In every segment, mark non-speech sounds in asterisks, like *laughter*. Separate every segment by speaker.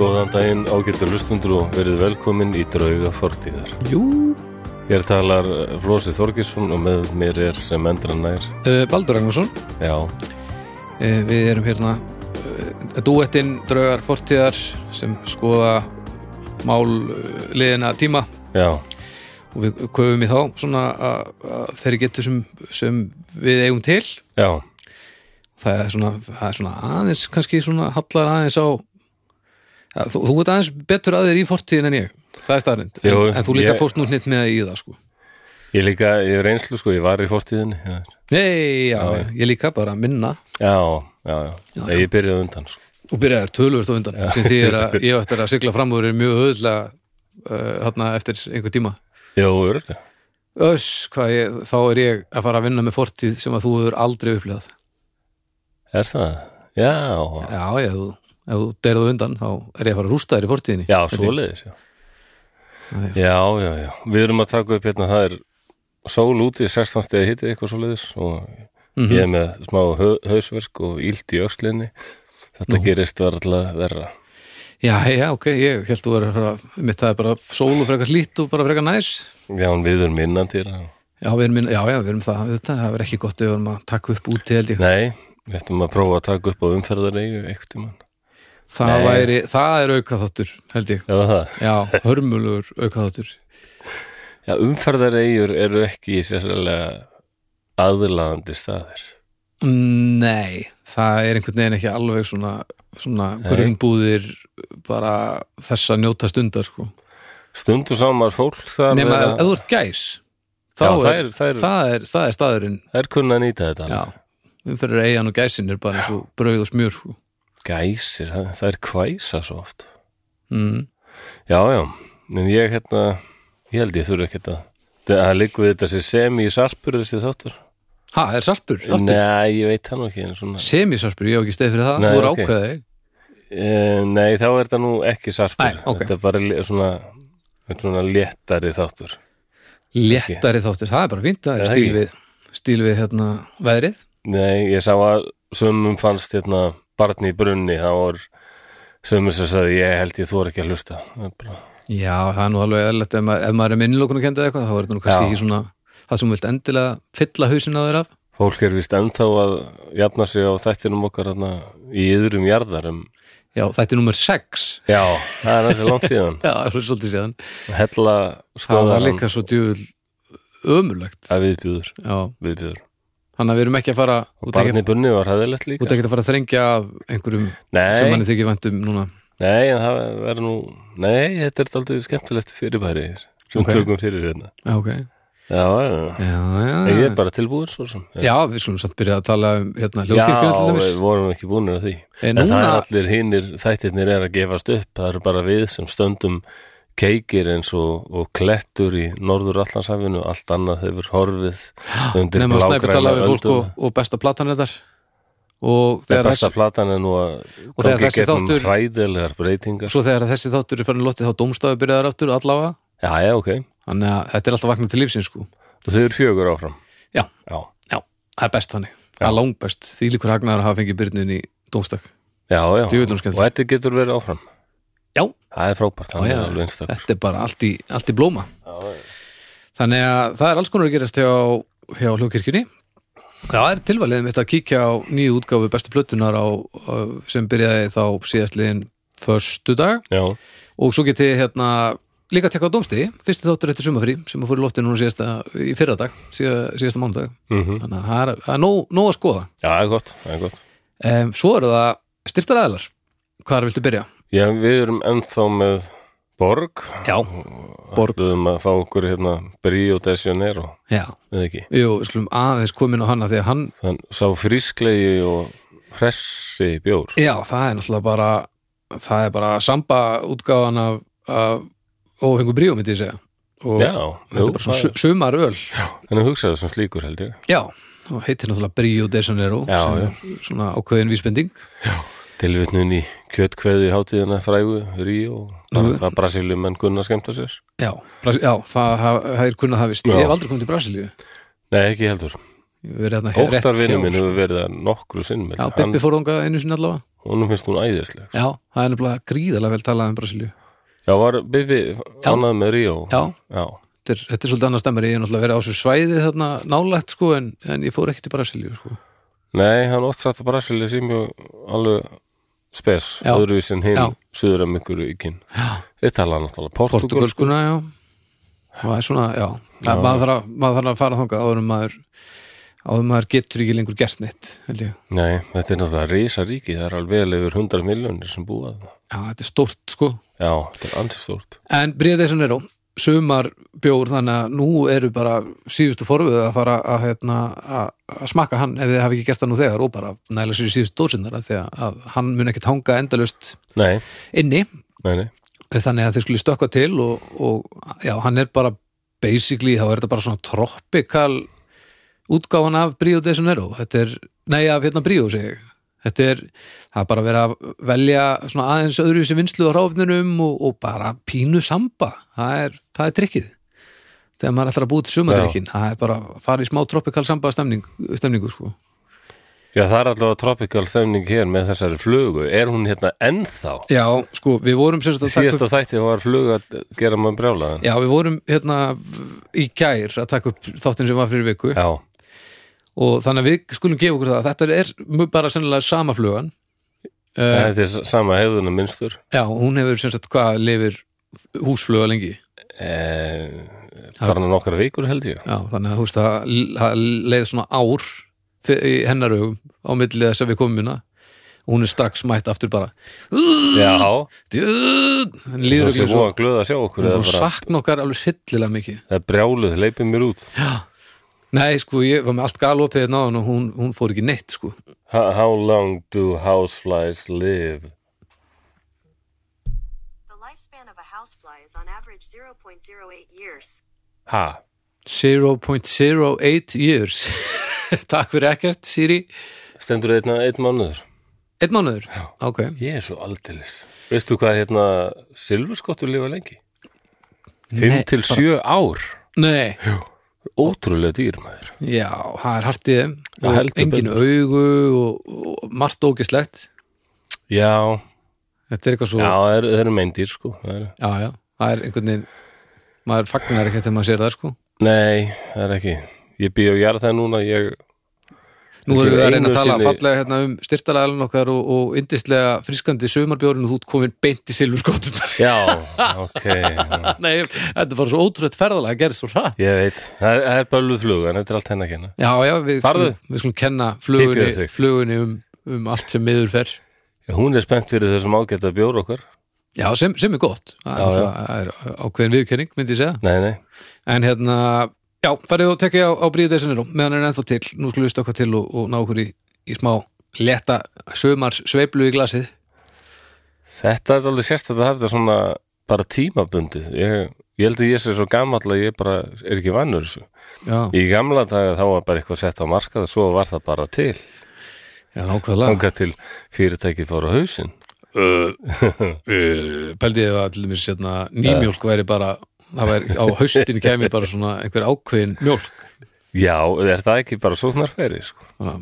Speaker 1: Góðan daginn ágættu hlustundur og verið velkomin í drauga fortíðar.
Speaker 2: Jú,
Speaker 1: Hér talar Flósi Þorgesson og með mér er sem endra nær.
Speaker 2: uh, Baldur Ragnarsson
Speaker 1: Já,
Speaker 2: uh, Við erum hérna uh, Dúettinn draugar fortíðar sem skoða mál uh, liðina tíma
Speaker 1: já,
Speaker 2: og við köfum í þá svona að að þeirri getur sem, sem við eigum til
Speaker 1: já,
Speaker 2: það er svona, það er svona aðeins kannski svona hallar aðeins á Ja, þú, þú ert aðeins betur að þér í fortíðin en ég það er staðrind, en,
Speaker 1: Jú,
Speaker 2: en þú líka
Speaker 1: ég-
Speaker 2: fórst nú hnitt með í það sko.
Speaker 1: ég líka, ég er einslu sko, ég var í fortíðinni. Já,
Speaker 2: nei, já, ég líka bara minna
Speaker 1: já, já, já. Nei, ég byrjaði undan sko.
Speaker 2: og byrjaði tölvöld á undan sem því er að ég á eftir að sigla fram úr er mjög auðvitað uh, hérna eftir einhver tíma
Speaker 1: Já, örgulega.
Speaker 2: Öss, hvað ég, þá er ég að fara að vinna með fortíð sem að þú hefur aldrei upplifað
Speaker 1: Er það? Já,
Speaker 2: Já, ég, þú, ef þú derðu undan þá er ég að fara að rústa þér í fortíðinni
Speaker 1: já, svoleiðis, já.
Speaker 2: Æ,
Speaker 1: Já, já, já. Við erum að taka upp hérna, það er sól úti, 16 stegi hitti eitthvað svoleiðis og
Speaker 2: Mhm.
Speaker 1: ég er með smá hau- hausverk og ílt í öxlinni. Þetta gerist varla verra.
Speaker 2: Já, já, ok, ég held þú er að fara mitt það er bara sól og frekar lít og bara frekar næs
Speaker 1: Já, en við erum innandir. og-
Speaker 2: Já, við erum, minn- já, já, við erum það, þetta, það er ekki gott ef við erum að taka upp úti held ég
Speaker 1: Nei, við ættum að prófa að taka upp á umferðareyju eitthvað tímann.
Speaker 2: Það
Speaker 1: Nei.
Speaker 2: væri, það er aukaþáttur held ég,
Speaker 1: Já, það.
Speaker 2: já, hörmulur aukaþáttur
Speaker 1: Já, umferðareyjur eru ekki sérstaklega aðlaðandi staðir.
Speaker 2: Nei, það er einhvern veginn ekki alveg svona, svona grunnbúðir bara þess að njóta stundar sko.
Speaker 1: Stundu samar fólk þar
Speaker 2: nema ef ef
Speaker 1: eða-
Speaker 2: þú ert gæs þá
Speaker 1: Já, það
Speaker 2: er,
Speaker 1: er, það er, það...
Speaker 2: það, er, það er staðurinn
Speaker 1: er kunna að nýta þetta.
Speaker 2: já,
Speaker 1: alveg.
Speaker 2: umferður eigan og gæsin er bara eins og brauð og smjör sko.
Speaker 1: Gæsir, það, það er kvæsa svo oft.
Speaker 2: mm.
Speaker 1: Já, já, en ég hérna, ég held ég þurfi ekkert að það liggur við þetta sem semi í sarpur þessi þáttur.
Speaker 2: ha, er sarpur, aftur
Speaker 1: Nei, ég veit það nú ekki en svona.
Speaker 2: semisarpur, ég á ekki steið fyrir það
Speaker 1: Nei,
Speaker 2: þú eru
Speaker 1: ok.
Speaker 2: ákveðið
Speaker 1: Eh, Nei, þá er það nú ekki sarpur.
Speaker 2: Nei, ok.
Speaker 1: Þetta er bara lé- svona, þetta er svona léttari þáttur.
Speaker 2: léttari þáttir, það er bara fínt það
Speaker 1: Er
Speaker 2: er
Speaker 1: það
Speaker 2: stíl
Speaker 1: ekki?
Speaker 2: við, stíl við hérna, veðrið
Speaker 1: Nei, ég sá að sömum fannst hérna barni í brunni, þá var sömum sem sagði, ég held ég þú er ekki að hlusta. Það er bara-
Speaker 2: já, það er nú alveg eðlætt ef, maður- ef maður er minnilokun að kenda eitthvað þá er þetta nú kannski
Speaker 1: Já.
Speaker 2: ekki svona það sem þú vilt endilega fylla hausin á þér af
Speaker 1: Fólk er vist ennþá að jafna sig á þættinum okkar hérna í um yðrum jarðarum.
Speaker 2: Já, þetta er nummer 6
Speaker 1: Já, það er þessi langt síðan.
Speaker 2: Já, svo svolítið séðan
Speaker 1: Hella
Speaker 2: Það
Speaker 1: skoðar
Speaker 2: var líka svo djúvel ömurlegt
Speaker 1: að viðbjúður,
Speaker 2: Já,
Speaker 1: viðbjúður.
Speaker 2: þannig að við erum ekki að fara út ekki,
Speaker 1: Barni bunni var hæðilegt
Speaker 2: þú
Speaker 1: líka.
Speaker 2: ert ekki að fara að þrengja af einhverjum sem
Speaker 1: Nei,
Speaker 2: manni þykir vænt um núna
Speaker 1: nei, en það verður nú, nei, þetta er aldrei skemmtilegt fyrirbæri sem
Speaker 2: Ok.
Speaker 1: tökum fyrir hérna.
Speaker 2: Já, ok
Speaker 1: Já, já,
Speaker 2: Já, já,
Speaker 1: já. ég er bara tilbúin svo sem.
Speaker 2: já við skulum samt byrja að tala um hérna,
Speaker 1: já
Speaker 2: ljókirkjum til dæmis
Speaker 1: við vorum ekki búinir að því.
Speaker 2: En
Speaker 1: En það er
Speaker 2: núna,
Speaker 1: allir hinnir, þættirnir er að gefast upp, það eru bara við sem stöndum keikir eins og, og klettur í norður allanshafinu, allt annað hefur horfið
Speaker 2: *gasps*
Speaker 1: undir
Speaker 2: nema að snæpi
Speaker 1: blágræna
Speaker 2: tala við fólk og,
Speaker 1: öldum.
Speaker 2: og besta platan þetta og
Speaker 1: Það er
Speaker 2: þegar,
Speaker 1: besta
Speaker 2: þess,
Speaker 1: platan en nú að
Speaker 2: Og þegar
Speaker 1: gangi
Speaker 2: þessi
Speaker 1: gegnum
Speaker 2: þáttur-
Speaker 1: hræðilegar breytingar.
Speaker 2: svo þegar þessi þáttur er farin í lotti þá dómstafi byrjaðar aftur allavega
Speaker 1: Já, já, ok.
Speaker 2: þannig að þetta er alltaf vaknað til lífsins sko
Speaker 1: Og þau eru fjögur áfram.
Speaker 2: Já,
Speaker 1: Já,
Speaker 2: já, það er best þannig það er langbest, því líkur hagnaður að hafa fengið byrnin í dómstak
Speaker 1: já, já.
Speaker 2: Djöfullinn
Speaker 1: Og
Speaker 2: skemmtilegt.
Speaker 1: þetta getur verið áfram.
Speaker 2: Já,
Speaker 1: Það er frábært,
Speaker 2: já,
Speaker 1: það er alveg einstakur.
Speaker 2: þetta er bara allt í, allt í blóma Þannig að það er alls konar að gerast hjá, hjá hljókirkjunni Það er tilvalið mitt að kíkja á nýju útgáfu bestu plötunar á, á- sem byrjaði þá síðastliðin föstu dag
Speaker 1: Já,
Speaker 2: og svo getið þið hérna líka að tekka á dómstigi, fyrsti þáttur eftir sumafrí sem að fór í lofti núna síðasta, í fyrradag síða, síðasta mánudag,
Speaker 1: mm
Speaker 2: þannig að það er, það er nóg, nóg að skoða
Speaker 1: já, það er gott, það er gott.
Speaker 2: um, Svo eru það styrtaræðlar Hvar viltu byrja?
Speaker 1: Já, við erum ennþá með Borg.
Speaker 2: Já, Borg.
Speaker 1: Við erum að fá okkur hérna Bríó de Janeiro,
Speaker 2: já,
Speaker 1: eða ekki.
Speaker 2: jú, við skulum aðeins komin á hana því að hann
Speaker 1: Þann sá frísklegi og hressi bjór.
Speaker 2: Já, það er náttúrulega bara það er bara samba útgáðan af, af óhengu bríó myndi ég segja og
Speaker 1: Já,
Speaker 2: þetta er bara svona su- sumaröl
Speaker 1: Þannig hugsaðu sem slíkur held ég.
Speaker 2: Já, og heitir náttúrulega bríó de Janeiro
Speaker 1: Já,
Speaker 2: sem
Speaker 1: já.
Speaker 2: er svona ákveðin vísbending
Speaker 1: Tilvitnun í kjötkveði hátíðina frægu, Ríó,
Speaker 2: Nú.
Speaker 1: það Brasiljum en kunna skemmta sér.
Speaker 2: Já, Bras já það, það, það er kunna hafist
Speaker 1: Já.
Speaker 2: Ég hef aldrei komið til Brasilíu
Speaker 1: Nei, ekki heldur. Óttar vinnu minn hefur verið það nokkru sinn með
Speaker 2: sko. Já,
Speaker 1: þetta.
Speaker 2: Bebbi fór þangað einu sinni allavega
Speaker 1: honum finnst hún æðisleg
Speaker 2: Já, það er nefnilega gríðalega vel talað um Brasilíu
Speaker 1: Já, var Bibi annað með Ríó
Speaker 2: Já,
Speaker 1: Já,
Speaker 2: þetta er, þetta er svolítið annað stemmari, ég er náttúrulega verið á svo svæði þarna nálægt sko en, en ég fór ekki til Brasilíu sko
Speaker 1: nei, hann oft satt að Brasilia sem mjög alveg spes,
Speaker 2: Já.
Speaker 1: öðruvísi en
Speaker 2: Já.
Speaker 1: hinn suður að mikur ykkin
Speaker 2: Já, sko.
Speaker 1: Þeir tala náttúrulega portugalsku
Speaker 2: portugalskuna, já Það er svona, já, já. Maður, þarf að, maður þarf að fara þangað áður en maður áður en maður getur ekki lengur gert neitt held ég,
Speaker 1: Nei, þetta er náttúrulega risa ríki það er alveg vel yfir 100 miljónir sem búa það
Speaker 2: já, þetta er stórt sko
Speaker 1: Já, þetta er ansið stórt
Speaker 2: En bríðið sem er á sumar bjór þannig að nú eru bara síðustu forvöðu að fara að, hérna, að, að smakka hann ef þið hafi ekki gert það nú þegar og bara næla sér í síðustu dósinnar af því að, að hann mun ekkit hanga endalust
Speaker 1: Nei,
Speaker 2: inni
Speaker 1: nei, nei,
Speaker 2: Eh, þannig að þið skulle stökkva til og, og já, hann er bara basically, þá er þetta bara svona tropical útgáfan af Brio de Janeiro þetta er, nei af hérna Brio segi ég þetta er, það er bara verið að velja svona aðeins öðruvísi vinslu á ráfninum og, og bara pínu samba það er, það er trikkið þegar maður ætlar að búið til sumadrykkin það er bara að fara í smá tropical samba stemning, stemningu sko
Speaker 1: Já, það er allavega tropical þemning hér með þessari flugu. Er hún hérna ennþá?
Speaker 2: já, sko, við vorum sem sagt að taka upp-
Speaker 1: Síðasta þætti var fluga að gera mann brjálaðan.
Speaker 2: já, við vorum hérna í gær að taka upp þáttin sem var fyrir viku
Speaker 1: Já,
Speaker 2: og þannig að við skulum gefa okkur það að þetta er mjög bara sennilega sama flugan uh,
Speaker 1: þetta er sama hefðuna minnstur.
Speaker 2: já, hún hefur sem sagt hvað lifir húsfluga lengi
Speaker 1: Eh, bara nokkra vikur held ég.
Speaker 2: já, þannig að þú veist það það leið svona ár fyr- í hennar augum á milli þess að við komum hérna og hún er strax mætt aftur bara
Speaker 1: Já,
Speaker 2: djöð, hann
Speaker 1: það sé
Speaker 2: líður ekki
Speaker 1: svo
Speaker 2: svo
Speaker 1: að glöða að sjá okkur.
Speaker 2: hún
Speaker 1: Það
Speaker 2: er
Speaker 1: er
Speaker 2: búin að
Speaker 1: bara,
Speaker 2: sakna okkar alveg hryllilega mikið
Speaker 1: það er brjáluð, leipið mér út.
Speaker 2: nei, sko, ég var með allt galopið hérna áðan og hún, hún fór ekki neitt, sko
Speaker 1: Ho- How long do houseflies live?
Speaker 3: The lifespan of a housefly is on average 0.08 years.
Speaker 1: Ha?
Speaker 2: 0.08 years takk fyrir ekkert, Siri
Speaker 1: Stendur einna einn mánuður?
Speaker 2: Einn mánuður?
Speaker 1: Já.
Speaker 2: Ok.
Speaker 1: Ég er svo aldeilis. Veistu hvað hérna silfurskottur lifa lengi? 5
Speaker 2: Nei,
Speaker 1: til 7 ár.
Speaker 2: Nei,
Speaker 1: Ótrúlega dýr maður.
Speaker 2: já, það er hart í þeim.
Speaker 1: Já,
Speaker 2: Og
Speaker 1: heldur
Speaker 2: engin augu og, og margt ógislegt.
Speaker 1: Já,
Speaker 2: Þetta er eitthvað svo,
Speaker 1: Já, það eru- það eru meindýr sko það eru.
Speaker 2: já, já. Það er einhvern veginn, maður fagnar ekkert þegar maður sér það, sko.
Speaker 1: Nei, það er ekki Ég býð á jarð það núna ég,
Speaker 2: Nú
Speaker 1: Þetta
Speaker 2: erum við að reyna
Speaker 1: einu
Speaker 2: að tala
Speaker 1: sinni-
Speaker 2: fallega hérna um styrtalæðan okkar og, og yndislega friskandi sömarbjórinn og þú ert komin beint í silfurskótum.
Speaker 1: *laughs* Já, ok já.
Speaker 2: Nei, þetta er bara svo ótrúlegt ferðalega að gera svo rætt.
Speaker 1: Ég veit, það er, það er bölluð flug en þetta er allt henni að kenna
Speaker 2: Já, já, við
Speaker 1: Farðu.
Speaker 2: skulum, við skulum kenna
Speaker 1: Hypjaðu
Speaker 2: flugunni,
Speaker 1: þig.
Speaker 2: flugunni um, um allt sem miður fer.
Speaker 1: já, Hún er spennt fyrir þessum ágæta bjór okkar
Speaker 2: Já, sem, sem er gott.
Speaker 1: Já,
Speaker 2: Það er,
Speaker 1: já.
Speaker 2: það er ákveðin viðkenning, myndi ég segja.
Speaker 1: Nei, nei,
Speaker 2: En hérna, já, farið og tekja á, á bríðu desinir meðan hann er ennþá til, nú skulum við stökkva til og, og ná okkur í, í smá leta sömars sveiflu í glasið
Speaker 1: þetta er alveg sérst að það hefði svona bara tímabundið ég, ég held að ég sé svo gamall að ég bara er ekki vannur þessu
Speaker 2: Já,
Speaker 1: Í gamla daga þá var bara eitthvað sett á markað og svo var það bara til
Speaker 2: já nákvæmlega
Speaker 1: Þangað til fyrirtækið fór á hausinn
Speaker 2: Uh, Pældi ég að til dæmis hérna, nýmjólk væri bara það væri, á haustin kæmi bara svona einhver ákveðin mjólk
Speaker 1: Já, er það ekki bara sóknarfæri sko
Speaker 2: Svona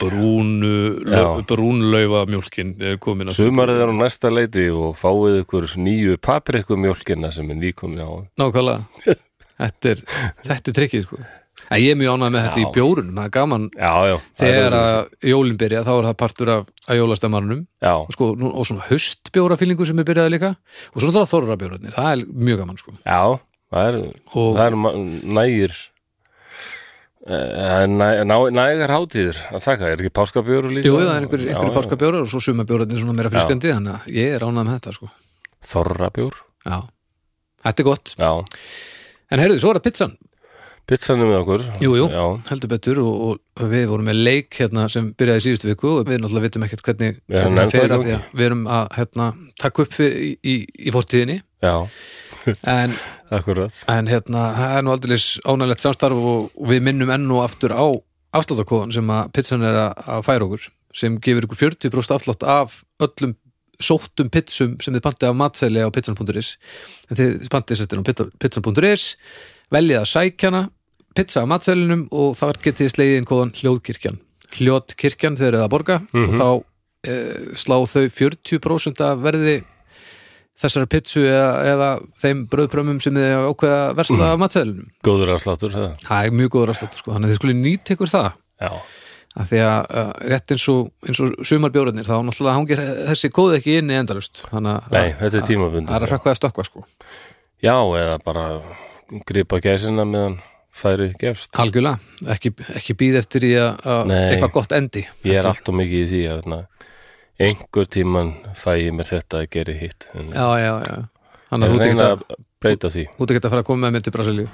Speaker 2: brúnu,
Speaker 1: Já.
Speaker 2: löf, brúnlaufa mjólkin er komin að
Speaker 1: Sumarið er á næsta leiti og fáið ykkur nýju paprikumjólkina sem er nýkomin á.
Speaker 2: nákvæmlega þetta er, þetta er trikkið sko En ég er mjög ánægð með þetta
Speaker 1: Já.
Speaker 2: í bjórunum, það er gaman
Speaker 1: Já, já. það er
Speaker 2: þegar
Speaker 1: öðruvísi.
Speaker 2: að jólin byrja þá er það partur af, af jólastemmarunum og,
Speaker 1: Já,
Speaker 2: sko, nú- og svona höstbjórafýlingu sem er byrjaði líka og svona það þorrabjórarnir, það er mjög gaman sko.
Speaker 1: já, það er,
Speaker 2: Og-
Speaker 1: það er ma- nægir, eh, það er næ- ná- nægar hátíðir að taka, er ekki páskabjóru líka?
Speaker 2: Jú, það er einhver,
Speaker 1: Já,
Speaker 2: einhver
Speaker 1: já.
Speaker 2: páskabjórar og svo sumabjórarnir svona meira friskandi þannig að ég er ánað með þetta sko.
Speaker 1: Þorrabjór,
Speaker 2: Já, þetta er gott
Speaker 1: já.
Speaker 2: En heyrðu, svo er það pizzan,
Speaker 1: Pizzanum með okkur.
Speaker 2: Jú, jú.
Speaker 1: Já,
Speaker 2: heldur betur og, og við vorum með leik hérna sem byrjaði í síðustu viku og við náttúrulega vitum ekkert hvernig,
Speaker 1: Já, en
Speaker 2: hvernig það
Speaker 1: ennþá í
Speaker 2: fer af því
Speaker 1: gangi.
Speaker 2: að við erum að hérna, taka upp fyrir, í, í, í fórtíðinni
Speaker 1: já,
Speaker 2: en
Speaker 1: akkurat.
Speaker 2: En hérna, það er nú aldrei ánægilegt samstarf og og við minnum enn og aftur á afsláttakóðan sem að pizzan er að, að færa okkur sem gefur ykkur 40% afslátt af öllum sóttum pizzum sem þið pantið af matseli á pizzan.is en þið pantið sérstinn á pizza- pizzan.is veljið að sækjana pizza á matselinum og þar getið slegið inn kóðan hljóðkirkjan hljóðkirkjan þegar það borga og þá e, slá þau 40% af verði þessara pizzu eða, eða þeim bröðprömmum sem þið hafa ákveða að versla af matselinum
Speaker 1: Góður afsláttur, það.
Speaker 2: það er mjög góður afslættur sko, þannig að þið skulle nýta ykkur það
Speaker 1: Já.
Speaker 2: að því að uh, rétt eins og, eins og sumarbjórarnir þá náttúrulega hangir þessi kóði ekki inn í endalust þannig að
Speaker 1: Nei, þetta er
Speaker 2: það er
Speaker 1: tímabundur.
Speaker 2: að hrakkvað að stökkva sko
Speaker 1: Já, eða bara gripa gæsina meðan færi gefst.
Speaker 2: algjörlega, ekki, ekki býð eftir í að að
Speaker 1: Nei.
Speaker 2: eitthvað gott endi
Speaker 1: Ég er allt og mikið í því að na, einhver tíman fæ ég mér þetta að gera hitt. En
Speaker 2: já, já, já,
Speaker 1: ég
Speaker 2: þannig að þú ert ekkert
Speaker 1: reyna
Speaker 2: að-
Speaker 1: að breyta því.
Speaker 2: þú ert ekki að fara að koma með mér til Brasilíu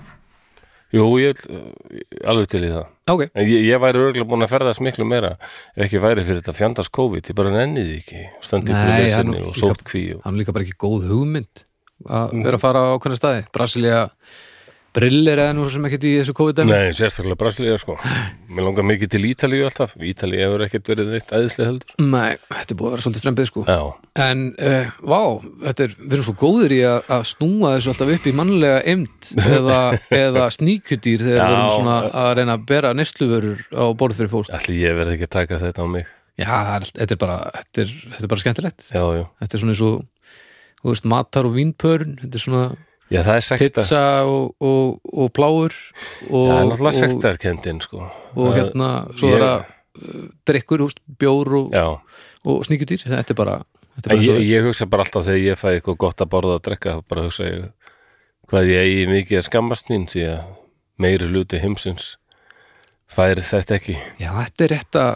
Speaker 1: Jú, ég er alveg til í það.
Speaker 2: ok,
Speaker 1: En ég, ég væri örgulega búin að ferðast miklu meira ef ekki væri fyrir þetta fjandars COVID. Ég bara nenni því ekki. Standi ykkur í
Speaker 2: Nei, hann-
Speaker 1: lesinni og sótt kví. Og...
Speaker 2: hann er líka bara ekki góð hugmynd að vera að fara á hvernig staði Brasilía brillir eða nú svo sem ekkert í þessu COVID-dæmi
Speaker 1: Nei, sérstaklega Brasilia sko. Mér langar mikið til Ítalíu alltaf. Ítalíu hefur ekkert verið neitt æðislega heldur.
Speaker 2: Nei, þetta er búið að vera svolítið strempið sko
Speaker 1: Já,
Speaker 2: En, uh, vá, þetta er, við erum svo góðir í að, að snúa þessu alltaf upp í mannlega eimt
Speaker 1: *laughs*
Speaker 2: eða, eða sníkudýr þegar við
Speaker 1: Já.
Speaker 2: erum svona að reyna að bera nestluvörur á borð fyrir fólk.
Speaker 1: allir ég verði ekki að taka þetta á mig.
Speaker 2: Já, það er allt- þetta er bara, þetta er, þetta er bara skemmtilegt.
Speaker 1: Já, já.
Speaker 2: Þetta er svona eins og, þú veist, matar og vínpörn, þetta er svona
Speaker 1: Já, það er sekta.
Speaker 2: pizza og, og, og pláur og,
Speaker 1: það er náttúrulega
Speaker 2: og,
Speaker 1: sektarkendin sko.
Speaker 2: og
Speaker 1: Það-
Speaker 2: hérna, svo
Speaker 1: ég-
Speaker 2: er það uh, drikkur, húst, bjór og,
Speaker 1: Já,
Speaker 2: og sníkudýr. Þetta er bara, þetta er
Speaker 1: En
Speaker 2: bara
Speaker 1: ég,
Speaker 2: svo.
Speaker 1: ég hugsa bara alltaf þegar ég fæ eitthvað gott að borða að drekka þá bara hugsa ég hvað ég eigi mikið að skammast mín því að meiri hluti heimsins færi þetta ekki
Speaker 2: Já, þetta er rétt að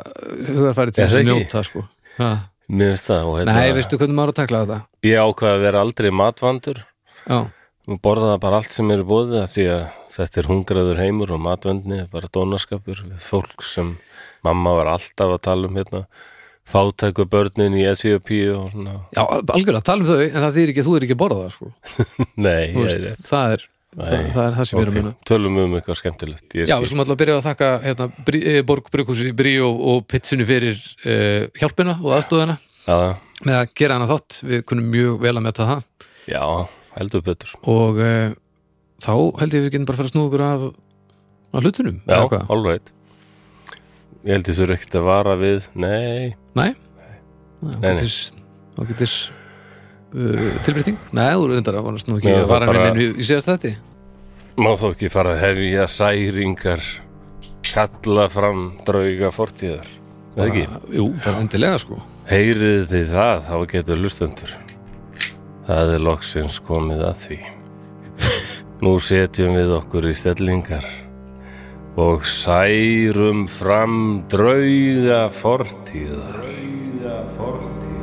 Speaker 2: hugarfæri til
Speaker 1: Er
Speaker 2: þess
Speaker 1: það
Speaker 2: að
Speaker 1: ekki?
Speaker 2: njóta, sko. Ha.
Speaker 1: mér finnst það og
Speaker 2: Nei,
Speaker 1: hérna,
Speaker 2: veistu hvernig maður á að takla þetta?
Speaker 1: ég ákvað að vera aldrei matvandur
Speaker 2: Já,
Speaker 1: og borða það bara allt sem er bóðið því að þetta er hungraður heimur og matvendni er bara dónaskapur við fólk sem mamma var alltaf að tala um hérna fátæku börnin í Ethiopíu og svona
Speaker 2: já algjörlega, tala um þau en það þýr ekki að þú er ekki að borða það sko.
Speaker 1: Nei,
Speaker 2: Þú
Speaker 1: ég,
Speaker 2: veist, það, er, það, það er það sem ég er að
Speaker 1: ok,
Speaker 2: muna
Speaker 1: tölum um eitthvað skemmtilegt Ég
Speaker 2: Já,
Speaker 1: skil.
Speaker 2: við slum alltaf að byrja á að þakka hérna, Brí- eh, Borg Brukhúsi, Bríó og Pitsinu fyrir uh, hjálpina og aðstóðina
Speaker 1: Já,
Speaker 2: með að gera hana þátt, við kunum mjög vel að metta það
Speaker 1: já, heldur betur
Speaker 2: og uh, þá held ég við getum bara að fara að snúa okkur af, af hlutunum
Speaker 1: Já,
Speaker 2: eða hvað?
Speaker 1: all right Ég held þessu er ekkert að vara við Nei,
Speaker 2: Nei?
Speaker 1: Nei, nei.
Speaker 2: Þá getur uh, tilbreyting? Nei, þú reyndar að snúa ekki
Speaker 1: Nei,
Speaker 2: að
Speaker 1: það
Speaker 2: fara
Speaker 1: bara-
Speaker 2: bara... í síðast þetta
Speaker 1: má þó ekki fara að hefja særingar kalla fram drauga fortíðar Það ekki,
Speaker 2: Jú, bara endilega sko
Speaker 1: heyrið þið það þá getur lustendur Það er loksins komið að því
Speaker 2: *laughs*
Speaker 1: Nú setjum við okkur í stellingar og særum fram drauga fortíðar Drauga fortíðar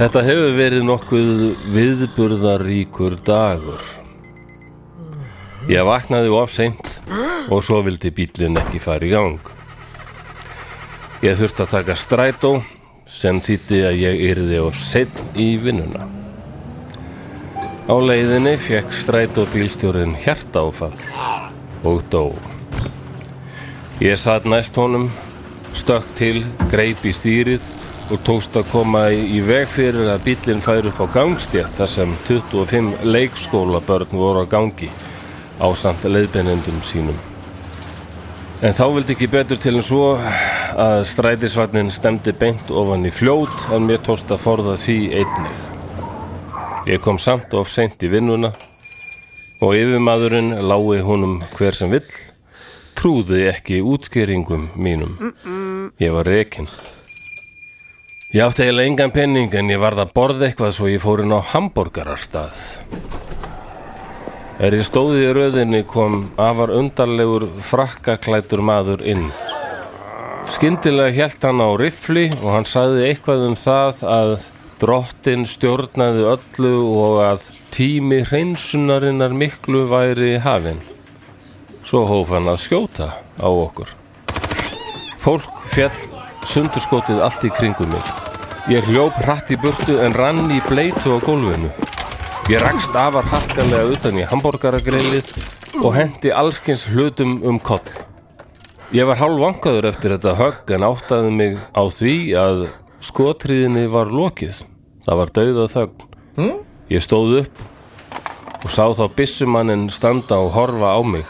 Speaker 1: Þetta hefur verið nokkuð viðburðaríkur dagur. Ég vaknaði of seint og svo vildi bílinn ekki fara í gang. Ég þurfti að taka strætó sem þýtti að ég yrði of seinn í vinnuna. Á leiðinni fekk strætóbílstjórin hjartáfall og dó. Ég satt næst honum stökk til, greip í stýrið og tókst að koma í í veg fyrir að bíllinn færi upp á gangstétt þar sem 25 leikskólabörn voru á gangi á samt leiðbeinendum sínum. En þá vildi ekki betur til en svo að strætisvagnin stemdi beint ofan í fljót en mér tókst að forða því einnig. Ég kom samt of seint í vinnuna og yfirmaðurinn lái honum hver sem vill trúði ekki útskýringum mínum. Ég var rekin. Ég átti eiginlega engan penning en ég varð að borða eitthvað svo ég fór inn á hambúrgararstað. Er ég stóði í röðinni kom afar undarlegur frakkaklætur maður inn. Skyndilega hélt hann á rifli og hann sagði eitthvað um það að drottin stjórnaði öllu og að tími hreinsunarinnar miklu væri hafinn. Svo hóf hann að skjóta á okkur. Fólk fjall sundurskotið allt í kringum mig. Ég hljóp hratt í burtu en rann í bleitu á gólfinu. Ég rakst afar harkalega utan í hambúrgaragrillið og hendi allskins hlutum um koll. Ég var hálfvankaður eftir þetta högg en áttaði mig á því að skotriðinni var lokið. Það var dauðað þögn. Ég stóð upp og sá þá byssumannin standa og horfa á mig.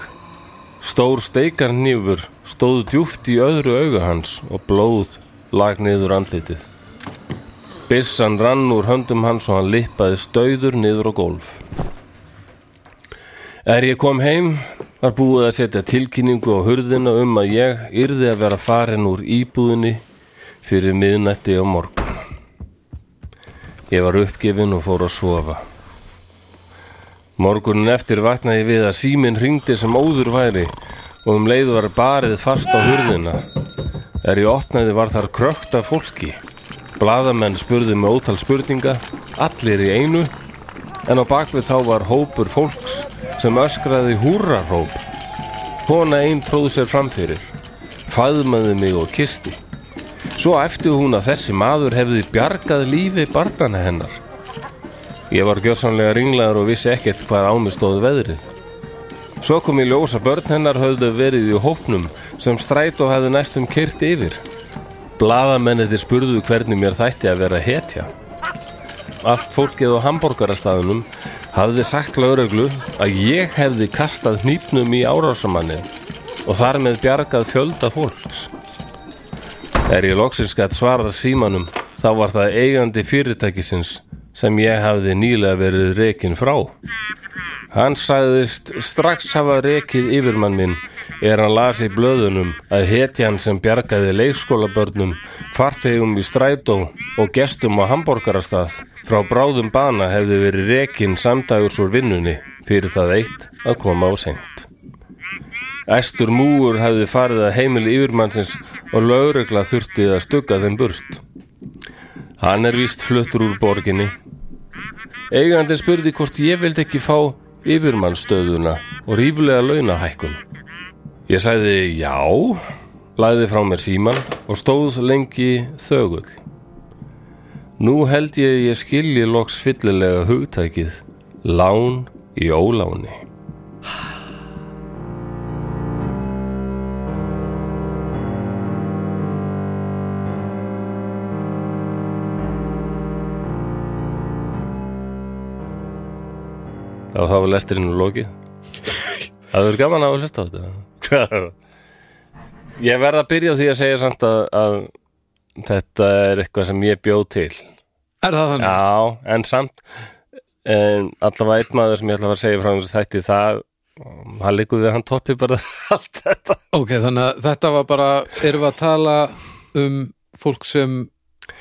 Speaker 1: Stór steikarnýfur stóð djúft í öðru auga hans og blóð lag niður andlitið. Byssan rann úr höndum hans og hann lippaði stauður niður á gólf. Er ég kom heim var búið að setja tilkynningu á hurðina um að ég yrði að vera farin úr íbúðinni fyrir miðnætti á morgun. Ég var uppgefin og fór að sofa. Morgunin eftir vaknaði ég við að síminn hringdi sem óður væri og um leið var barið fast á hurðina. Er ég opnaði var þar krökt af fólki. Blaðamenn spurðu með ótal spurninga, allir í einu en á bakvið þá var hópur fólks sem öskraði húrarhóp. Kona einn tróð sér framfyrir, faðmaði mig og kisti. Svo eftir hún að þessi maður hefði bjargað lífi barnana hennar. Ég var gjörsamlega ringlaður og vissi ekkert hvað á mig stóð veðrið. Svo kom ég ljós að börn hennar höfðu verið í hópnum sem strætó hefði næstum kyrt yfir. Blaðamennið spurðu hvernig mér þætti að vera hetja allt fólkið á hambúrgarastafnum hafði sagt lögreglu að ég hefði kastað hnýpnum í árásamanni og þar með bjargað fjölda fólks. Er ég loksins gætt svarað símanum þá var það eigandi fyrirtækisins sem ég hafði nýlega verið rekin frá. Hann sagðist strax hafa rekið yfirmann minn er hann las í blöðunum að hetjan sem bjargaði leikskólabörnum, farþegum í strætó og gestum á hambúrgarastað frá bráðum bana hefði verið rekin samdægurs úr vinnunni fyrir það eitt að koma á seint. Æstur múur hefði farið að heimili yfirmannsins og lögregla þurfti að stugga þeim burt. Hann er víst fluttur úr borginni Eigandi spurði hvort ég vildi ekki fá yfirmannstöðuna og rífulega launahækkun. Ég sagði já, læði frá mér síman og stóð lengi þögull. Nú held ég ég skilji loks fyllilega hugtækið, lán í óláni. Það var lesturinn og lokið. Það verður gaman að hlusta á þetta. ég verð að byrja á því að segja samt að, að þetta er eitthvað sem ég bjóð til.
Speaker 2: Er það þannig?
Speaker 1: Já, en samt en allavega einn maður sem ég ætla að fara að segja frá þessu þætti það um, hann liggur við að hann toppi bara *laughs* allt þetta
Speaker 2: Ok, þannig að þetta var bara, erum við að tala um fólk sem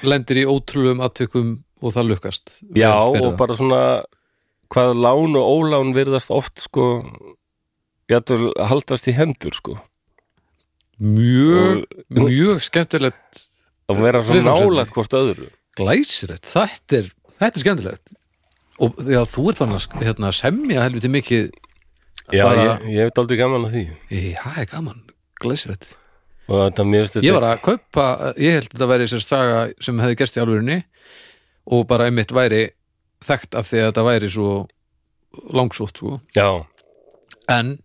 Speaker 2: lendir í ótrúlegum atvikum og það lukkast.
Speaker 1: Já,
Speaker 2: Vel fyrir
Speaker 1: og
Speaker 2: það.
Speaker 1: bara svona hvað lán og ólán virðast oft sko ég ætla að haldast í hendur sko
Speaker 2: Mjög, mjög skemmtilegt
Speaker 1: að vera svo
Speaker 2: Viðfangsefni.
Speaker 1: nálægt hvort öðru
Speaker 2: glæsirett. Þetta er, þetta er skemmtilegt. Og já, þú ert þannig að hérna, semja helviti mikið.
Speaker 1: Já,
Speaker 2: Bara-
Speaker 1: ég, ég hef aldrei gaman að því
Speaker 2: Í, Það er gaman, glæsirett.
Speaker 1: og þetta mér finnst
Speaker 2: Ég
Speaker 1: þetta
Speaker 2: var að kaupa, ég held þetta væri sér saga sem hefði gerst í alvörinni og bara einmitt væri þekkt af því að þetta væri svo langsótt sko.
Speaker 1: Já,
Speaker 2: En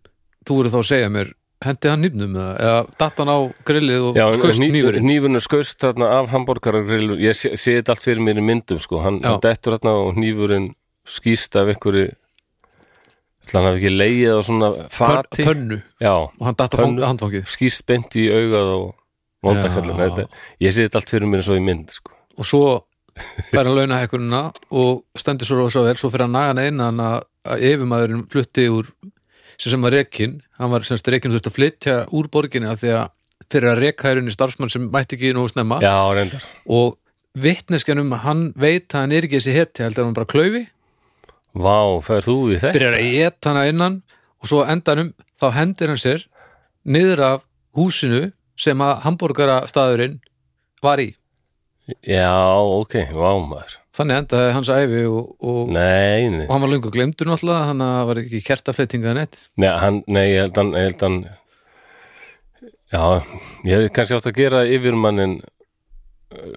Speaker 2: þú voru þá að segja mér hendi hann nýfnum eða, eða datt hann á grillið og
Speaker 1: já
Speaker 2: skust nýfurinn
Speaker 1: nýfurinn skaust þarna af hambúrgaragrillu ég sé, sé þetta allt fyrir mér í myndum sko hann
Speaker 2: Já.
Speaker 1: hann dettur þarna og nýfurinn skýst af einhverju ætla hann hafi ekki leið á svona
Speaker 2: Pön,
Speaker 1: fati
Speaker 2: pönnu
Speaker 1: Já,
Speaker 2: og hann datt á
Speaker 1: Pönnu.
Speaker 2: fang- handfangið
Speaker 1: skýst beint í augað og vondakallin
Speaker 2: Já.
Speaker 1: Þetta- ég sé þetta allt fyrir mér svo í mynd sko.
Speaker 2: og svo fær hann launahekkunina og stendur svo rosa vel svo fyrir hann nagan einan að, að yfirmaðurinn flutti úr sem sem var rekin hann var semst rekin þurft að flytja úr borginni af því að fyrir að reka er unni starfsmann sem mætti ekki nógu snemma
Speaker 1: já, reyndar
Speaker 2: og vittneskjan um að hann veit að hann er ekki þessi heti heldur að hann bara klaufi
Speaker 1: vá, fer þú í þetta?
Speaker 2: byrjar að geta hana innan og svo á endanum þá hendir hann sér niður af húsinu sem að hambúrgarastaðurinn var í
Speaker 1: já, ok, vá maður
Speaker 2: þannig endaði hans æfi og, og,
Speaker 1: nei, nei,
Speaker 2: og hann var lungu glemdur náttúrulega hann var ekki kertafleitingað neitt
Speaker 1: nei, hann, nei ég held hann, ég held hann já, ég hefði kannski átt að gera yfirmannin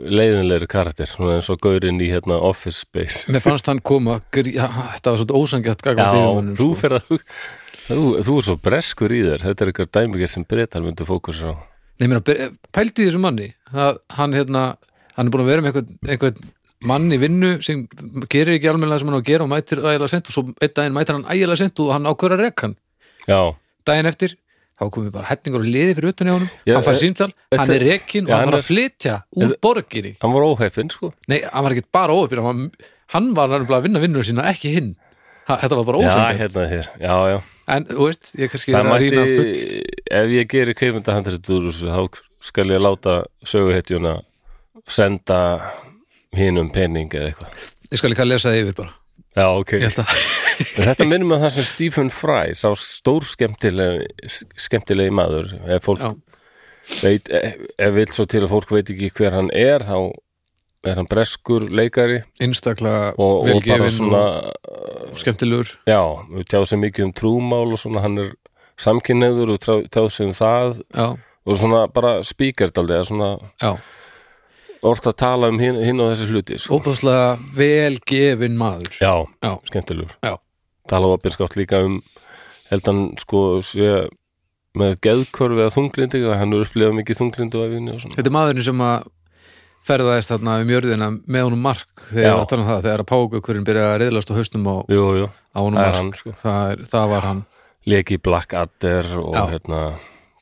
Speaker 1: leiðinleiri karakter, svona eins og gaurinn í hérna Office Space
Speaker 2: mér fannst hann koma grí- þetta var svolítið
Speaker 1: já,
Speaker 2: ósangjætt sko. gagvart yfirmannum
Speaker 1: þú fer að hug- Þú, þú er svo breskur í þér, þetta er eitthvað dæmiger sem breytar myndu fókus á.
Speaker 2: Nei, ég meina, be- pældu í þessum manni að hann, hérna, hann er búin að vera með einhvern, einhvern mann í vinnu sem gerir ekki almennilega sem hann á að gera og mætir ægilega sent og svo einn daginn mætir hann ægilega sent og hann ákvör að reka hann
Speaker 1: Já,
Speaker 2: daginn eftir, þá komið bara hætningur og liði fyrir utan í honum,
Speaker 1: Já,
Speaker 2: hann fær
Speaker 1: e-
Speaker 2: síntal hann
Speaker 1: þetta-
Speaker 2: er rekin og
Speaker 1: Já,
Speaker 2: hann
Speaker 1: hann
Speaker 2: þarf að
Speaker 1: er-
Speaker 2: flytja úr borginni
Speaker 1: hann var óheppinn, sko.
Speaker 2: nei, hann var ekkert bara óöpinn hann, var- hann var nefnilega að vinna vinnur sína, ekki hinn Ha- þetta var bara
Speaker 1: Já,
Speaker 2: ósangjönd
Speaker 1: hérna þér, já, já.
Speaker 2: en, þú veist, ég kannski
Speaker 1: Það
Speaker 2: er að rýna full
Speaker 1: mætti, ef ég gerir kveimyndahandrit úr þessu, þá skal ég láta söguhetjuna senda hínum pening eða eitthvað.
Speaker 2: ég skal líka að lesa það yfir bara
Speaker 1: Já, ok.
Speaker 2: ég held að, *laughs*
Speaker 1: En Þetta minnum að það sem Stephen Fry sá stór skemmtilegi, skemmtilegi maður ef fólk
Speaker 2: já,
Speaker 1: veit, ef, ef vill svo til að fólk veit ekki hver hann er þá er hann breskur leikari
Speaker 2: einstaklega
Speaker 1: og, og bara
Speaker 2: velgefin
Speaker 1: svona
Speaker 2: og, skemmtilegur
Speaker 1: já, við tjáð sér mikið um trúmál og svona hann er samkynneður og trá- tjáð sér um það
Speaker 2: já,
Speaker 1: og svona bara spíkerdaldi eða svona
Speaker 2: já,
Speaker 1: orð að tala um hinn, hinn og þessi hluti sko.
Speaker 2: óbúðslega velgefin maður
Speaker 1: já,
Speaker 2: já,
Speaker 1: skemmtilegur
Speaker 2: já,
Speaker 1: tala opinskátt líka um held hann sko sé, með geðkörfi eða þunglindi að hann er upplifað mikið þunglindu að vinni og svona
Speaker 2: þetta er maðurinn sem að ferðaðist þarna um jörðina með honum mark þegar
Speaker 1: Já.
Speaker 2: ég var að tala um það, þegar að págökurinn byrjaði að reyðlast á hausnum á,
Speaker 1: jú, jú,
Speaker 2: á honum
Speaker 1: það er
Speaker 2: mark
Speaker 1: hann sko
Speaker 2: það, er, það var hann
Speaker 1: leki Blackadder og
Speaker 2: Já.
Speaker 1: hérna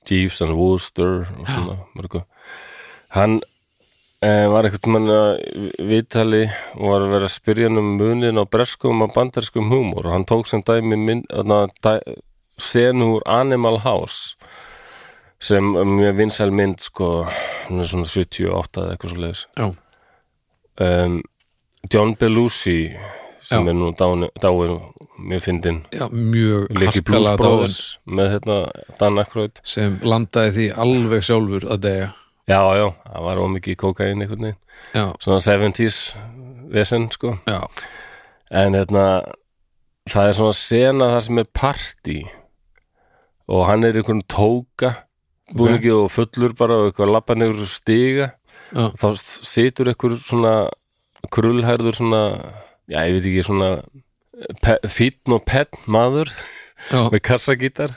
Speaker 1: Jeeves and Wooster og svona mörgu hann eh, var eitthvað mann að viðtali og var að vera að spyrja hann um munin á breskum og bandarskum humor og hann tók sem dæmi mynd, þarna, dæ, senur Animal House sem er mjög vinsæl mynd sko, hún er svona 78 eða eitthvað svo leiðis
Speaker 2: já,
Speaker 1: um, John Belushi sem
Speaker 2: Já.
Speaker 1: er nú dáin, dáin mjög fyndin
Speaker 2: já mjög
Speaker 1: Leiki Blues
Speaker 2: harkalega dáin
Speaker 1: Brothers með hérna Dan Aykroyd
Speaker 2: sem landaði því alveg sjálfur að deyja
Speaker 1: Já, já, það var ómikið kókain einhvern veginn
Speaker 2: já,
Speaker 1: Svona 70s vesen, sko
Speaker 2: já,
Speaker 1: En hérna, það er svona sena það sem er party Og hann er í einhvern tóka Búningi og fullur bara og eitthvað labba niður stiga
Speaker 2: já,
Speaker 1: Þá s- situr einhver svona krullherður svona Já, ég veit ekki, svona pe- fínn og penn maður
Speaker 2: já,
Speaker 1: með kassagítar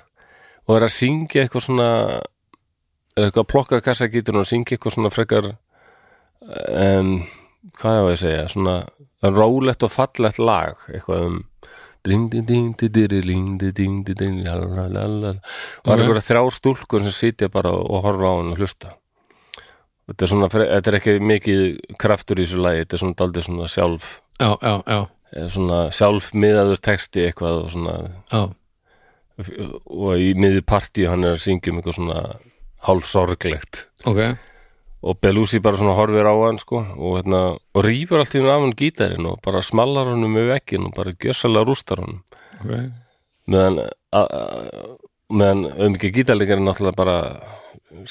Speaker 1: og er að syngja eitthvað svona er eitthvað að plokka kassagítar og syngja eitthvað svona frekar um, hvað er að segja svona rólegt og fallegt lag eitthvað um ding ding ding ding ding ding ding ding ding ding la, la, la, la. og það
Speaker 2: Ok.
Speaker 1: er eitthvað þrjár stúlkur sem sitja bara og horfa á hann og hlusta þetta er, svona, fre- þetta er ekki mikið kraftur í þessu lagi þetta er svona daldið svona sjálf
Speaker 2: já, já, já,
Speaker 1: eh, svona sjálfmiðaður texti eitthvað og svona
Speaker 2: já.
Speaker 1: og í miði partí hann er að syngja um eitthvað svona hálfsorglegt
Speaker 2: ok,
Speaker 1: og Belusi bara svona horfir á hann sko og, hérna, og rýfur allt í hún af hann gítarinn og bara smallar hann með vekkin og bara gjössalega rústar hann
Speaker 2: ok
Speaker 1: meðan, a- a- meðan auðvitað gítarleikarinn náttúrulega bara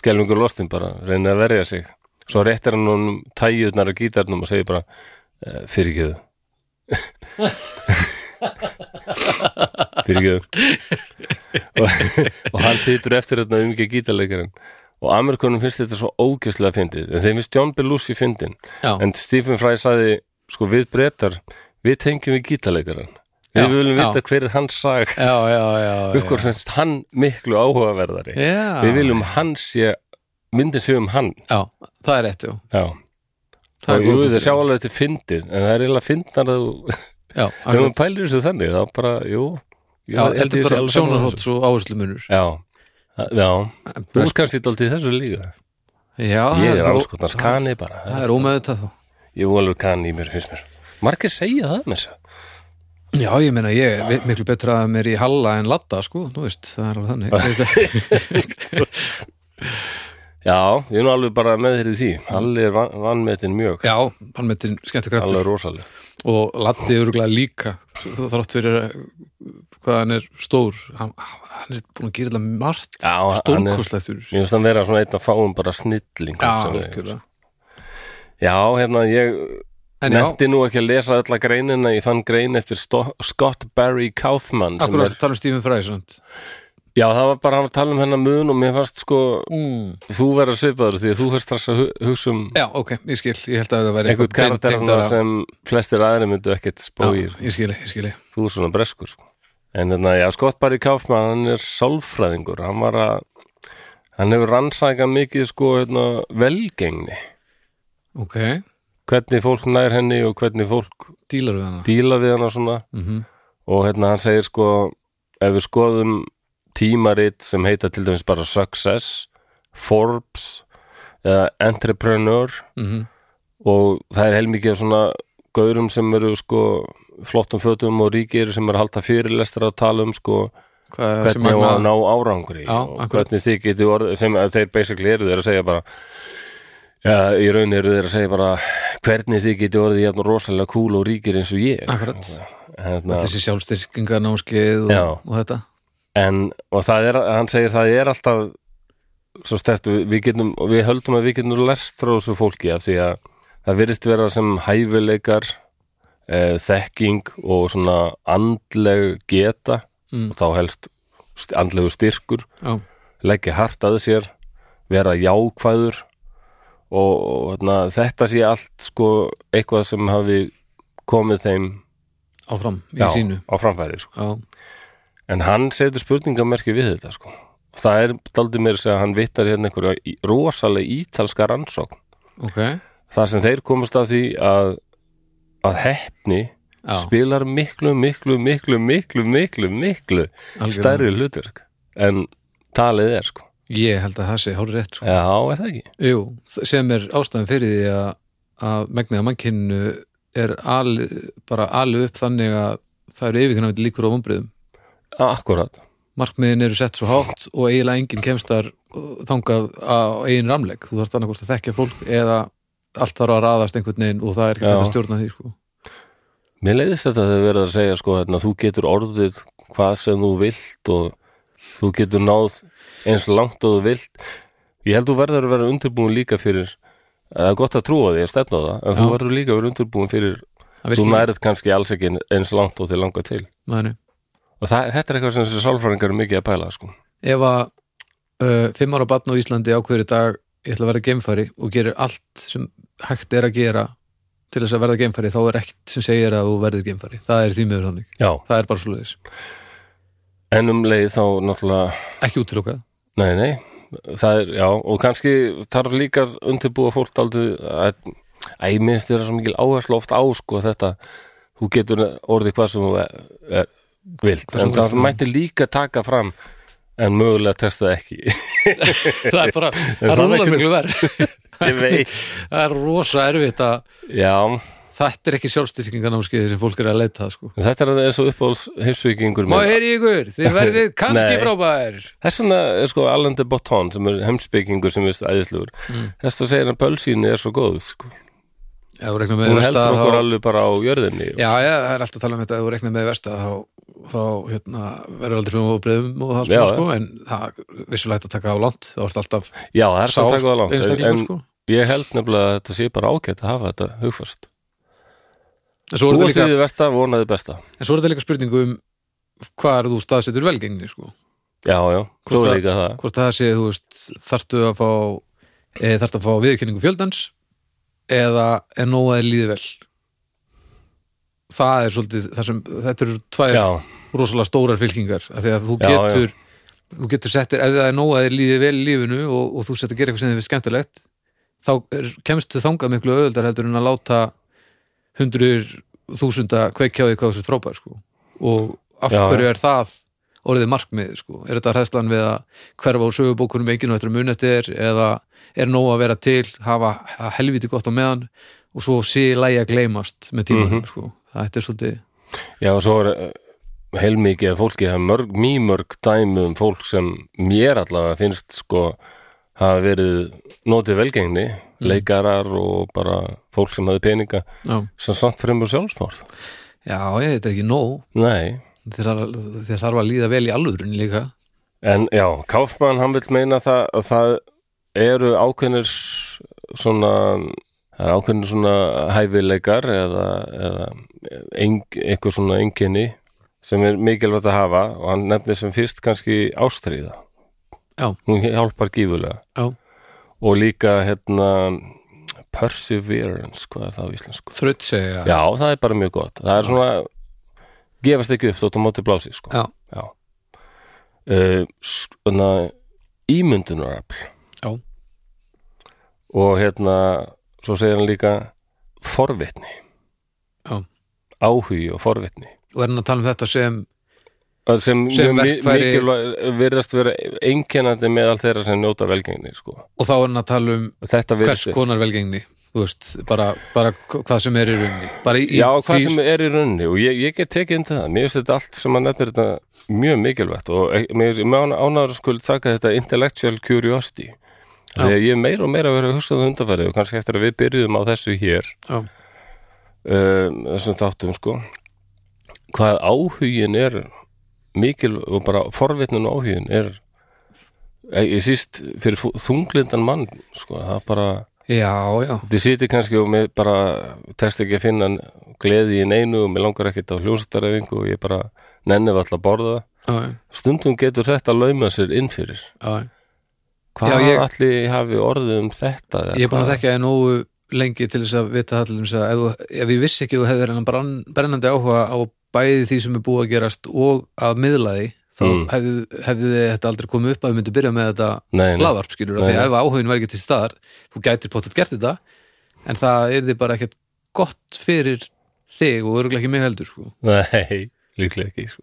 Speaker 1: skelfingur lostinn bara reynir að verja sig svo réttir hann honum tæjutnar af gítarnum og segir bara e, *laughs* fyrirgjöðu fyrirgjöðu og, og hann situr eftir þarna auðvitað gítarleikarinn og Amerikunum finnst þetta svo ógæslega fyndið en þeim finnst John Belushi fyndin
Speaker 2: já,
Speaker 1: en Stephen Fry sagði sko við breytar, við tengjum við gítarleikarinn
Speaker 2: Já,
Speaker 1: við viljum
Speaker 2: já.
Speaker 1: vita hver er hans sag
Speaker 2: já, já, já, já.
Speaker 1: okkur finnst hann miklu áhugaverðari
Speaker 2: já.
Speaker 1: við viljum hann sé myndin sé um hann
Speaker 2: já, það er rétt, já
Speaker 1: já.
Speaker 2: Það er
Speaker 1: og jú,
Speaker 2: góð
Speaker 1: þau
Speaker 2: punktur.
Speaker 1: sjá alveg þetta er fyndið en það er eiginlega fyndnar að þú
Speaker 2: já,
Speaker 1: ef
Speaker 2: akkurat.
Speaker 1: maður pælir þessu þannig þá bara, jú ég
Speaker 2: já,
Speaker 1: held ég
Speaker 2: þetta
Speaker 1: sé
Speaker 2: er bara
Speaker 1: alveg sammála
Speaker 2: sjónarhótt svo áherslumunur
Speaker 1: þessu. já, já, þú
Speaker 2: Bresk-
Speaker 1: er kannski dálítið í þessu líka
Speaker 2: já,
Speaker 1: ég er
Speaker 2: það
Speaker 1: alls konar kani bara
Speaker 2: það er ómeðvitað þá
Speaker 1: ég er alveg kani í mér, finnst mér margir segja það mér
Speaker 2: Já, ég meina, ég er vi- miklu betra að mér í Halla en Latta, sko, þú veist, það er alveg *laughs* þannig Þetta-
Speaker 1: já, ég er nú alveg bara með þér í því allir van, vannmetin mjög
Speaker 2: Já, hann metin
Speaker 1: alveg
Speaker 2: skemmtikraftur
Speaker 1: rosaleg
Speaker 2: og Latti öruglega líka Þó- þrátt fyrir að- hvað hann er stór hann, hann er búin að gera þetta margt
Speaker 1: Já, hann er-
Speaker 2: stórkostlegt fyrir
Speaker 1: Mér finnst hann vera svona einn að fáum bara snilling
Speaker 2: Já,
Speaker 1: sem við-
Speaker 2: algjörlega
Speaker 1: já, hérna, ég
Speaker 2: En já,
Speaker 1: nefndi nú ekki að lesa alla greinina ég fann grein eftir Sto Scott Barry Kaufman sem
Speaker 2: akkur að
Speaker 1: er,
Speaker 2: tala um Stephen Fry sant?
Speaker 1: Já, það var bara hann var að tala um hennar mun og mér fannst sko,
Speaker 2: mm.
Speaker 1: þú verður svipaður því að þú fyrst strax að hu- hugsa um
Speaker 2: Já, ok, ég skil, ég held að það væri
Speaker 1: einhvern
Speaker 2: beint
Speaker 1: karakter
Speaker 2: tengdara-
Speaker 1: sem flestir aðri myndu ekkert
Speaker 2: Já,
Speaker 1: spóir
Speaker 2: Ég skil, ég skil
Speaker 1: þú er svona breskur sko. En hérna, já, Scott Barry Kaufman, hann er sálfræðingur, hann var að, hann hefur rannsakað mikið, sko, hérna, velgengni.
Speaker 2: ok,
Speaker 1: Hvernig fólk nær henni og hvernig fólk
Speaker 2: dílar við hana
Speaker 1: díla við hana svona.
Speaker 2: mm
Speaker 1: Og hérna, hann segir, sko, ef við skoðum tímarit sem heita til dæmis bara Success, Forbes, eða Entrepreneur
Speaker 2: Mhm.
Speaker 1: og það er heilmikið af svona gaurum sem eru, sko, flottum fötum og ríkir sem eru að halda fyrirlestra að tala um, sko,
Speaker 2: hvað er sem
Speaker 1: hvernig á að
Speaker 2: magna
Speaker 1: ná árangri
Speaker 2: Já,
Speaker 1: og
Speaker 2: akkurat.
Speaker 1: hvernig þið getur orðið sem að þeir basically eru þeir að segja bara já, í raun eru þeir að segja bara hvernig þið getur orðið jafn rosalega kúl og ríkir eins og ég
Speaker 2: akkurat,
Speaker 1: hérna,
Speaker 2: allir þessi sjálfstyrkingar námskeið
Speaker 1: Já.
Speaker 2: og, og þetta
Speaker 1: en, og það er, hann segir það er alltaf svo stert við, við getum, og við höldum að við getum lest frá þessu fólki af því að það virðist vera sem hæfileikar eh, þekking og svona andleg geta
Speaker 2: Mm.
Speaker 1: og þá helst st- andlegu styrkur
Speaker 2: já,
Speaker 1: leggja hart að sér vera jákvæður og, og hérna, þetta sé allt sko eitthvað sem hafi komið þeim
Speaker 2: áfram í
Speaker 1: já,
Speaker 2: sínu
Speaker 1: á framfæri sko.
Speaker 2: já,
Speaker 1: en hann setur spurningamerki við þetta sko. það er staldið mér að hann vittar hérna einhverja í- rosaleg ítalska rannsókn
Speaker 2: ok
Speaker 1: þar sem þeir komast að því að að hefni
Speaker 2: já,
Speaker 1: spilar miklu, miklu, miklu, miklu, miklu, miklu
Speaker 2: algjörlega.
Speaker 1: stærri hlutverk en talið er sko.
Speaker 2: ég held að það sé hálf rétt sko.
Speaker 1: Já, er það ekki?
Speaker 2: Jú, þ- sem er ástæðan fyrir því að, að megniða mannkynnu er al, bara alveg upp þannig að það eru yfirkannandi líkur á vombriðum
Speaker 1: Akkurat
Speaker 2: markmiðin eru sett svo hátt og eiginlega enginn kemst þar uh, þangað á eigin ramleik þú þarft annarkvort að þekkja fólk eða allt þarf að raðast einhvern veginn og það er ekki
Speaker 1: Já.
Speaker 2: þetta að stjórna því sko.
Speaker 1: Mér leiðist þetta þegar verið að segja sko hérna, þú getur orðið hvað sem þú vilt og þú getur náð eins langt og þú vilt ég held þú verður að vera undirbúin líka fyrir það er gott að trúa því að stefna á það en þú
Speaker 2: Já.
Speaker 1: verður líka að vera undirbúin fyrir
Speaker 2: Það
Speaker 1: þú
Speaker 2: virkar-
Speaker 1: nærið kannski alls ekki eins langt og þið langar til
Speaker 2: Nei, nei.
Speaker 1: og það, þetta er eitthvað sem þessi sálfræðingar er mikið að pæla sko.
Speaker 2: ef að uh, fimm ára batn á Íslandi ákveður í dag ég ætla að verða geimfari og gerir allt sem hægt er að gera til þess að verða geimfari þá er ekkert sem segir að þú verður geimfari það er því miður þannig,
Speaker 1: Já.
Speaker 2: það er bara svoleiðis
Speaker 1: en um leið þá náttúrulega
Speaker 2: ekki
Speaker 1: *laughs*
Speaker 2: útilokað,
Speaker 1: Nei, nei, það er, já, og kannski þarf líka að undirbúa fólk daldið að, að ég minnst þér svo mikil áherslu oft á, sko, þetta þú getur orðið hvað sem þú e, e, vilt,
Speaker 2: sem
Speaker 1: en
Speaker 2: þú
Speaker 1: það
Speaker 2: vilt.
Speaker 1: mætti líka taka fram en mögulega testa það
Speaker 2: *laughs*
Speaker 1: ekki
Speaker 2: það er bara það
Speaker 1: það
Speaker 2: er
Speaker 1: er
Speaker 2: rúla
Speaker 1: ekki-
Speaker 2: miklu verð
Speaker 1: Ég veit,
Speaker 2: *laughs* það er rosa erfitt að
Speaker 1: já,
Speaker 2: þetta er ekki sjálfstyrkinganámskeið sem fólk er að leita að, sko.
Speaker 1: þetta er eins og uppáhalds heimsvíkingur
Speaker 2: má
Speaker 1: minn.
Speaker 2: heyri ykkur, *laughs* þið verðið kannski
Speaker 1: Nei.
Speaker 2: frábær
Speaker 1: Þess vegna er sko Alan de Botton sem er heimsbyggingur sem er æðislegur mm. þess að segja að pölsínu er svo góð sko.
Speaker 2: Já, þú reiknar með
Speaker 1: hún
Speaker 2: versta
Speaker 1: heldur okkur
Speaker 2: þá-
Speaker 1: alveg bara á jörðinni
Speaker 2: Já, já, það er alltaf að tala um þetta ef þú reiknar með versta þá, þá hérna, verður aldrei fyrir óbreyðum og allt
Speaker 1: Já,
Speaker 2: svona
Speaker 1: já.
Speaker 2: sko, en það vissulega þetta taka á langt þá ertu alltaf
Speaker 1: já það er svo að taka það langt
Speaker 2: einstaklingur
Speaker 1: en-
Speaker 2: sko.
Speaker 1: Ég held nefnilega að þetta sé bara ágætt að hafa þetta hugfast.
Speaker 2: en, svo
Speaker 1: Þú
Speaker 2: er þetta
Speaker 1: varst
Speaker 2: líka,
Speaker 1: við besta, vonaði besta.
Speaker 2: en svo er þetta líka spurningu um hvað er þú staðsetur velgengni sko.
Speaker 1: Já, já, svo
Speaker 2: Hvort
Speaker 1: er
Speaker 2: að-
Speaker 1: líka það.
Speaker 2: hvort það sé, þú veist, þarftu að fá e, þarftu að fá viðurkenningu fjöldans eða er nóg að þér líði vel það er svolítið það sem, þetta eru tvær
Speaker 1: Já,
Speaker 2: rosalega stórar fylkingar af því að þú
Speaker 1: Já,
Speaker 2: getur þú getur settir, ef það er nóg að þér líði vel í lífinu og, og þú settir að gera eitthvað sem þið er skemmtilegt þá er, kemst þú þangað miklu öðuldar heldur en að láta hundruður þúsunda kveikja á því hvað þú sett frábær sko. og af
Speaker 1: Já,
Speaker 2: hverju er það orðið markmið, sko, er þetta hræðslan við að hverfa úr sögubókunum enginn og þetta mun eftir eða er nóg að vera til hafa það helviti gott á meðan og svo sé lægi að gleymast með tímanum,
Speaker 1: Mhm.
Speaker 2: sko, þetta er svolítið
Speaker 1: já, og svo er eh, heilmikið af fólki, það er mörg, mjög mörg dæmi um fólk sem mér allavega finnst sko hafa verið notið velgengni,
Speaker 2: Mm.
Speaker 1: leikarar og bara fólk sem hafi peninga
Speaker 2: já,
Speaker 1: sem samt fremur sjálfsmorð.
Speaker 2: já, ég, þetta er ekki nóg
Speaker 1: Nei,
Speaker 2: þér þarf- þér þarf að líða vel í alvörun líka
Speaker 1: En já, Kaufmann hann vil meina það að það eru ákveðnir svona það eru ákveðnir svona hæfileikar eða, eða ein, eitthvað svona einkenni sem er mikilvægt að hafa og hann nefnir sem fyrst kannski ástríða
Speaker 2: Já.
Speaker 1: hún hjálpar gífulega
Speaker 2: já.
Speaker 1: og líka hérna perseverance, hvað er það á íslensku?
Speaker 2: þrautsegja
Speaker 1: Já, það er bara mjög gott. Það er svona gefast ekki upp þótt á móti blási sko.
Speaker 2: Já.
Speaker 1: Já. Uh, svona ímyndunarafl
Speaker 2: Já.
Speaker 1: og hérna svo segir hann líka forvitni
Speaker 2: Já.
Speaker 1: áhugi og forvitni
Speaker 2: og er hann að tala um þetta sem
Speaker 1: Það sem,
Speaker 2: Sem
Speaker 1: mjög mi-
Speaker 2: verkfæri-
Speaker 1: mikilvæg- virðast vera einkennandi með allt þeirra sem njóta velgengni sko.
Speaker 2: og þá er hann að tala um
Speaker 1: þetta
Speaker 2: hvers
Speaker 1: virðist
Speaker 2: konar velgengni þú veist, bara, bara hvað sem er í rauninni bara í, í
Speaker 1: Já, hvað
Speaker 2: því-
Speaker 1: sem er í rauninni og ég, ég get tekið undir það, mér finnst þetta allt sem að nefnir þetta mjög mikilvægt og ek- mér finnst- mér án- ánægður að skuld þakka þetta intellectual curiosity
Speaker 2: Já.
Speaker 1: þegar ég er meira og meira að vera að hugsa um það undanfærið og kannski eftir að við byrjuðum á þessu hér
Speaker 2: Já,
Speaker 1: um, þessum þáttum sko hvað áhugin er mikil og bara forvitnun og áhugin er ég ég síst fyrir fú- þunglindan mann sko, það bara
Speaker 2: já, já.
Speaker 1: Þið sitið kannski og mér bara test ekki að finna gleði í neinu og mér langar ekkert á hljóstarrefingu og ég bara nenni við alltaf að borða það.
Speaker 2: já, já,
Speaker 1: Stundum getur þetta laumað sér inn fyrir.
Speaker 2: já.
Speaker 1: Hvað
Speaker 2: Já, ég-
Speaker 1: allir hafi orðið um þetta? eða
Speaker 2: Ég er búin að
Speaker 1: hvað?
Speaker 2: þekka ég nógu lengi til þess að vita allir um þess að ef, þú- ef ég vissi ekki að þú hefðir hennan brann, brennandi áhuga á bæði því sem er búið að gerast og að miðla því þá
Speaker 1: Mm.
Speaker 2: hefði, hefði þetta aldrei komið upp að við myndum byrja með þetta
Speaker 1: Nei, nei.
Speaker 2: laðvarp skilur, því
Speaker 1: Nei, nei.
Speaker 2: ef áhugin var ekki til staðar þú gætir pottet gert þetta en það er þið bara ekkert gott fyrir þig og örgulega ekki mig heldur sko.
Speaker 1: Nei, *laughs* líklega ekki. Sko.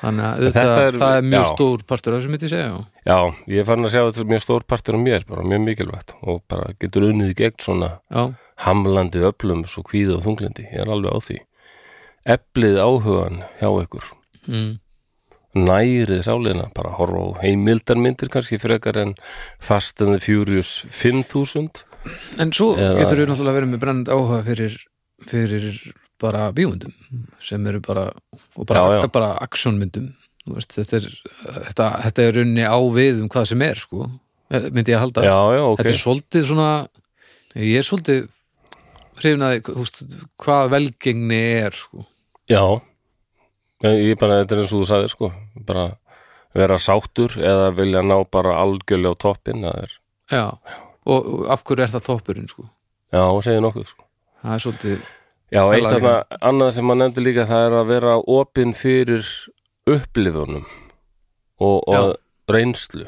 Speaker 2: þannig að
Speaker 1: En
Speaker 2: þetta,
Speaker 1: þetta er-
Speaker 2: það er mjög
Speaker 1: já.
Speaker 2: stór partur af þessu myndi ég segja já.
Speaker 1: Já, ég er farin að sjá að þetta er mjög stór partur á mér, bara mjög mikilvægt og bara getur unnið í gegn svona
Speaker 2: Já,
Speaker 1: hamlandi öflum svo kvíða og þunglindi. Ég er alveg á því. Eplið áhugan hjá ykkur.
Speaker 2: mm,
Speaker 1: nærið sáleina, bara horfa á heimildarmyndir kannski frekar en Fast and the Furious 5000
Speaker 2: en svo
Speaker 1: Eða-
Speaker 2: getur við náttúrulega verið með brennandi áhuga fyrir, fyrir bara bíómyndum sem eru bara og bara,
Speaker 1: Já, já.
Speaker 2: bara actionmyndum Þú veist, þetta, er, þetta, þetta er runni á við um hvað sem er sko myndi ég að halda
Speaker 1: Já, já, ok
Speaker 2: þetta er svolítið svona ég er svolítið hrifnaði húst, hvað velgengni er sko.
Speaker 1: Já, ég bara, þetta er eins og þú sagðir sko bara vera sáttur eða vilja ná bara algjörlega á toppin það er,
Speaker 2: já. Og, og af hverju er það toppurinn sko?
Speaker 1: já, segir nokkuð sko
Speaker 2: það er svolítið
Speaker 1: Já, eitt
Speaker 2: Alveg.
Speaker 1: þarna, annað sem maður nefndi líka það er að vera opinn fyrir upplifunum og, og reynslu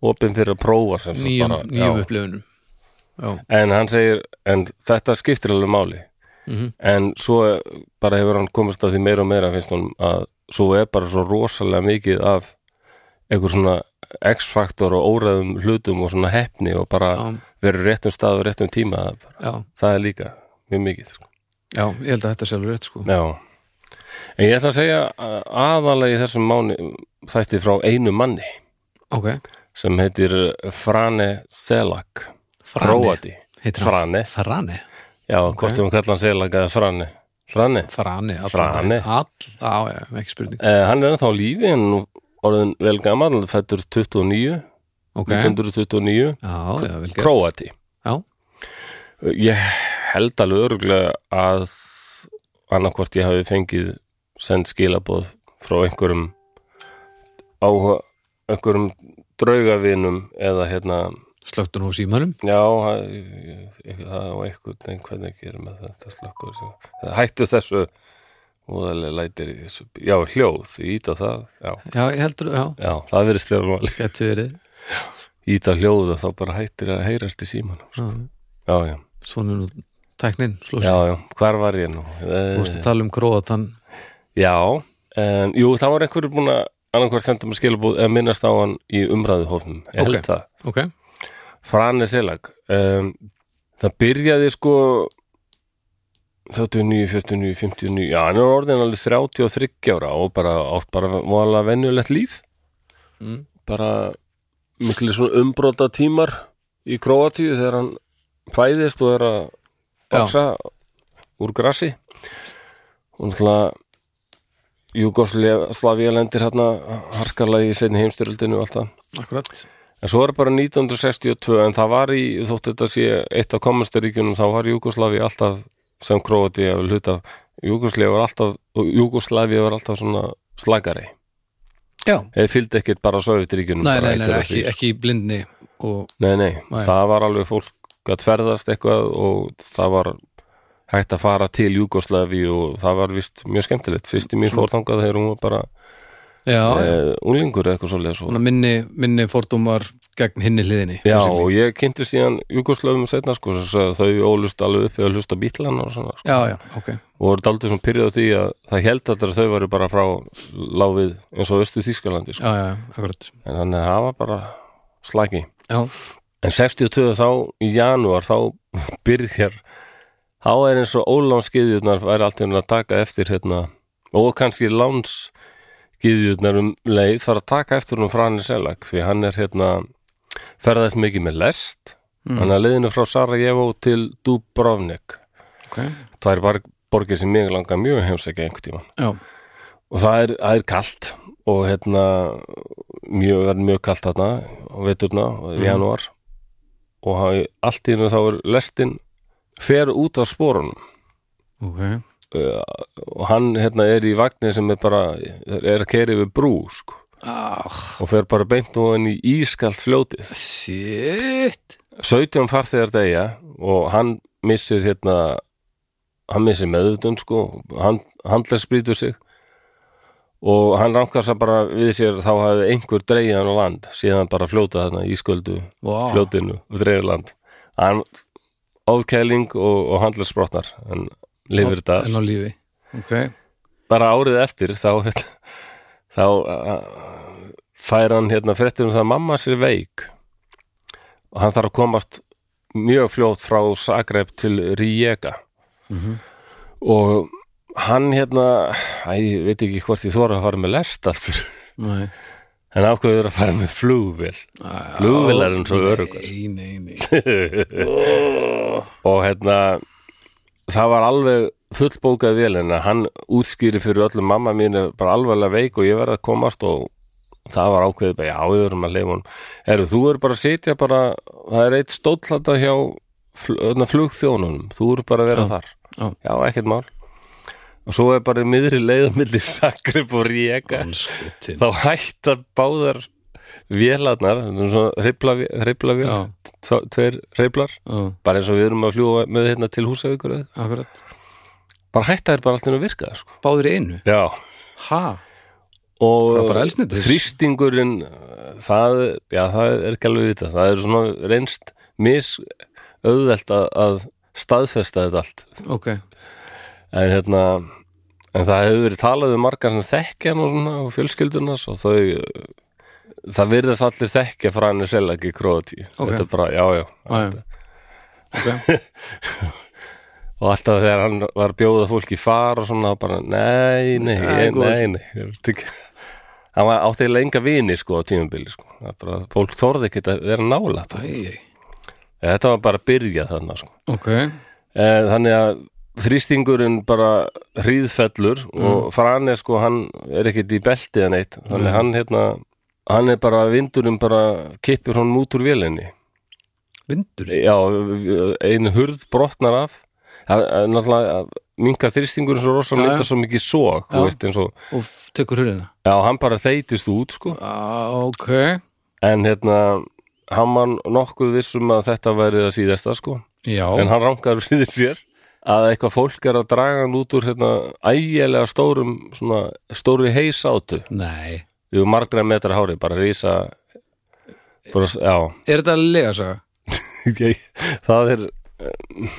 Speaker 1: opinn fyrir að prófa sem sagt
Speaker 2: nýjum,
Speaker 1: bara-
Speaker 2: nýjum
Speaker 1: já.
Speaker 2: upplifunum já,
Speaker 1: en hann segir, en þetta skiptir alveg máli
Speaker 2: Mhm.
Speaker 1: en svo bara hefur hann komist að því meira og meira finnst hann að svo er bara svo rosalega mikið af einhver svona x-faktor og óræðum hlutum og svona heppni og bara
Speaker 2: já,
Speaker 1: verið réttum stað og réttum tíma það, er bara-
Speaker 2: já,
Speaker 1: það er líka mjög mikið sko.
Speaker 2: já, ég held að þetta sé alveg rétt sko.
Speaker 1: Já. en ég ætla að segja að- aðalega í þessum mánu þætti frá einu manni
Speaker 2: ok,
Speaker 1: sem heitir Frane Selak
Speaker 2: frani
Speaker 1: Króati
Speaker 2: heitir hann
Speaker 1: Frane
Speaker 2: frani,
Speaker 1: Já, hvort við hún kallar hann Selak eða Frane Frane,
Speaker 2: frani, allan
Speaker 1: Frani.
Speaker 2: daginn. all, á, já, ekki spurning
Speaker 1: eh, hann er ennþá á lífi en nú orðin vel gammal fættur 29,
Speaker 2: ok,
Speaker 1: 1929
Speaker 2: já, já, vel gert
Speaker 1: Króati Eh,
Speaker 2: Já.
Speaker 1: Ég held alveg örgulega að annarkvort ég hafi fengið send skilaboð frá einhverjum áhuga, einhverjum draugavinum eða hérna
Speaker 2: slögtun og símanum
Speaker 1: Já, það það var einhvern veginn hvernig að gera með þetta slökkur sem, það hættu þessu voðalega lætir í þessu, já, hljóð íta það, já,
Speaker 2: já, ég heldur, já,
Speaker 1: já, það verðist þegar máli
Speaker 2: getur verið
Speaker 1: íta hljóð og þá bara hættir að heyrast í síman
Speaker 2: já.
Speaker 1: já, já,
Speaker 2: svona er nú tæknin, slósi
Speaker 1: já, já, hvar var ég nú Eh,
Speaker 2: Þú veist að tala um króatan
Speaker 1: já, um, jú, það var einhverjur búin að annarkvært senda mér skilabúð eða minnast á hann í umræðuhofnum ég held
Speaker 2: Ok.
Speaker 1: það
Speaker 2: Ok,
Speaker 1: Frane Selag um, það byrjaði sko 39, 49, 59 já, hann er orðin alveg 33 ára og bara átt bara voðalega venjulegt líf
Speaker 2: Mm.
Speaker 1: bara miklu svona umbrota tímar í Króatíu þegar hann fæðist og er að
Speaker 2: Já.
Speaker 1: baksa úr grassi og náttúrulega Júgoslavía lendir hérna harkalega í seinni heimstyrjöldinu og allt það
Speaker 2: akkurat
Speaker 1: En svo er bara 1962 en það var í, þótt þetta sé eitt af kommastaríkjunum, þá var Júkoslavi alltaf sem Króati að hluta Júkoslavi var alltaf, Júkoslavi var alltaf svona slagari
Speaker 2: Já,
Speaker 1: eða fylgdi ekkert bara Sovjetríkjunum
Speaker 2: nei,
Speaker 1: bara
Speaker 2: nei,
Speaker 1: eitt
Speaker 2: nei,
Speaker 1: eða
Speaker 2: ekki,
Speaker 1: þrír.
Speaker 2: ekki í blindni og
Speaker 1: Nei, nei,
Speaker 2: Nei.
Speaker 1: það var alveg fólk að ferðast eitthvað og það var hægt að fara til Júgoslavi og það var vist mjög skemmtilegt sýsti mín fór þangað þegar hún var bara
Speaker 2: já,
Speaker 1: eh, unglingur eða eitthvað svoleiðis og,
Speaker 2: svona minni, minni fordómar gegn hinni hliðinni
Speaker 1: já,
Speaker 2: basically.
Speaker 1: og ég kynntist síðan Júgoslavum setna sko, svo að þau ólust alveg uppi að hlusta bítlana og svona sko.
Speaker 2: já, já, ok
Speaker 1: og voru daldið svona pyrrið á því að það held allir að þau varu bara frá láfið eins og östu Þískalandi sko.
Speaker 2: já, já, akkurat
Speaker 1: en þannig að það var bara slagi
Speaker 2: já,
Speaker 1: en 62 þá í janúar þá *laughs* byrjar þá er eins og ólánsgiðjurnar væri allt hérna að taka eftir hérna og kannski lánsgiðjurnar um leið fara að taka eftir hún frá hann í selag því hann er hérna ferðast mikið með lest hann er leiðinu frá Sarajevo til Dubrovnik
Speaker 2: ok
Speaker 1: það er bara borgið sem mig langar mjög að heimsækja einhvern tímann
Speaker 2: já,
Speaker 1: og það er, það er kalt og hérna mjög, verður mjög kalt þarna á veturna og í janúar og það, allt í hennu þá er lestin fer út af spórunum
Speaker 2: ok
Speaker 1: uh, og hann hérna er í vagnir sem er bara er að keri yfir brú sko,
Speaker 2: ah,
Speaker 1: og fer bara beint og hann í ískalt fljótið
Speaker 2: shit
Speaker 1: 17 farþegar degja og hann missir hérna hann missir meðutund sko hann, handlega spýtur sig og hann rankar sér bara við sér þá hafði einhver dreigið hann á land síðan bara fljóta þarna í sköldu
Speaker 2: wow.
Speaker 1: fljótinu og dreigið land hann ofkæling og, og handlega sprotnar hann lifir þetta
Speaker 2: en á lífi, ok
Speaker 1: bara árið eftir þá hérna, þá uh, fær hann hérna fréttir um það að mamma sér veik og hann þarf að komast mjög fljótt frá Zagreb til Rijeka og hann hérna æ, ég veit ekki hvort ég þóra að fara með lest aftur
Speaker 2: nei Ah,
Speaker 1: en ákveður að fara með flugvél flugvél er hann svo örugur
Speaker 2: nei, nei,
Speaker 1: *laughs*
Speaker 2: nei
Speaker 1: og hérna það var alveg fullbókað vel en að hann útskýri fyrir öllum mamma mín er bara alveglega veik og ég verð að komast og það var ákveðið bara já, við verum að leifa hún Eru, þú er bara að sitja bara það er eitt stóllata hjá fl- þarna flugþjónunum, þú er bara að vera þar
Speaker 2: já.
Speaker 1: já, ekkert mál og svo er bara í miðri leiðamilli sakrip og ríka
Speaker 2: Andskotin.
Speaker 1: þá hættar báðar vélarnar, þetta er svona hreyfla
Speaker 2: Já.
Speaker 1: vél tveir hreyflar
Speaker 2: Já,
Speaker 1: bara eins og við erum að fljúa með hérna til Húsavíkur eða-
Speaker 2: akkurat
Speaker 1: bara hætta þér bara allt inn að virka sko.
Speaker 2: báður í einu,
Speaker 1: já
Speaker 2: ha Það er
Speaker 1: og
Speaker 2: bara eldsneytis.
Speaker 1: þrýstingurinn það, já, það er ekki alveg vita það er svona reynst mis auðvelt að, að staðfesta þetta allt
Speaker 2: ok,
Speaker 1: en hérna en það hefur verið talað um margar sem þekkja hann og svona og fjölskyldunas og þau það virðast allir þekkja frá henni selagi í Króatíu
Speaker 2: Ok.
Speaker 1: þetta er bara, já, já,
Speaker 2: aðeim ok,
Speaker 1: og alltaf þegar hann var að bjóða fólki í far og svona bara nei, nei,
Speaker 2: Það er
Speaker 1: ég,
Speaker 2: góð.
Speaker 1: nei, nei ég veit ekki. hann var átti eiginlega enga vini sko á tímabili sko Það er bara, fólk þorði ekki að vera nála
Speaker 2: Æ, æ.
Speaker 1: þetta var bara að byrja þarna sko
Speaker 2: ok
Speaker 1: Eh, þannig að þrýstingurinn bara hríðfellur og Frane sko hann er ekkit í belti eða neitt þannig hann hérna hann er bara vindurinn bara kippir honum út úr vélinni
Speaker 2: vindur,
Speaker 1: já, einu hurð brotnar af það er náttúrulega minga þrýstingurinn svo rosa
Speaker 2: Já, já.
Speaker 1: mynda svo mikið sók,
Speaker 2: Já.
Speaker 1: þú veist eins og
Speaker 2: og f- tekur hurðina
Speaker 1: já, hann bara þeitist út sko
Speaker 2: ah, ok,
Speaker 1: en hérna, hann var nokkuð vissum að þetta væri það síðasta sko
Speaker 2: já
Speaker 1: en hann rangar fyrir sér að eitthvað fólk er að draga hann út úr hérna ægilega stórum svona, stóri heisátu
Speaker 2: nei,
Speaker 1: við margra metra hári, bara rísa bara, já
Speaker 2: er þetta lega saga?
Speaker 1: ég, það er eh,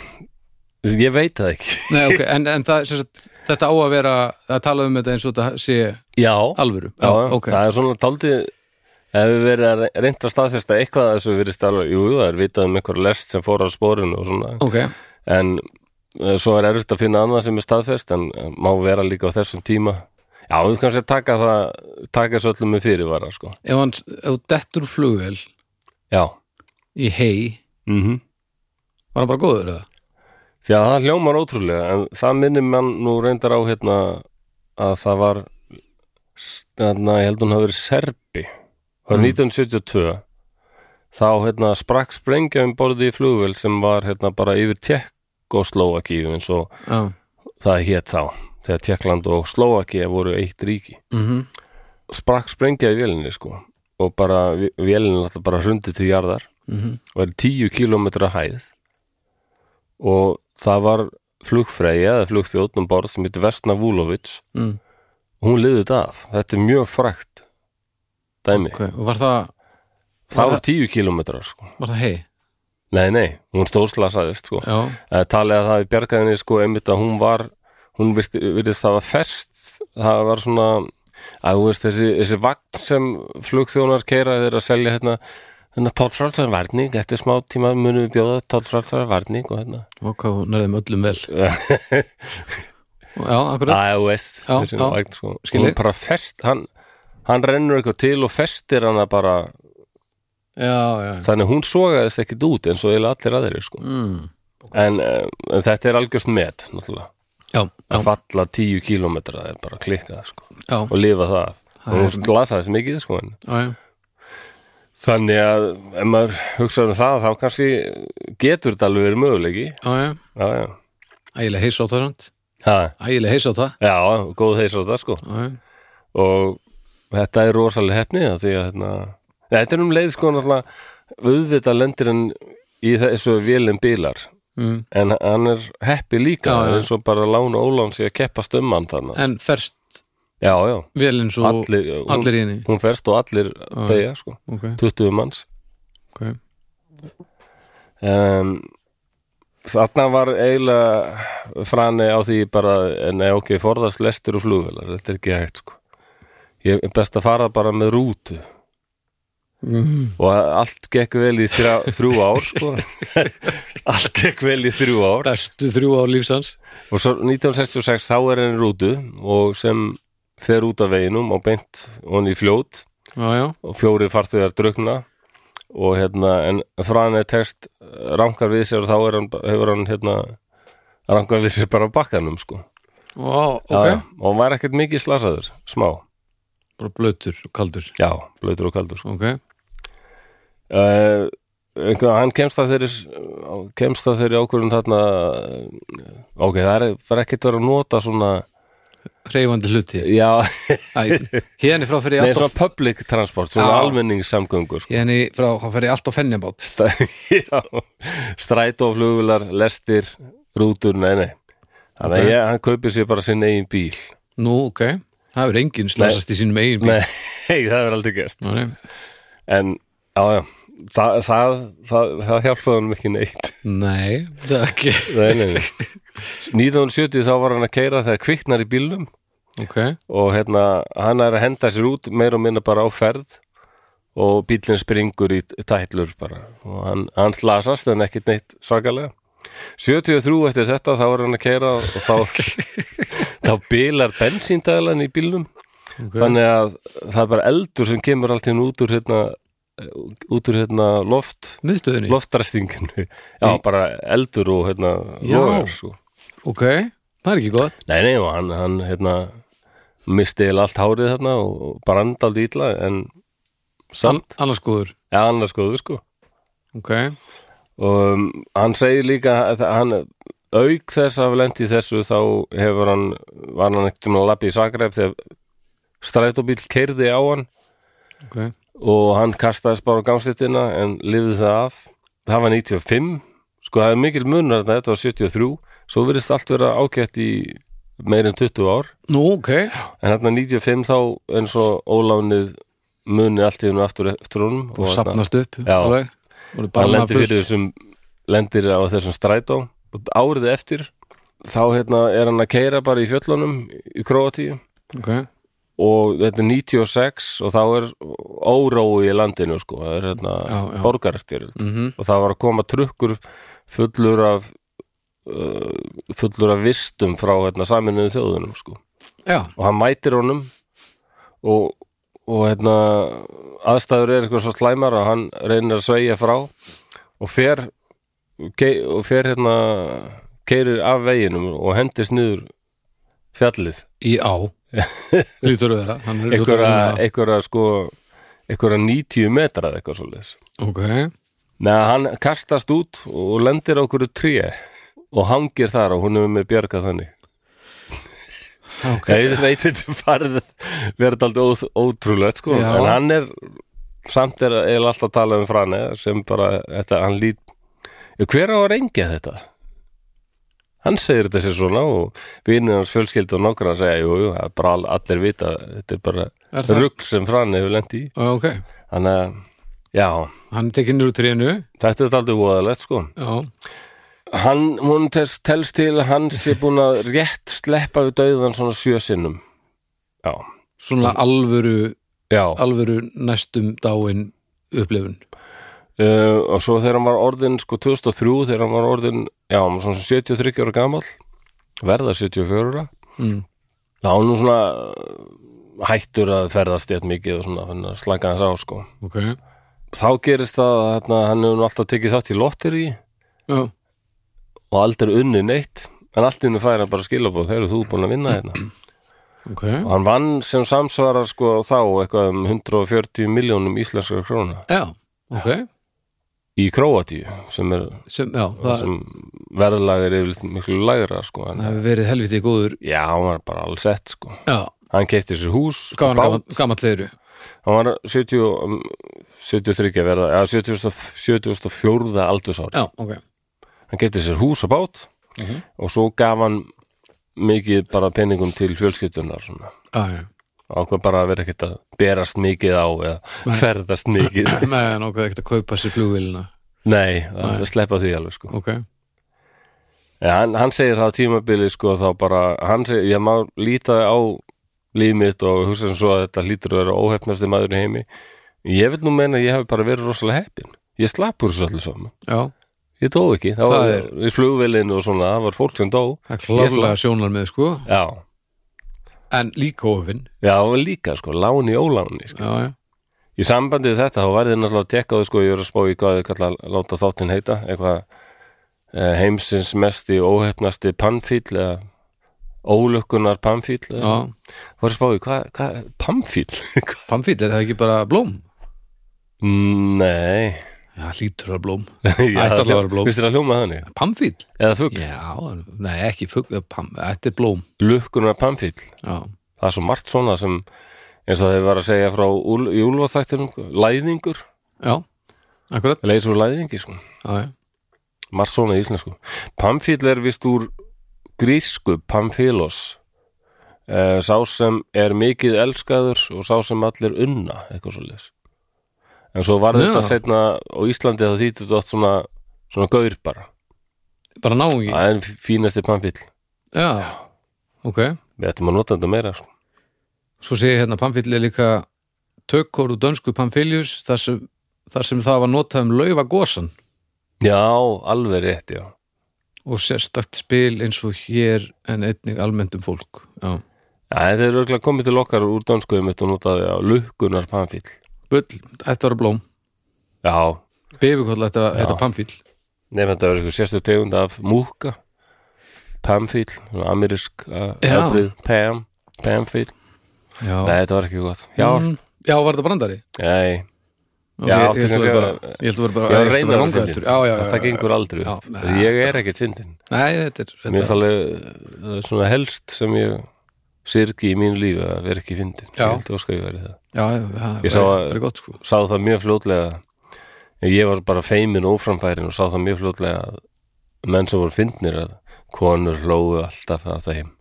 Speaker 1: ég veit það ekki
Speaker 2: Nei, ok, en, en það, sem sagt, þetta á að vera að tala um þetta eins og þetta sé
Speaker 1: já,
Speaker 2: alvöru
Speaker 1: já,
Speaker 2: ok,
Speaker 1: það er svona daldið ef við verið að reynda að staðfesta eitthvað af þessu virðist alveg, jú, það er vitað um einhver lest sem fór á spórinu og svona
Speaker 2: ok,
Speaker 1: en eh, svo er erfitt að finna annað sem er staðfest en eh, má vera líka á þessum tíma já, við kannski að taka það taka svo öllum með fyrirvara, sko
Speaker 2: ef hann, ef þú dettur úr flugvél
Speaker 1: já,
Speaker 2: í hei
Speaker 1: mhm
Speaker 2: var hann bara góður eða?
Speaker 1: því að það hljómar ótrúlega en það minnir mann nú reyndar á hérna að það var hérna, ég held hún hafi verið Serbi það var 1972 þá hérna sprakk sprengja um borðið í flugvél sem var hérna bara yfir Tjekkoslovakíu eins og
Speaker 2: já,
Speaker 1: það hétt þá þegar Tjekkland og Slovakíu voru eitt ríki
Speaker 2: mhm,
Speaker 1: sprakk sprengja í vélinni sko og bara vé- vélin alltaf bara hrundi til jarðar
Speaker 2: mhm
Speaker 1: og er 10 kilometra hæð og það var flugfreyja eða flugþjóðn um borð sem heitir Vesna Vulovic
Speaker 2: mm.
Speaker 1: hún liði þetta af, þetta er mjög frækt dæmi,
Speaker 2: ok, og var það,
Speaker 1: það var tíu kilometrar sko.
Speaker 2: var það hei?
Speaker 1: nei, nei, hún stórslasaðist sko.
Speaker 2: Já,
Speaker 1: Eh, talið að það í bjargaðinni sko einmitt að hún var hún virti- virðist það var ferst það var svona að þú veist þessi, þessi vagn sem flugþjónar keira þeir að selja hérna hérna tólfrálsar varning, eftir smá tíma munum við bjóða tólfrálsar varning og hérna
Speaker 2: ok, hún er þeim öllum vel Já, akkurat
Speaker 1: AOS
Speaker 2: Já,
Speaker 1: þessi
Speaker 2: já.
Speaker 1: vagn, sko.
Speaker 2: Skil
Speaker 1: hún
Speaker 2: ég.
Speaker 1: bara fest hann, hann rennur eitthvað til og festir hana bara
Speaker 2: Já, já,
Speaker 1: þannig hún sogaðist ekkit út eins og eiginlega allir aðeir sko.
Speaker 2: mm.
Speaker 1: en, eh, en þetta er algjörst met náttúrulega
Speaker 2: já, já,
Speaker 1: að falla tíu kílómetra það er bara klikkað sko.
Speaker 2: já,
Speaker 1: og lifa það af.
Speaker 2: Það
Speaker 1: og
Speaker 2: er-
Speaker 1: hún glasaði þessi mikið sko en.
Speaker 2: já, já.
Speaker 1: þannig að ef maður hugsaður um það þá kannski getur þetta alveg verið möguleiki
Speaker 2: já, já.
Speaker 1: já, já,
Speaker 2: Ægileg heis á það samt
Speaker 1: ha,
Speaker 2: Ægileg heis á það
Speaker 1: já, góð þeir svo það sko
Speaker 2: Já, já.
Speaker 1: og þetta er rosalega hefni það því að hérna, Nei, þetta er um leið sko náttúrulega auðvitað lendir hann í þessu vélum bílar
Speaker 2: Mm.
Speaker 1: en hann er heppi líka
Speaker 2: Já, já.
Speaker 1: eins og bara lána ólán sig að keppast um hann þannig,
Speaker 2: En ferst
Speaker 1: já, já,
Speaker 2: velin svo
Speaker 1: allir, hún,
Speaker 2: allir í henni
Speaker 1: hún ferst og allir degja sko,
Speaker 2: Ok,
Speaker 1: 20 manns
Speaker 2: ok
Speaker 1: um, Þarna var eiginlega frani á því bara en nei, ok, forðast lestur og flugvelar þetta er ekki hægt sko ég er best að fara bara með rútu
Speaker 2: mm.
Speaker 1: og allt gekk vel í þrjá, þrjú ár sko allt gekk vel í þrjú ár
Speaker 2: Bestu þrjú á lífsans
Speaker 1: og svo 1966 þá er henni rútu og sem fer út af veginum og beint honni í fljót
Speaker 2: Já, já,
Speaker 1: og fjóri farþegar drukna og hérna, en frani tekst rankar við sér og þá er hann, hefur hann hérna, rankar við sér bara á bakkanum sko
Speaker 2: Ó, ok
Speaker 1: já, og hann var ekkert mikið slasaður, smá
Speaker 2: Bara blötur og kaldur
Speaker 1: já, blöytur og kaldur sko.
Speaker 2: Ok,
Speaker 1: uh, einhver, hann kemst að þeirri kemst að þeirri ákvörðum þarna eh, ok, það er bara ekkert verið að nota svona,
Speaker 2: reyfandi
Speaker 1: *laughs*
Speaker 2: hluti
Speaker 1: já,
Speaker 2: Æ, Hérni frá
Speaker 1: *laughs*
Speaker 2: fyrir
Speaker 1: nei,
Speaker 2: ég alltaf
Speaker 1: svona public transport, svona
Speaker 2: Já.
Speaker 1: almenningssamgöngur sko.
Speaker 2: Hérni frá fyrir ég alltaf fennjabát
Speaker 1: *laughs* Já, strætóflugular, lestir, rútur, nei, nei. Þannig
Speaker 2: Ok.
Speaker 1: að ég, hann kaupir sér bara sinn eigin bíl.
Speaker 2: Nú, ok, það hefur enginn slasast í sínum eigin bíl
Speaker 1: Nei, *laughs* það er aldrei gerst.
Speaker 2: Nei,
Speaker 1: En, já, já, það, það, það, það hjálpaði hann ekki neitt.
Speaker 2: Nei, það er ekki
Speaker 1: Nei, nei, *laughs* nei. 1970 þá var hann að keira þegar kviknar í bílnum
Speaker 2: Ok,
Speaker 1: og hérna, hann er að henda sér út meir og minna bara á ferð og bílinn springur í tætlur bara og hann, hann slasast en ekkit neitt svakalega 73 eftir þetta þá er hann að keira og þá, þá bilar bensíndælan í bílnum
Speaker 2: okay.
Speaker 1: þannig að það er bara eldur sem kemur allt hérna út úr hérna út úr hérna loft
Speaker 2: Miðstöðinni,
Speaker 1: loftræstinginu já,
Speaker 2: Í-
Speaker 1: bara eldur og hérna
Speaker 2: Já.
Speaker 1: logar, sko.
Speaker 2: ok, það er ekki gott
Speaker 1: Nei, nei, og hann, hann hérna, misti eiginlega allt hárið þarna og brandaldi ítla en
Speaker 2: An
Speaker 1: samt,
Speaker 2: Annars góður,
Speaker 1: ja, annars góður sko
Speaker 2: ok
Speaker 1: og um, hann segir líka að hann auk þess að lendi þessu þá hefur hann, var hann ekkert um að lappi í Zagreb þegar strætóbíl keirði á hann
Speaker 2: Ok,
Speaker 1: og hann kastaðist bara á gangstéttina en lifði það af það var 95, sko það er mikil munur þarna, þetta var 73, svo virðist allt vera ágætt í meir en 20 ár
Speaker 2: nú ok
Speaker 1: En hérna 95 þá eins og ólánið muni allt í hennu aftur eftir honum
Speaker 2: Og
Speaker 1: hérna,
Speaker 2: sapnast upp,
Speaker 1: Já.
Speaker 2: alveg Og það
Speaker 1: hann
Speaker 2: bara
Speaker 1: lendir
Speaker 2: maður
Speaker 1: fyrir
Speaker 2: fullt
Speaker 1: þessum lendir á þessum strætó og árið eftir þá hérna er hann að keira bara í fjöllunum í Króatíu
Speaker 2: Ok,
Speaker 1: og þetta er 96 og þá er órói í landinu sko, það er hérna
Speaker 2: Já, já.
Speaker 1: borgarastyrjöld
Speaker 2: mhm,
Speaker 1: og það var að koma trukkur fullur af uh, fullur af vistum frá hérna saminuðu þjóðunum sko
Speaker 2: já
Speaker 1: og hann mætir honum og, og hérna, aðstæður er eitthvað svo slæmar og hann reynir að sveigja frá og fer ke, og fer hérna keirir af veginum og hendist niður fjallið
Speaker 2: Í *laughs* á Lítur við þeirra hann er svo
Speaker 1: einhverja,
Speaker 2: dálítið-
Speaker 1: einhverja sko einhverja 90 metra eða eitthvað svo leis
Speaker 2: Ok,
Speaker 1: neða hann kastast út og lendir á okkur tré og hangir þar og hún er með bjarga þannig
Speaker 2: ok
Speaker 1: Ég veit þetta farið verið aldrei ótrúlegt sko
Speaker 2: Já.
Speaker 1: en hann er samt er eiginlega alltaf að tala um frani sem bara þetta, hann lít Já, hver á að rengja þetta? hann segir þetta sér svona og vinur hans fjölskyldu og nákvæmna segja, jú, jú, það er bara all- allir vita þetta er
Speaker 2: Er
Speaker 1: bara
Speaker 2: það?
Speaker 1: rugg sem fran hefur lent í
Speaker 2: Já, ok,
Speaker 1: þannig að, já,
Speaker 2: hann tekinn úr trénu
Speaker 1: þetta er aldrei voðalegt sko
Speaker 2: Já,
Speaker 1: hann, hún tels, tels til að hann sé búin að rétt sleppa við döðan svona sjö sinnum já,
Speaker 2: svona alvöru
Speaker 1: já
Speaker 2: alvöru næstum dáin upplifun
Speaker 1: uh, og svo þegar hann var orðin sko 2003 þegar hann var orðin já, hann var svona 73 ára gamall verða 74 ára
Speaker 2: Mm.
Speaker 1: þá hann nú svona uh, hættur að ferðast eitt mikið og svona þannig að slaka hans á sko
Speaker 2: Ok
Speaker 1: þá gerist það að hérna, hann hefur nú alltaf tekið þátt í lotteri
Speaker 2: Já,
Speaker 1: og aldrei unni neitt en allt unni færa bara skilabóð þegar þú búin að vinna hérna
Speaker 2: ok
Speaker 1: og hann vann sem samsvarar sko þá eitthvað um 140 miljónum íslenskar króna
Speaker 2: Já, ok
Speaker 1: í Króatíu sem er
Speaker 2: sem, Já, það,
Speaker 1: sem verðlagar yfirleitt miklu lægra sko en
Speaker 2: það hefur verið helviti góður
Speaker 1: Já, hann var bara alls sett sko
Speaker 2: Já,
Speaker 1: Hann keipti sér hús
Speaker 2: hvað hann
Speaker 1: bát.
Speaker 2: gamall- gamall leiru
Speaker 1: Hann var 70, og, um, 73 að verða ja, 70 og- 74 aldursári
Speaker 2: Já, ok
Speaker 1: Hann keipti sér hús og bát
Speaker 2: Mhm.
Speaker 1: og svo gaf hann mikið bara peningum til fjölskyldunar svona
Speaker 2: Já, já
Speaker 1: ákvað bara að vera ekkert að berast mikið á eða ferðast mikið
Speaker 2: *laughs* Nei, hann ákveði ekkert að kaupa sér flugvélina
Speaker 1: Nei, að sleppa því alveg sko
Speaker 2: Ok,
Speaker 1: ja, hann, hann segir það á tímabili sko þá bara, hann segir, ég má líta á líf mitt og hugsa sem svo að þetta lítur að vera óhefnasti maður í heimi ég vil nú meina að ég hef bara verið rosalega heppin ég slapp úr þessu öllu saman
Speaker 2: já
Speaker 1: ég dó ekki, það,
Speaker 2: Það
Speaker 1: var
Speaker 2: er-
Speaker 1: í flugvélinu og svona, það var fólk sem dó
Speaker 2: Það er klárlega sjónar með sko
Speaker 1: já,
Speaker 2: En líka ofinn
Speaker 1: já, það var líka sko láni óláni, sko
Speaker 2: Já, já
Speaker 1: í sambandi við þetta, þá var þið náttúrulega að tekka þau sko, ég er að spá í hvað þið kalla láta þáttinn heita, eitthvað eh, heimsins mesti óhefnasti pannfíll eða ólökkunar pannfíll eða
Speaker 2: Já,
Speaker 1: Hvað er spáði? Hvað? Hva, pamfíl? Hva-
Speaker 2: pamfýll, er það ekki bara blóm?
Speaker 1: *laughs* Nei
Speaker 2: Já, hlýtur að blóm
Speaker 1: Já,
Speaker 2: ætti allavega að vera blóm.
Speaker 1: Vistu það hljóma þannig?
Speaker 2: Pamfýll?
Speaker 1: Eða fugg?
Speaker 2: Já, nei, ekki fugg pam, Þetta er blóm
Speaker 1: Lukkunar pamfíl
Speaker 2: Já,
Speaker 1: Það er svo margt svona sem eins og þeir var að segja frá úl, í úlfaþættinum Læðingur
Speaker 2: já, akkurat
Speaker 1: Leir svo læðingi sko
Speaker 2: Já, já,
Speaker 1: Margt svona í íslensku Pamfíl er vist úr grísku pamfílos eh, Sá sem er mikið elskaður og sá sem allir unna eitthvað svo leis En svo var
Speaker 2: Já.
Speaker 1: þetta setna á Íslandi það þýtti þetta oft svona, svona gaur bara
Speaker 2: bara náungi
Speaker 1: Það er fínasti pannfýll
Speaker 2: Já, ok
Speaker 1: Við ættum að nota þetta meira sko.
Speaker 2: Svo sé ég hérna pamfýll er líka tökkor og dönsku pamfýljus þar sem, þar sem það var notað um laufa gósan
Speaker 1: Já, alveg rétt, já
Speaker 2: og sérstakt spil eins og hér en einnig almennt um fólk Já,
Speaker 1: Já, þeir eru örugglega komið til okkar úr dönskuðum mitt og notaði á lukkunar pannfýll
Speaker 2: bull, þetta var blóm
Speaker 1: Já,
Speaker 2: Bifikoll, þetta,
Speaker 1: Já.
Speaker 2: þetta pamfýll
Speaker 1: nefnir þetta verið eitthvað sérstu tegund af múka Pamfýll, svona amerísk uh,
Speaker 2: Já.
Speaker 1: afbrigð, Pam, Pamfýll
Speaker 2: Já,
Speaker 1: Nei, þetta var ekki gott Já,
Speaker 2: Mm, já var þetta brandari?
Speaker 1: nei,
Speaker 2: Ok,
Speaker 1: Já,
Speaker 2: ég,
Speaker 1: átti
Speaker 2: ég held að
Speaker 1: kannski
Speaker 2: vera bara,
Speaker 1: að-
Speaker 2: ég held að vera bara
Speaker 1: ég var
Speaker 2: ég held
Speaker 1: reyna
Speaker 2: að
Speaker 1: að vera
Speaker 2: vera ranga
Speaker 1: fyndin.
Speaker 2: eftir Já, já, já,
Speaker 1: Það
Speaker 2: já,
Speaker 1: gengur aldrei
Speaker 2: Já,
Speaker 1: upp.
Speaker 2: nei,
Speaker 1: Ég er ekki fyndin
Speaker 2: Nei, þetta er
Speaker 1: Mér finnst
Speaker 2: þetta,
Speaker 1: alveg það er svona helst sem ég syrgi í mínu lífi að vera ekki fyndin
Speaker 2: Já.
Speaker 1: Ég held óska ég verið það
Speaker 2: Já, já, það
Speaker 1: Ég
Speaker 2: er-
Speaker 1: sá að-
Speaker 2: það er gott sko
Speaker 1: sá það mjög fljótlega ég var bara feimin og óframfærin og sá það mjög fljótlega að menn sem voru fyndnir að konur hlóðu alltaf að
Speaker 2: *laughs*
Speaker 1: þeim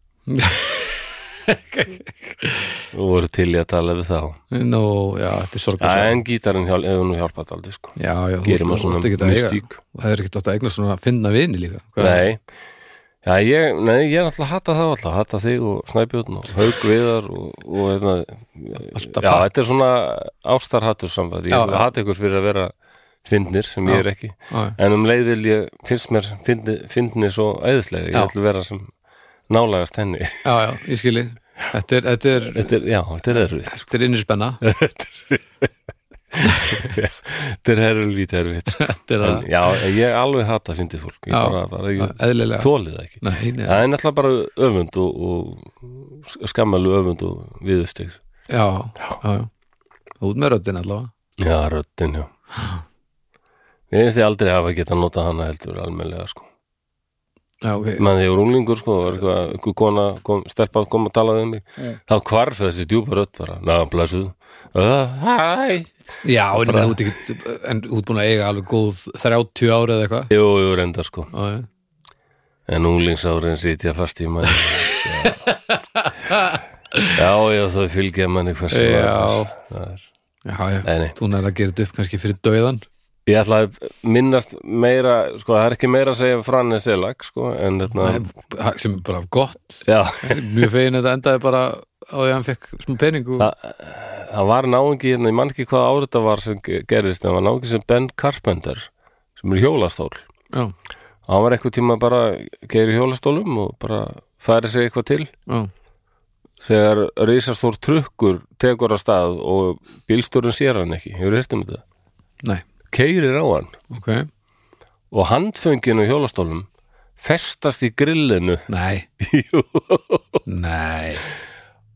Speaker 1: og voru til í að tala við þá
Speaker 2: Nú, já, þetta er sorglega
Speaker 1: Já, en gítarinn hjálp, hefur nú hjálpað aldrei sko.
Speaker 2: Já, já, þú
Speaker 1: gerir
Speaker 2: ert-
Speaker 1: maður
Speaker 2: þú ert
Speaker 1: svona
Speaker 2: ekkert að eiga-
Speaker 1: mystík
Speaker 2: Það er ekkert átt að eigna svona að finna vini líka Hvað-
Speaker 1: nei, já, ég, nei, ég er alltaf að hata það alltaf, hata þig og snæbjörn og haug viðar og, og hefna, já,
Speaker 2: Alltaf bara-
Speaker 1: þetta er svona ástarhattur samband,
Speaker 2: Já,
Speaker 1: ég
Speaker 2: já.
Speaker 1: hata ykkur fyrir að vera fyndnir sem
Speaker 2: Já.
Speaker 1: ég er ekki
Speaker 2: Já,
Speaker 1: En um leið vil ég, finnst mér, fyndi, fyndni svo æðislega, ég
Speaker 2: Já.
Speaker 1: ætla að vera sem nálagast henni.
Speaker 2: já, já, ég skili Þetta er, þetta er,
Speaker 1: *laughs* Þetta er, já, þetta er erfitt.
Speaker 2: þetta er innri
Speaker 1: *laughs*
Speaker 2: spenna
Speaker 1: Þetta er erfitt, erfitt. *laughs*
Speaker 2: Þetta er
Speaker 1: En,
Speaker 2: að,
Speaker 1: já, ég alveg hata fyndið fólk, ég
Speaker 2: Já.
Speaker 1: bara, bara, ég
Speaker 2: eðlilega
Speaker 1: þólið það ekki.
Speaker 2: Nei, nei,
Speaker 1: Það er náttúrulega bara öfund og, og skammalu öfund og viðustegð.
Speaker 2: já, já, já Út með röddin allavega
Speaker 1: Já, röddin, *gasps* já. Ég finnst ég aldrei hafa getað notað hana heldur almennilega, sko.
Speaker 2: Já, ok,
Speaker 1: Man, ég var unglingur, sko, var eitthvað, eitthvað kona, kom, stelpa kom að tala við mig. Þá hvarf þessi djúpa rödd bara, na, blessuð. Uh, hæ,
Speaker 2: já, en ég meina út ekki En út búin að eiga alveg góð 30 ára eða eitthvað
Speaker 1: Jú, jú, reyndar sko
Speaker 2: Já, já,
Speaker 1: En unglingsárin sitja fast í
Speaker 2: *laughs*
Speaker 1: manni Já, já, þau fylgja manni hversu
Speaker 2: Já.
Speaker 1: maður er. Það er-
Speaker 2: já, já.
Speaker 1: Nei, nei.
Speaker 2: þú næður að gera þetta upp kannski fyrir dauðan
Speaker 1: Ég ætla að minnast meira sko, það er ekki meira að segja Frannes Elag sko, en þetta
Speaker 2: Nei, sem er bara gott
Speaker 1: Já, *laughs*
Speaker 2: mjög fegin að þetta endaði bara á því að hann fekk smá pening og...
Speaker 1: Þa- það var náungi hérna, ég man ekki hvað árið það var sem ge- gerðist, en það var náungi sem Ben Carpenter sem er í hjólastól
Speaker 2: já,
Speaker 1: hann var einhver tíma bara geir í hjólastólum og bara færi sig eitthvað til
Speaker 2: já,
Speaker 1: þegar risastór trukkur tekur að stað og bílstúrin sér hann ekki, hefur hirtum þetta
Speaker 2: nei,
Speaker 1: keirir á hann
Speaker 2: ok
Speaker 1: og handföngin á hjólastólum festast í grillinu
Speaker 2: nei, nei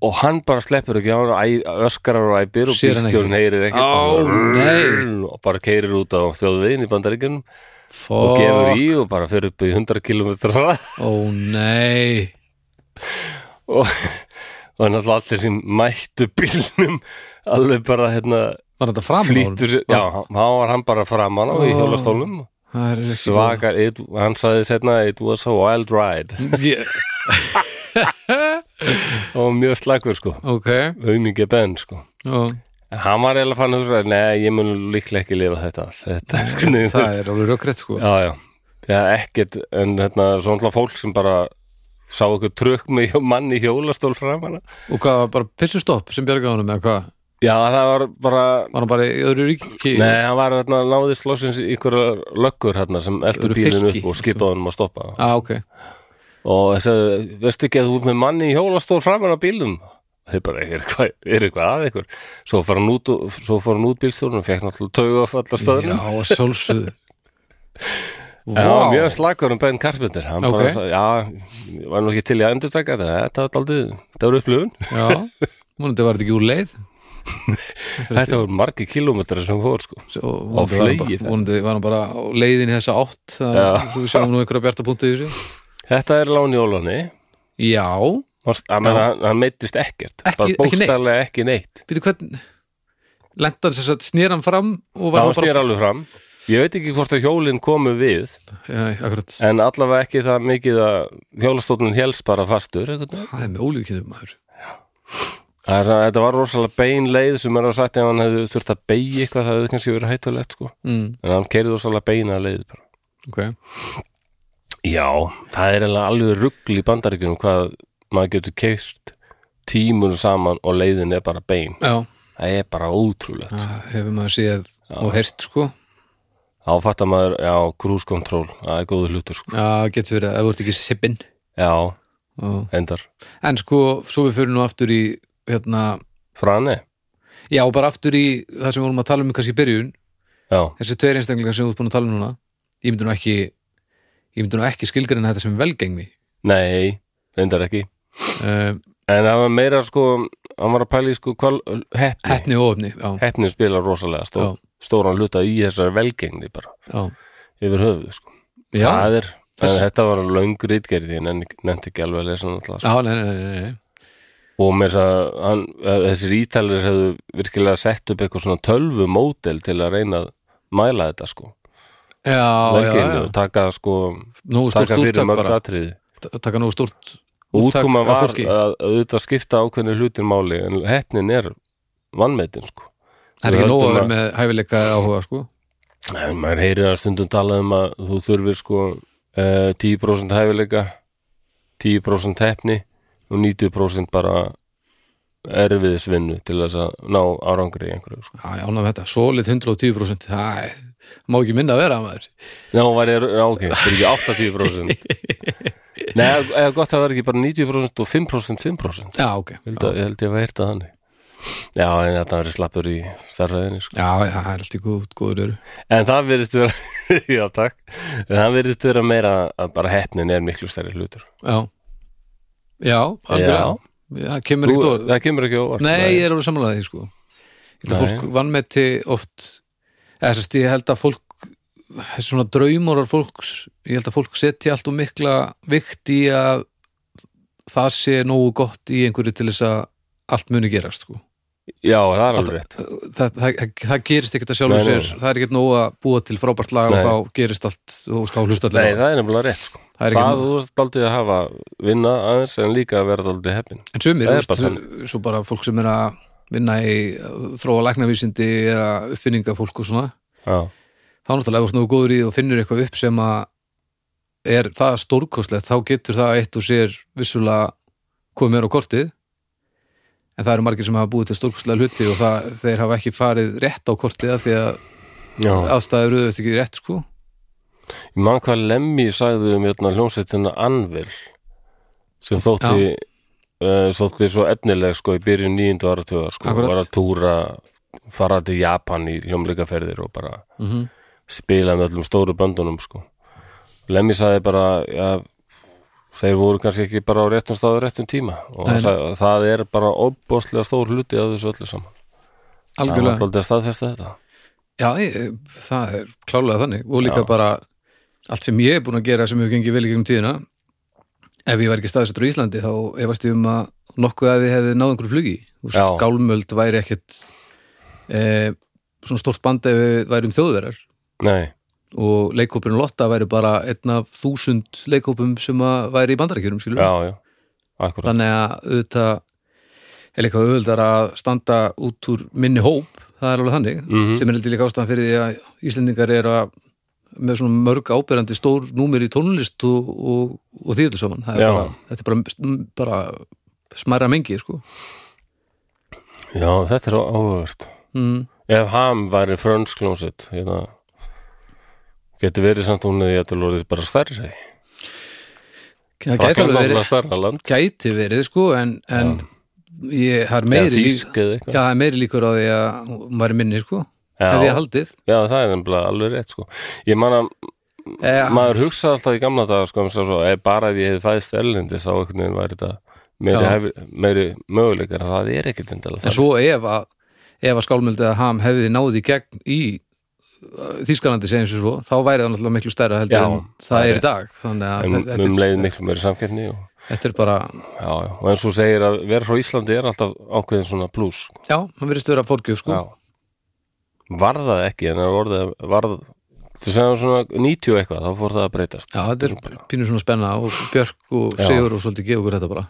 Speaker 1: og hann bara sleppur ekki á hann og æ- öskrar og æpir og
Speaker 2: Sér hann
Speaker 1: bílstjórn
Speaker 2: ekki.
Speaker 1: heyrir ekkert
Speaker 2: Á,
Speaker 1: og,
Speaker 2: nei.
Speaker 1: og bara keirir út á þjóðveginn í bandaríkjunum og gefur
Speaker 2: fokk,
Speaker 1: í og bara fer upp í 100 km og,
Speaker 2: ó nei
Speaker 1: og *laughs* náttúrulega allir sem mættu bílnum *laughs* alveg bara hérna
Speaker 2: var þetta fram á honum?
Speaker 1: flýtur sér, já, hann- þá var hann bara framan á í
Speaker 2: Ó.
Speaker 1: hjólastólum
Speaker 2: Það er ekki
Speaker 1: svakar, it, hann sagði setna it was a wild
Speaker 2: *laughs*
Speaker 1: ride
Speaker 2: Ég-
Speaker 1: og mjög slagur sko,
Speaker 2: ok
Speaker 1: aumingi Ben sko
Speaker 2: já.
Speaker 1: En Hann var eiginlega fann að hugsa, nei, ég mun líklega ekki lifa þetta. af. *laughs* Þetta er hvernig
Speaker 2: það er alveg rökkrett sko
Speaker 1: Já, já, já ekkert en hérna, svo náttúrulega fólk sem bara sá eitthvað trökk með hjó- mann í hjólastól fram hana
Speaker 2: og hvað, var bara pissustopp sem bjargaði honum eða hvað,
Speaker 1: Já, það var bara
Speaker 2: var hann bara í öðru ríki
Speaker 1: Nei, hann var hérna, náðist loksins í einhverja löggur hérna sem eldur
Speaker 2: Eru
Speaker 1: bílinn
Speaker 2: fylki,
Speaker 1: upp og skipaði honum að stoppa
Speaker 2: ah, ok,
Speaker 1: og þess að, veistu ekki að þú ert með manni í hjólastól fram hana bílum þeir bara, er eitthvað, er eitthvað að ykkur svo fór hann út, og- svo fór hann út bílstjórnum og fekk náttúrulega tauga af allar stöðnum
Speaker 2: já, sjálfsögðu
Speaker 1: En hann var
Speaker 2: Vá.
Speaker 1: mjög slagur um Ben Carpenter hann
Speaker 2: Ok.
Speaker 1: bara, sagði, já, ég var nú ekki til í að endurtaka þetta þetta var aldrei, þetta var upplifun
Speaker 2: já, múnandi var þetta ekki úr leið
Speaker 1: þetta voru margi kilómetrar sem fór sko
Speaker 2: og
Speaker 1: Á fleigi þetta.
Speaker 2: vonandi var hann bara á leiðin í þessa átt það
Speaker 1: Já.
Speaker 2: svo við sjáum nú einhverja bjartapunktu í þessu
Speaker 1: þetta er Láni Ólani
Speaker 2: já,
Speaker 1: hann, hann, hann meittist ekkert
Speaker 2: Ekki-
Speaker 1: bara
Speaker 2: ekki neitt.
Speaker 1: bókstarlega ekki neitt
Speaker 2: býtu hvern lendan sem sagt snýr hann fram og var
Speaker 1: það
Speaker 2: hann bara
Speaker 1: snýr alveg fram ég veit ekki hvort að hjólinn komu við
Speaker 2: já, akkurat,
Speaker 1: en allavega ekki það mikið að hjólastóttin helst bara fastur einhvern veginn.
Speaker 2: það er með ólíkjöndum maður
Speaker 1: Það er svona- þetta var rosalega bein leið sem er að sagt ef hann hefði þurft að beigja eitthvað það hefði kannski verið hættulegt sko
Speaker 2: mm,
Speaker 1: en hann keirði rosalega beina leið bara
Speaker 2: ok,
Speaker 1: Já, það er eiginlega alveg ruggl í bandaríkjunum hvað maður getur keift tímun saman og leiðin er bara bein.
Speaker 2: já
Speaker 1: Það er bara ótrúlegt.
Speaker 2: það hefur maður séð og heyrt sko
Speaker 1: Þá fattar maður, já, cruise control, það er góður hlutur, sko.
Speaker 2: Já, getur verið að það voru ekki sippin
Speaker 1: Já,
Speaker 2: og...
Speaker 1: endar.
Speaker 2: En sko, svo við fyrir nú aftur í hérna,
Speaker 1: Frane?
Speaker 2: já, bara aftur í það sem við vorum að tala um kannski í byrjun
Speaker 1: Já,
Speaker 2: þessi tveir einstaklingar sem við búin að tala um núna ég myndi nú ekki ég myndi nú ekki skilgreina þetta sem velgengni
Speaker 1: nei, endar ekki.
Speaker 2: uh,
Speaker 1: En það var meira, sko, hann var að pæla í, sko, hval, heppni.
Speaker 2: Heppni og ofni Já,
Speaker 1: Heppni spilar rosalega stó,
Speaker 2: Já.
Speaker 1: stóran hluta í þessari velgengni bara,
Speaker 2: já,
Speaker 1: yfir höfuð, sko.
Speaker 2: já,
Speaker 1: Það er, en
Speaker 2: Þess-
Speaker 1: þetta var löng rítgerði, en nefndi ekki alveg að lesa hann alltaf, sko.
Speaker 2: já nei, nei, nei, nei, nei.
Speaker 1: og með þess að hann, að þessir ítalir hefðu virkilega sett upp eitthvað svona tölvu mótel til að reyna að mæla þetta sko
Speaker 2: Já, já,
Speaker 1: Velgengni
Speaker 2: já,
Speaker 1: og taka sko
Speaker 2: nógu stórt
Speaker 1: taka fyrir
Speaker 2: úrtak
Speaker 1: mörg
Speaker 2: bara
Speaker 1: atriði
Speaker 2: ta- taka nógu stórt
Speaker 1: og
Speaker 2: úrtak
Speaker 1: útkoma
Speaker 2: af
Speaker 1: var eh,
Speaker 2: fólki.
Speaker 1: að auðvitað skipta ákveðni hlutin máli en heppnin er vannmetin sko
Speaker 2: Það er ekki
Speaker 1: Við
Speaker 2: nóg að
Speaker 1: höldum
Speaker 2: vera með hæfileika áhuga sko
Speaker 1: Nei, maður heyrir að stundum tala um að þú þurfir sko uh, 10% hæfileika 10% hefni og 90% bara erfiðisvinnu til þess að ná árangri í einhverju sko.
Speaker 2: Já, já, ánægð með þetta, solid 110% Það er- má ekki minna að vera maður
Speaker 1: Já, hún var ég, já, ok, það er ekki 80%
Speaker 2: *laughs*
Speaker 1: Nei, eða- eða gott að það var ekki bara 90% og 5% 5%
Speaker 2: Já, ok
Speaker 1: Ég held að, ég held ég að vera hirta þannig Já, en þetta verið slappur í starfræðinni sko.
Speaker 2: Já, já, það er alltaf góð, góður eru
Speaker 1: En það verðist vera *laughs* Já, takk En það verðist vera meira að bara heppnin er miklu stærri hlutur
Speaker 2: Já, já, algjörlega Já, það kemur
Speaker 1: Þú,
Speaker 2: ekkert orð
Speaker 1: Það kemur ekki á óvart
Speaker 2: Nei, ég er alveg samanlega því sko Ég held að
Speaker 1: Nei.
Speaker 2: fólk vannmeti oft eða þess að ég held að fólk þessi svona draumórar fólks ég held að fólk setja allt og mikla vikt í að það sé nógu gott í einhverju til þess að allt muni gerast sko
Speaker 1: Já, það er alveg rétt
Speaker 2: það, það, það, það gerist ekkert að sjálfu
Speaker 1: Nei, nei,
Speaker 2: sér það er ekkert nóg að búa til frábært lag
Speaker 1: Nei.
Speaker 2: og þá gerist allt og þá hlusta allir
Speaker 1: Nei,
Speaker 2: á það.
Speaker 1: það er nefnilega rétt sko
Speaker 2: það er
Speaker 1: það
Speaker 2: ekki
Speaker 1: þú veist aldrei að hafa vinna aðeins en líka að vera aldrei heppin
Speaker 2: en
Speaker 1: það
Speaker 2: sumir,
Speaker 1: er
Speaker 2: þú veist,
Speaker 1: bara
Speaker 2: svo- svo bara fólk sem er að vinna í að þróa læknavísindi eða uppfinninga fólk og svona
Speaker 1: já,
Speaker 2: þá náttúrulega ef þú ert nógu góður í því og finnur eitthvað upp sem að er það stórkostlegt þá getur það eitt og sér vissulega komið meira á kortið en það eru margir sem hafa búið til stórkostlega hluti og það, þeir hafa ekki farið rétt á kortið af því að
Speaker 1: já.
Speaker 2: aðstæður auðvitað ekki rétt sko
Speaker 1: Ég man hvað Lemmy sagði um hérna, hljómsveitina Anvil sem þótti uh, þótti svo efnileg sko í byrjun nýjundu áratugar sko,
Speaker 2: Akkurat.
Speaker 1: var að túra fara til Japan í hljómleikaferðir og bara
Speaker 2: Mhm.
Speaker 1: spila með öllum stóru böndunum sko Lemmy sagði bara ja, þeir voru kannski ekki bara á réttum stað og réttum tíma og hann
Speaker 2: Nei, nei.
Speaker 1: sagði, það er bara óbóðslega stór hluti af þessu öllu saman það var
Speaker 2: algjörlega,
Speaker 1: alltaf að staðfesta þetta
Speaker 2: já, ég, það er klálega þannig og líka bara allt sem ég er búin að gera sem hefur gengið vel í gegnum tíðina ef ég var ekki staðsettur á Íslandi þá efast ég um að nokkuð að þið hefði náð einhverju flugi Þú veist,
Speaker 1: Já.
Speaker 2: skálmöld væri ekkit e, svona stórt band ef við værum þjóðverðar
Speaker 1: Nei,
Speaker 2: og leikhópurinn Lotta væri bara einn af þúsund leikhópum sem að væri í bandarækjurum skilur
Speaker 1: já, já, akkurat
Speaker 2: þannig að auðvitað er líka auðvitað að standa út úr minni hóp, það er alveg þannig
Speaker 1: Mhm.
Speaker 2: sem er heldur líka ástæðan fyrir því að Íslendingar eru að með svona mörg áberandi stór númer í tónlist og, og, og þýður saman Það er
Speaker 1: Já.
Speaker 2: bara, þetta er bara, bara smæra mengi sko.
Speaker 1: Já, þetta er áhugavert
Speaker 2: mm,
Speaker 1: Ef ham væri frönsk hljómsveit hérna, getur verið samt hún eða ég ætla orðið bara stærri
Speaker 2: það
Speaker 1: Það
Speaker 2: gæti
Speaker 1: kan
Speaker 2: alveg
Speaker 1: gamla
Speaker 2: verið
Speaker 1: stærra land
Speaker 2: gæti verið sko, en, en ég, það er
Speaker 1: eða
Speaker 2: meiri lík,
Speaker 1: þýsk eða
Speaker 2: já,
Speaker 1: eitthvað
Speaker 2: það er meiri líkur á því að hún væri minni sko, hefði ég
Speaker 1: já,
Speaker 2: haldið
Speaker 1: já, það er nefnilega alveg rétt sko. Ég man að
Speaker 2: eh,
Speaker 1: maður hugsaði alltaf í gamla daga sko, um svo, svo, ef bara ef ég hefði fæðist erlendis þá einhvern veginn væri þetta meiri,
Speaker 2: Já.
Speaker 1: hef, meiri möguleikar það er ekkit endilega
Speaker 2: En
Speaker 1: það
Speaker 2: svo ef að, ef að skálmöld eða ham hefði náði gegn í uh, Þýskalandi segjum sem svo, þá væri það náttúrulega miklu stærra heldur
Speaker 1: Já,
Speaker 2: en
Speaker 1: það
Speaker 2: það
Speaker 1: er
Speaker 2: er í dag þannig að
Speaker 1: en
Speaker 2: þetta,
Speaker 1: um leið miklu meiri samkeppni og,
Speaker 2: þetta er bara
Speaker 1: já, já, og eins og þú segir að vera frá Íslandi er alltaf ákveðin svona plus sko.
Speaker 2: já, hann verðist vera fórgjöf sko
Speaker 1: Já. Var það ekki, en það orðið varð, þú segðum svona 90 og eitthvað, þá fór það að breytast.
Speaker 2: Já, þetta er pínu svona spenna og Björk og
Speaker 1: Já.
Speaker 2: Sigur og svolítið gefa okkur þetta bara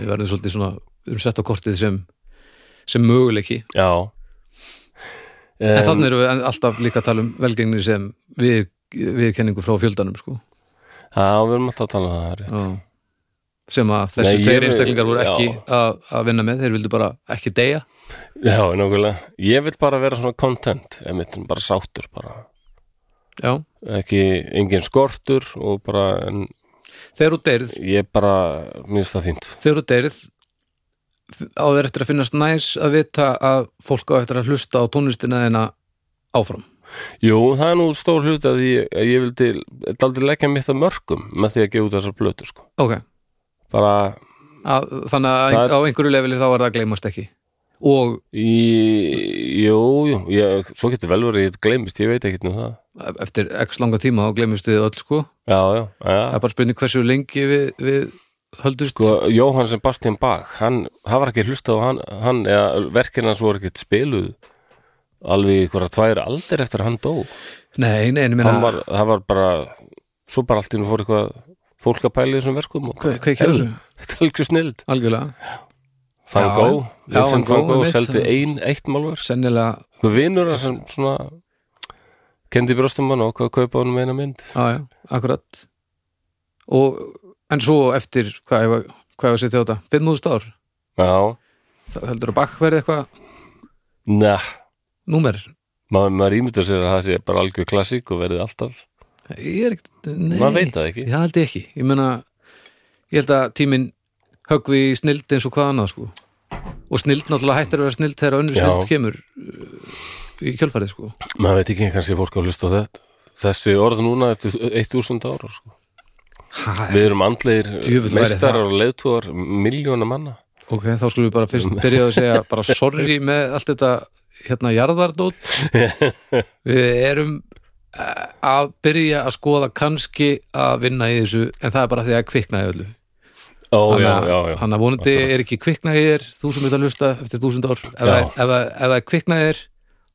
Speaker 2: við verðum svolítið svona umsett á kortið sem, sem möguleiki
Speaker 1: Já.
Speaker 2: en
Speaker 1: Um,
Speaker 2: þannig erum við alltaf líka að tala um velgengni sem við, viðkenningu frá fjöldanum sko
Speaker 1: Já, við erum alltaf að tala um það, það er rétt.
Speaker 2: Já. sem að þessi
Speaker 1: Nei, ég-
Speaker 2: tveir einstaklingar voru ekki
Speaker 1: já.
Speaker 2: að að vinna með, þeir vildu bara ekki deyja
Speaker 1: Já, nákvæmlega. Ég vil bara vera svona content, emitt, bara sáttur, bara.
Speaker 2: já.
Speaker 1: Ekki, engin skortur og bara, en
Speaker 2: þegar þú deyrð,
Speaker 1: ég bara, mér finnst það fínt.
Speaker 2: þegar þú deyrð á þeir eftir að finnast næs að vita að fólk á eftir að hlusta á tónlistina þeirna áfram
Speaker 1: Jú, það er nú stór hluti að ég, að ég vildi, þetta aldrei leggja mitt að mörgum með því að gefa út þessar blötu, sko.
Speaker 2: ok,
Speaker 1: Bara,
Speaker 2: að, þannig að
Speaker 1: Það-
Speaker 2: á einhverju lefili þá er það að gleymast ekki og
Speaker 1: Í, jú, jú, ég, svo getur vel verið að ég gleymist, ég veit ekkert um það.
Speaker 2: eftir x langa tíma þá gleymist við öll sko
Speaker 1: Já, já, já.
Speaker 2: það er bara spurning hversu lengi við, við höldum sko,
Speaker 1: Sko, Jóhann Sebastian Bach, hann, hann var ekki hlustað á hann, hann eða verkinn hans voru ekkert spiluð alveg í hverja tvær aldir eftir að hann dó.
Speaker 2: nei, nei, en ég
Speaker 1: Hann
Speaker 2: meina
Speaker 1: var, það var bara, svo bara allt innu fór eitthvað fólk að pæla í þessum verkum og
Speaker 2: hvað, hvað ekki þessu?
Speaker 1: Þetta er alveg snild.
Speaker 2: algjörlega,
Speaker 1: Van
Speaker 2: Já,
Speaker 1: Gogh,
Speaker 2: já, Van
Speaker 1: Vincent
Speaker 2: Gogh,
Speaker 1: Van Gogh,
Speaker 2: einmitt,
Speaker 1: seldi
Speaker 2: það-
Speaker 1: ein, eitt málverk.
Speaker 2: sennilega
Speaker 1: Hvað vinur hans sem svona kendi brjóstum hann og hvað kaupa honum eina mynd.
Speaker 2: Já, já, akkurat og en svo eftir hvað ég var, hvað ég var að setja á þetta 5.000 ár,
Speaker 1: Já,
Speaker 2: þá heldur að bakk verði eitthvað
Speaker 1: næ,
Speaker 2: númer,
Speaker 1: maður, maður ímyndur sér að það sé bara algjör klassík og verði alltaf
Speaker 2: ég er ekkert nei,
Speaker 1: maður veit það ekki
Speaker 2: það held ég ekki, ég meina ég held að tíminn höggvi í snild eins og hvað annað sko og snild náttúrulega hættir að vera snild þegar önnur
Speaker 1: Já.
Speaker 2: snild kemur uh, í kjölfarið sko
Speaker 1: maður veit ekki kannski fólk að hlusta á þetta þessi orð núna eftir 1000 ára sko.
Speaker 2: ha,
Speaker 1: við erum andlegir
Speaker 2: Djöfull væri
Speaker 1: meistarar og leiðtúar miljóna manna
Speaker 2: ok, þá skulum við
Speaker 1: *laughs*
Speaker 2: bara fyrst byrja að segja bara sorry með allt þetta hérna jarðardót
Speaker 1: *laughs*
Speaker 2: við erum eh, að byrja að skoða kannski að vinna í þessu en það er bara því að kviknaði öllu
Speaker 1: ó já,
Speaker 2: Þannig
Speaker 1: já,
Speaker 2: að-
Speaker 1: já,
Speaker 2: þannig að vonandi er ekki kviknaði þér þú sem ert að hlusta eftir þúsund ár ef
Speaker 1: Já.
Speaker 2: það- ef það ef það er kviknaði þér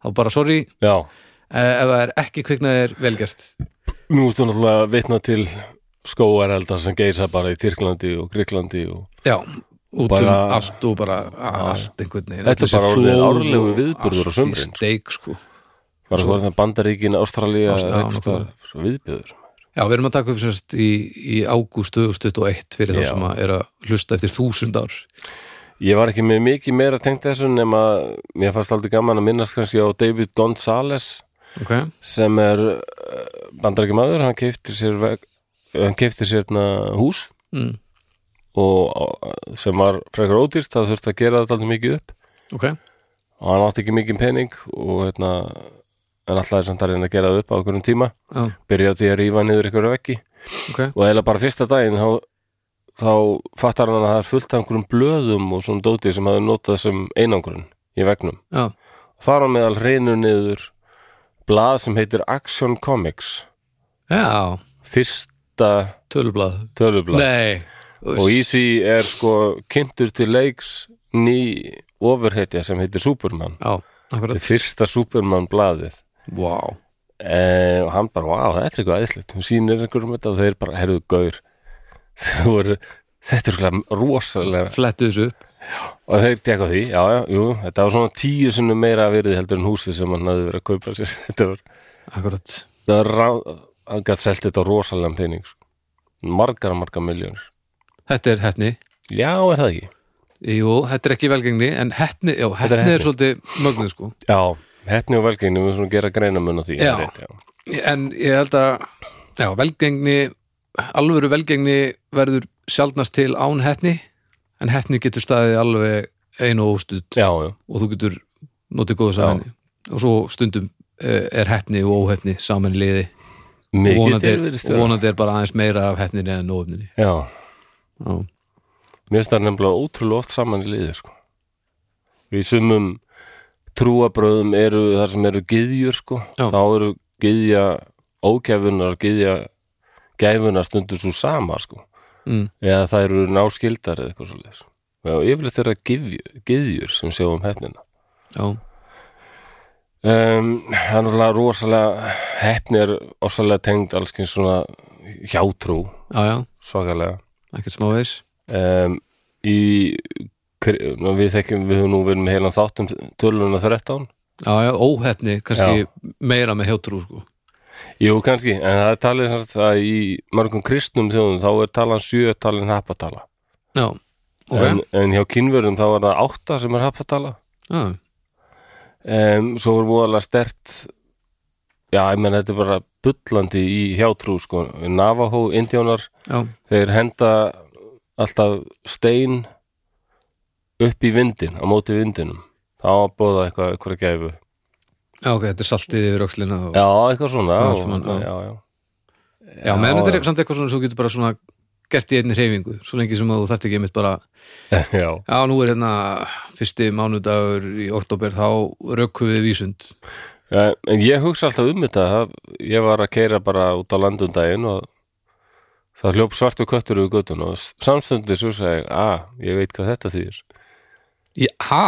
Speaker 2: þá bara sorry,
Speaker 1: já.
Speaker 2: Eh, ef það er ekki kviknaði þér velgjart
Speaker 1: nú ertu náttúrulega vitna til skóareldar sem geisa bara í Tyrklandi og Gríklandi og
Speaker 2: já, út um
Speaker 1: Bara-
Speaker 2: allt og bara allt einhvern veginn
Speaker 1: Þetta er
Speaker 2: Þessi
Speaker 1: bara orðið
Speaker 2: flóð
Speaker 1: árlegur
Speaker 2: og
Speaker 1: viðburður á
Speaker 2: allt í
Speaker 1: sumrin, sko.
Speaker 2: steik, sko.
Speaker 1: bara
Speaker 2: Svo-
Speaker 1: svo er það Bandaríkin, Ástralía
Speaker 2: Ást- já,
Speaker 1: eitthvað viðbjöður
Speaker 2: Já, við erum að taka upp sérst í, í ágúst 2021 fyrir þá
Speaker 1: Já.
Speaker 2: sem að er að hlusta eftir þúsund ár
Speaker 1: Ég var ekki með mikið meira tengt þessu nema mér fannst aldrei gaman að minnast kannski á David Gonzales
Speaker 2: Ok,
Speaker 1: sem er bandarækja maður, hann keiptir sér veg, hann keiptir sér na, hús
Speaker 2: mm.
Speaker 1: og á- sem var frekar ódýrst, það þurfti að gera þetta aldrei mikið upp
Speaker 2: ok,
Speaker 1: og hann átti ekki mikið pening og hérna en alltaf er samt að reyna að gera það upp á okkurum tíma
Speaker 2: já,
Speaker 1: byrja á því að rífa niður ykkur veggi
Speaker 2: ok
Speaker 1: og eða bara fyrsta daginn þá, þá fattar hann að það er fullt af einhverjum blöðum og svona dóti sem hafði notað sem einangrun í vegnum
Speaker 2: Já,
Speaker 1: þar á meðal reynu niður blað sem heitir Action Comics
Speaker 2: já
Speaker 1: fyrsta
Speaker 2: tölublað
Speaker 1: tölublað
Speaker 2: Nei
Speaker 1: og í því er sko kynntur til leiks ný ofurhetja sem heitir Superman
Speaker 2: Já,
Speaker 1: þetta
Speaker 2: akkurat
Speaker 1: er fyrsta Superman blaðið
Speaker 2: Vá
Speaker 1: eh, og hann bara, vá, þetta er eitthvað æðislegt hún sýnir einhverjum þetta og þeir bara, herðu gaur *laughs* þau voru þetta er eitthvað rosalega
Speaker 2: Flettu þessu upp
Speaker 1: og þeir tekka því, já, já, jú þetta var svona tíu sinnum meira verið heldur en húsið sem hann hafði verið að kaupa sér *laughs* þetta var,
Speaker 2: Akkurat
Speaker 1: það var ráð, hann gætt selt þetta á rosalega pening sko. margar, margar miljónir
Speaker 2: Þetta er hettni
Speaker 1: já, er það ekki?
Speaker 2: Jú, þetta er ekki velgengni En hettni, já,
Speaker 1: er
Speaker 2: hettni er
Speaker 1: heppni.
Speaker 2: svolítið mögnuð sko
Speaker 1: Já, hefni og velgengni, við svona gera greinamun á því
Speaker 2: Já.
Speaker 1: það er rétt, já.
Speaker 2: En ég held að Já, velgengni Alvöru velgengni verður sjaldnast til án hettni En hettni getur staðið alveg einu og óstuð
Speaker 1: Já, já.
Speaker 2: Og þú getur notið góðs
Speaker 1: Já.
Speaker 2: að henni Og svo stundum eh, er hettni og óhettni saman í liði Og
Speaker 1: Mikið
Speaker 2: vonandi, er-
Speaker 1: tilverist
Speaker 2: og vonandi er bara aðeins meira af hettninni en óhettninni
Speaker 1: Já,
Speaker 2: Já,
Speaker 1: mér finnst það nefnilega ótrúlega oft saman í liði sko. Við sumum trúabröðum eru þar sem eru gyðjur sko.
Speaker 2: Já.
Speaker 1: þá eru gyðja ógæfunar, gyðja gæfunar stundur svo sama sko.
Speaker 2: mm,
Speaker 1: eða það eru náskildar eða eitthvað svo leis Já, yfirleitt er það gyðjur, gyðjur sem sjá um hefnina
Speaker 2: já,
Speaker 1: Um, það er náttúrulega rosalega heppni er ofsalega tengd alls kynns svona hjátrú
Speaker 2: já, já
Speaker 1: svakalega
Speaker 2: ekkert smávegis
Speaker 1: um, í, kri- ná, við þekkjum, við höfum nú verið með heilan þáttum töluna 13
Speaker 2: já, já, óhefni, kannski meira með hjátrú sko.
Speaker 1: Jú, kannski, en það er talið sem sagt að í mörgum kristnum þjóðum þá er talan 7 talin happatala
Speaker 2: já, ok
Speaker 1: en, en hjá kynverjum þá er það 8 sem er happatala
Speaker 2: já,
Speaker 1: um, svo er múðalega stert já, ég menn þetta er bara bullandi í hjátrú sko, Navajo, indjónar
Speaker 2: já,
Speaker 1: þeir henda alltaf stein upp í vindin, á móti vindinum þá á að bóða eitthvað, eitthvað gæfu
Speaker 2: já, ok, þetta er saltið yfir öxlina og,
Speaker 1: já, eitthvað svona
Speaker 2: Já,
Speaker 1: og,
Speaker 2: allt saman, já.
Speaker 1: já, já.
Speaker 2: já, meðan
Speaker 1: já,
Speaker 2: þetta
Speaker 1: já.
Speaker 2: er samt eitthvað svona sem þú getur bara svona gert í einni hreyfingu, svo lengi sem að þú þarft ekki einmitt bara,
Speaker 1: já, *laughs*
Speaker 2: já, nú er hérna fyrsti mánudagur í oktober þá rökkum við vísund
Speaker 1: Eh, en ég hugsa alltaf um þetta það- ég var að keira bara út á landundaginn og það hljóp svartu köttur yfir göttun og samstundir svo segi ég, að, ég veit hvað þetta þýðir
Speaker 2: ég, ha,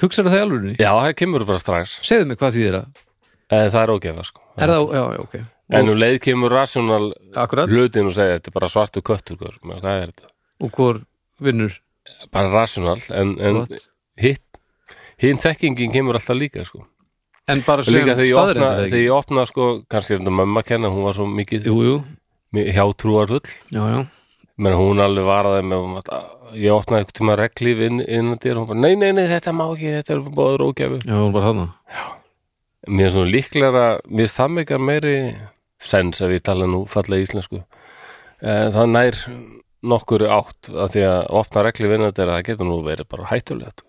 Speaker 2: hugsaðu það í alvörunni?
Speaker 1: já, það kemur bara strax
Speaker 2: segðu mig hvað þýðir það,
Speaker 1: en það er ógefa sko
Speaker 2: er það, já, já, ok
Speaker 1: en um leið kemur rasjónal
Speaker 2: akkurat,
Speaker 1: hlutin og segja, þetta er bara svartu köttur gaur, maður, hvað er þetta?
Speaker 2: og hvor vinnur
Speaker 1: bara rational en, en
Speaker 2: Gott.
Speaker 1: hitt hinn þekkingin kemur alltaf líka sko.
Speaker 2: en bara
Speaker 1: Og
Speaker 2: sem
Speaker 1: líka þegar ég opna,
Speaker 2: staðreyndar
Speaker 1: þegar ég opna sko, kannski er þetta mamma að kenna, hún var svo mikið
Speaker 2: jú, jú,
Speaker 1: hjátrúarfull
Speaker 2: já, já
Speaker 1: menn hún alveg varaði með um að, ég opnaði eitthvað tíma reglíf inn, innan dyr og hún bara, nei, nei, nei, þetta má ekki, þetta er báður ógæfu
Speaker 2: Já, hún var hana
Speaker 1: mér er svona líklega, mér er það meikar meiri sens ef ég tala nú fallega íslensku Eh, það nær nokkuru átt að því að opna reglíf innan dyr það getur nú verið bara hættulegt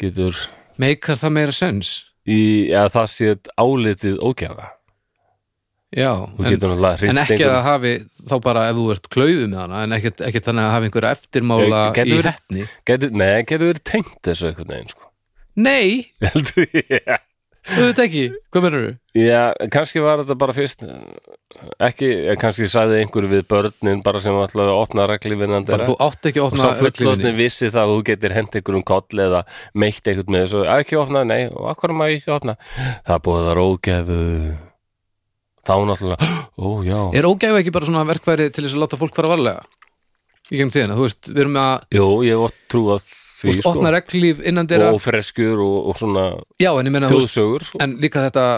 Speaker 1: getur
Speaker 2: Meikar það meira sens?
Speaker 1: í að það sé álitið ógjafa
Speaker 2: Já,
Speaker 1: þú
Speaker 2: en,
Speaker 1: getur náttúrulega
Speaker 2: en
Speaker 1: hringt
Speaker 2: ekki að það hafi þá bara ef þú ert klauðið með hana en ekkert ekkert þannig að hafi einhverja eftirmála
Speaker 1: Ég- getur
Speaker 2: í
Speaker 1: verið-
Speaker 2: hettni
Speaker 1: getur, nei, getur verið tengt þessu einhvern veginn
Speaker 2: *laughs*
Speaker 1: sko.
Speaker 2: Nei,
Speaker 1: heldur ég
Speaker 2: auðvitað ekki, hvað menur þú?
Speaker 1: Já, kannski var þetta bara fyrst ekki, eh, kannski sagði einhver við börnin bara sem ætlaði að opna reglifinnan
Speaker 2: Bara þú átt ekki að
Speaker 1: og svo
Speaker 2: opna
Speaker 1: fullotni
Speaker 2: reglífinni
Speaker 1: vissi það að þú getur hent einhver um koll eða meitt einhvern með þessu, "Á, ekki opna, nei og akkur maður ekki opna það búið að rógefu þá náttúrulega, *gasps* ó já
Speaker 2: Er ógæfa ekki bara svona verkværi til þess að láta fólk fara varlega? Í gegnum tíðina, þú veist, við erum með að
Speaker 1: Jú, ég hef oft trú að
Speaker 2: þú
Speaker 1: því sko.
Speaker 2: veist, opna reglíf innan dyrra
Speaker 1: og freskjur og, og svona
Speaker 2: Já, en ég meina, þú veist,
Speaker 1: þjóðsögur sko.
Speaker 2: en líka þetta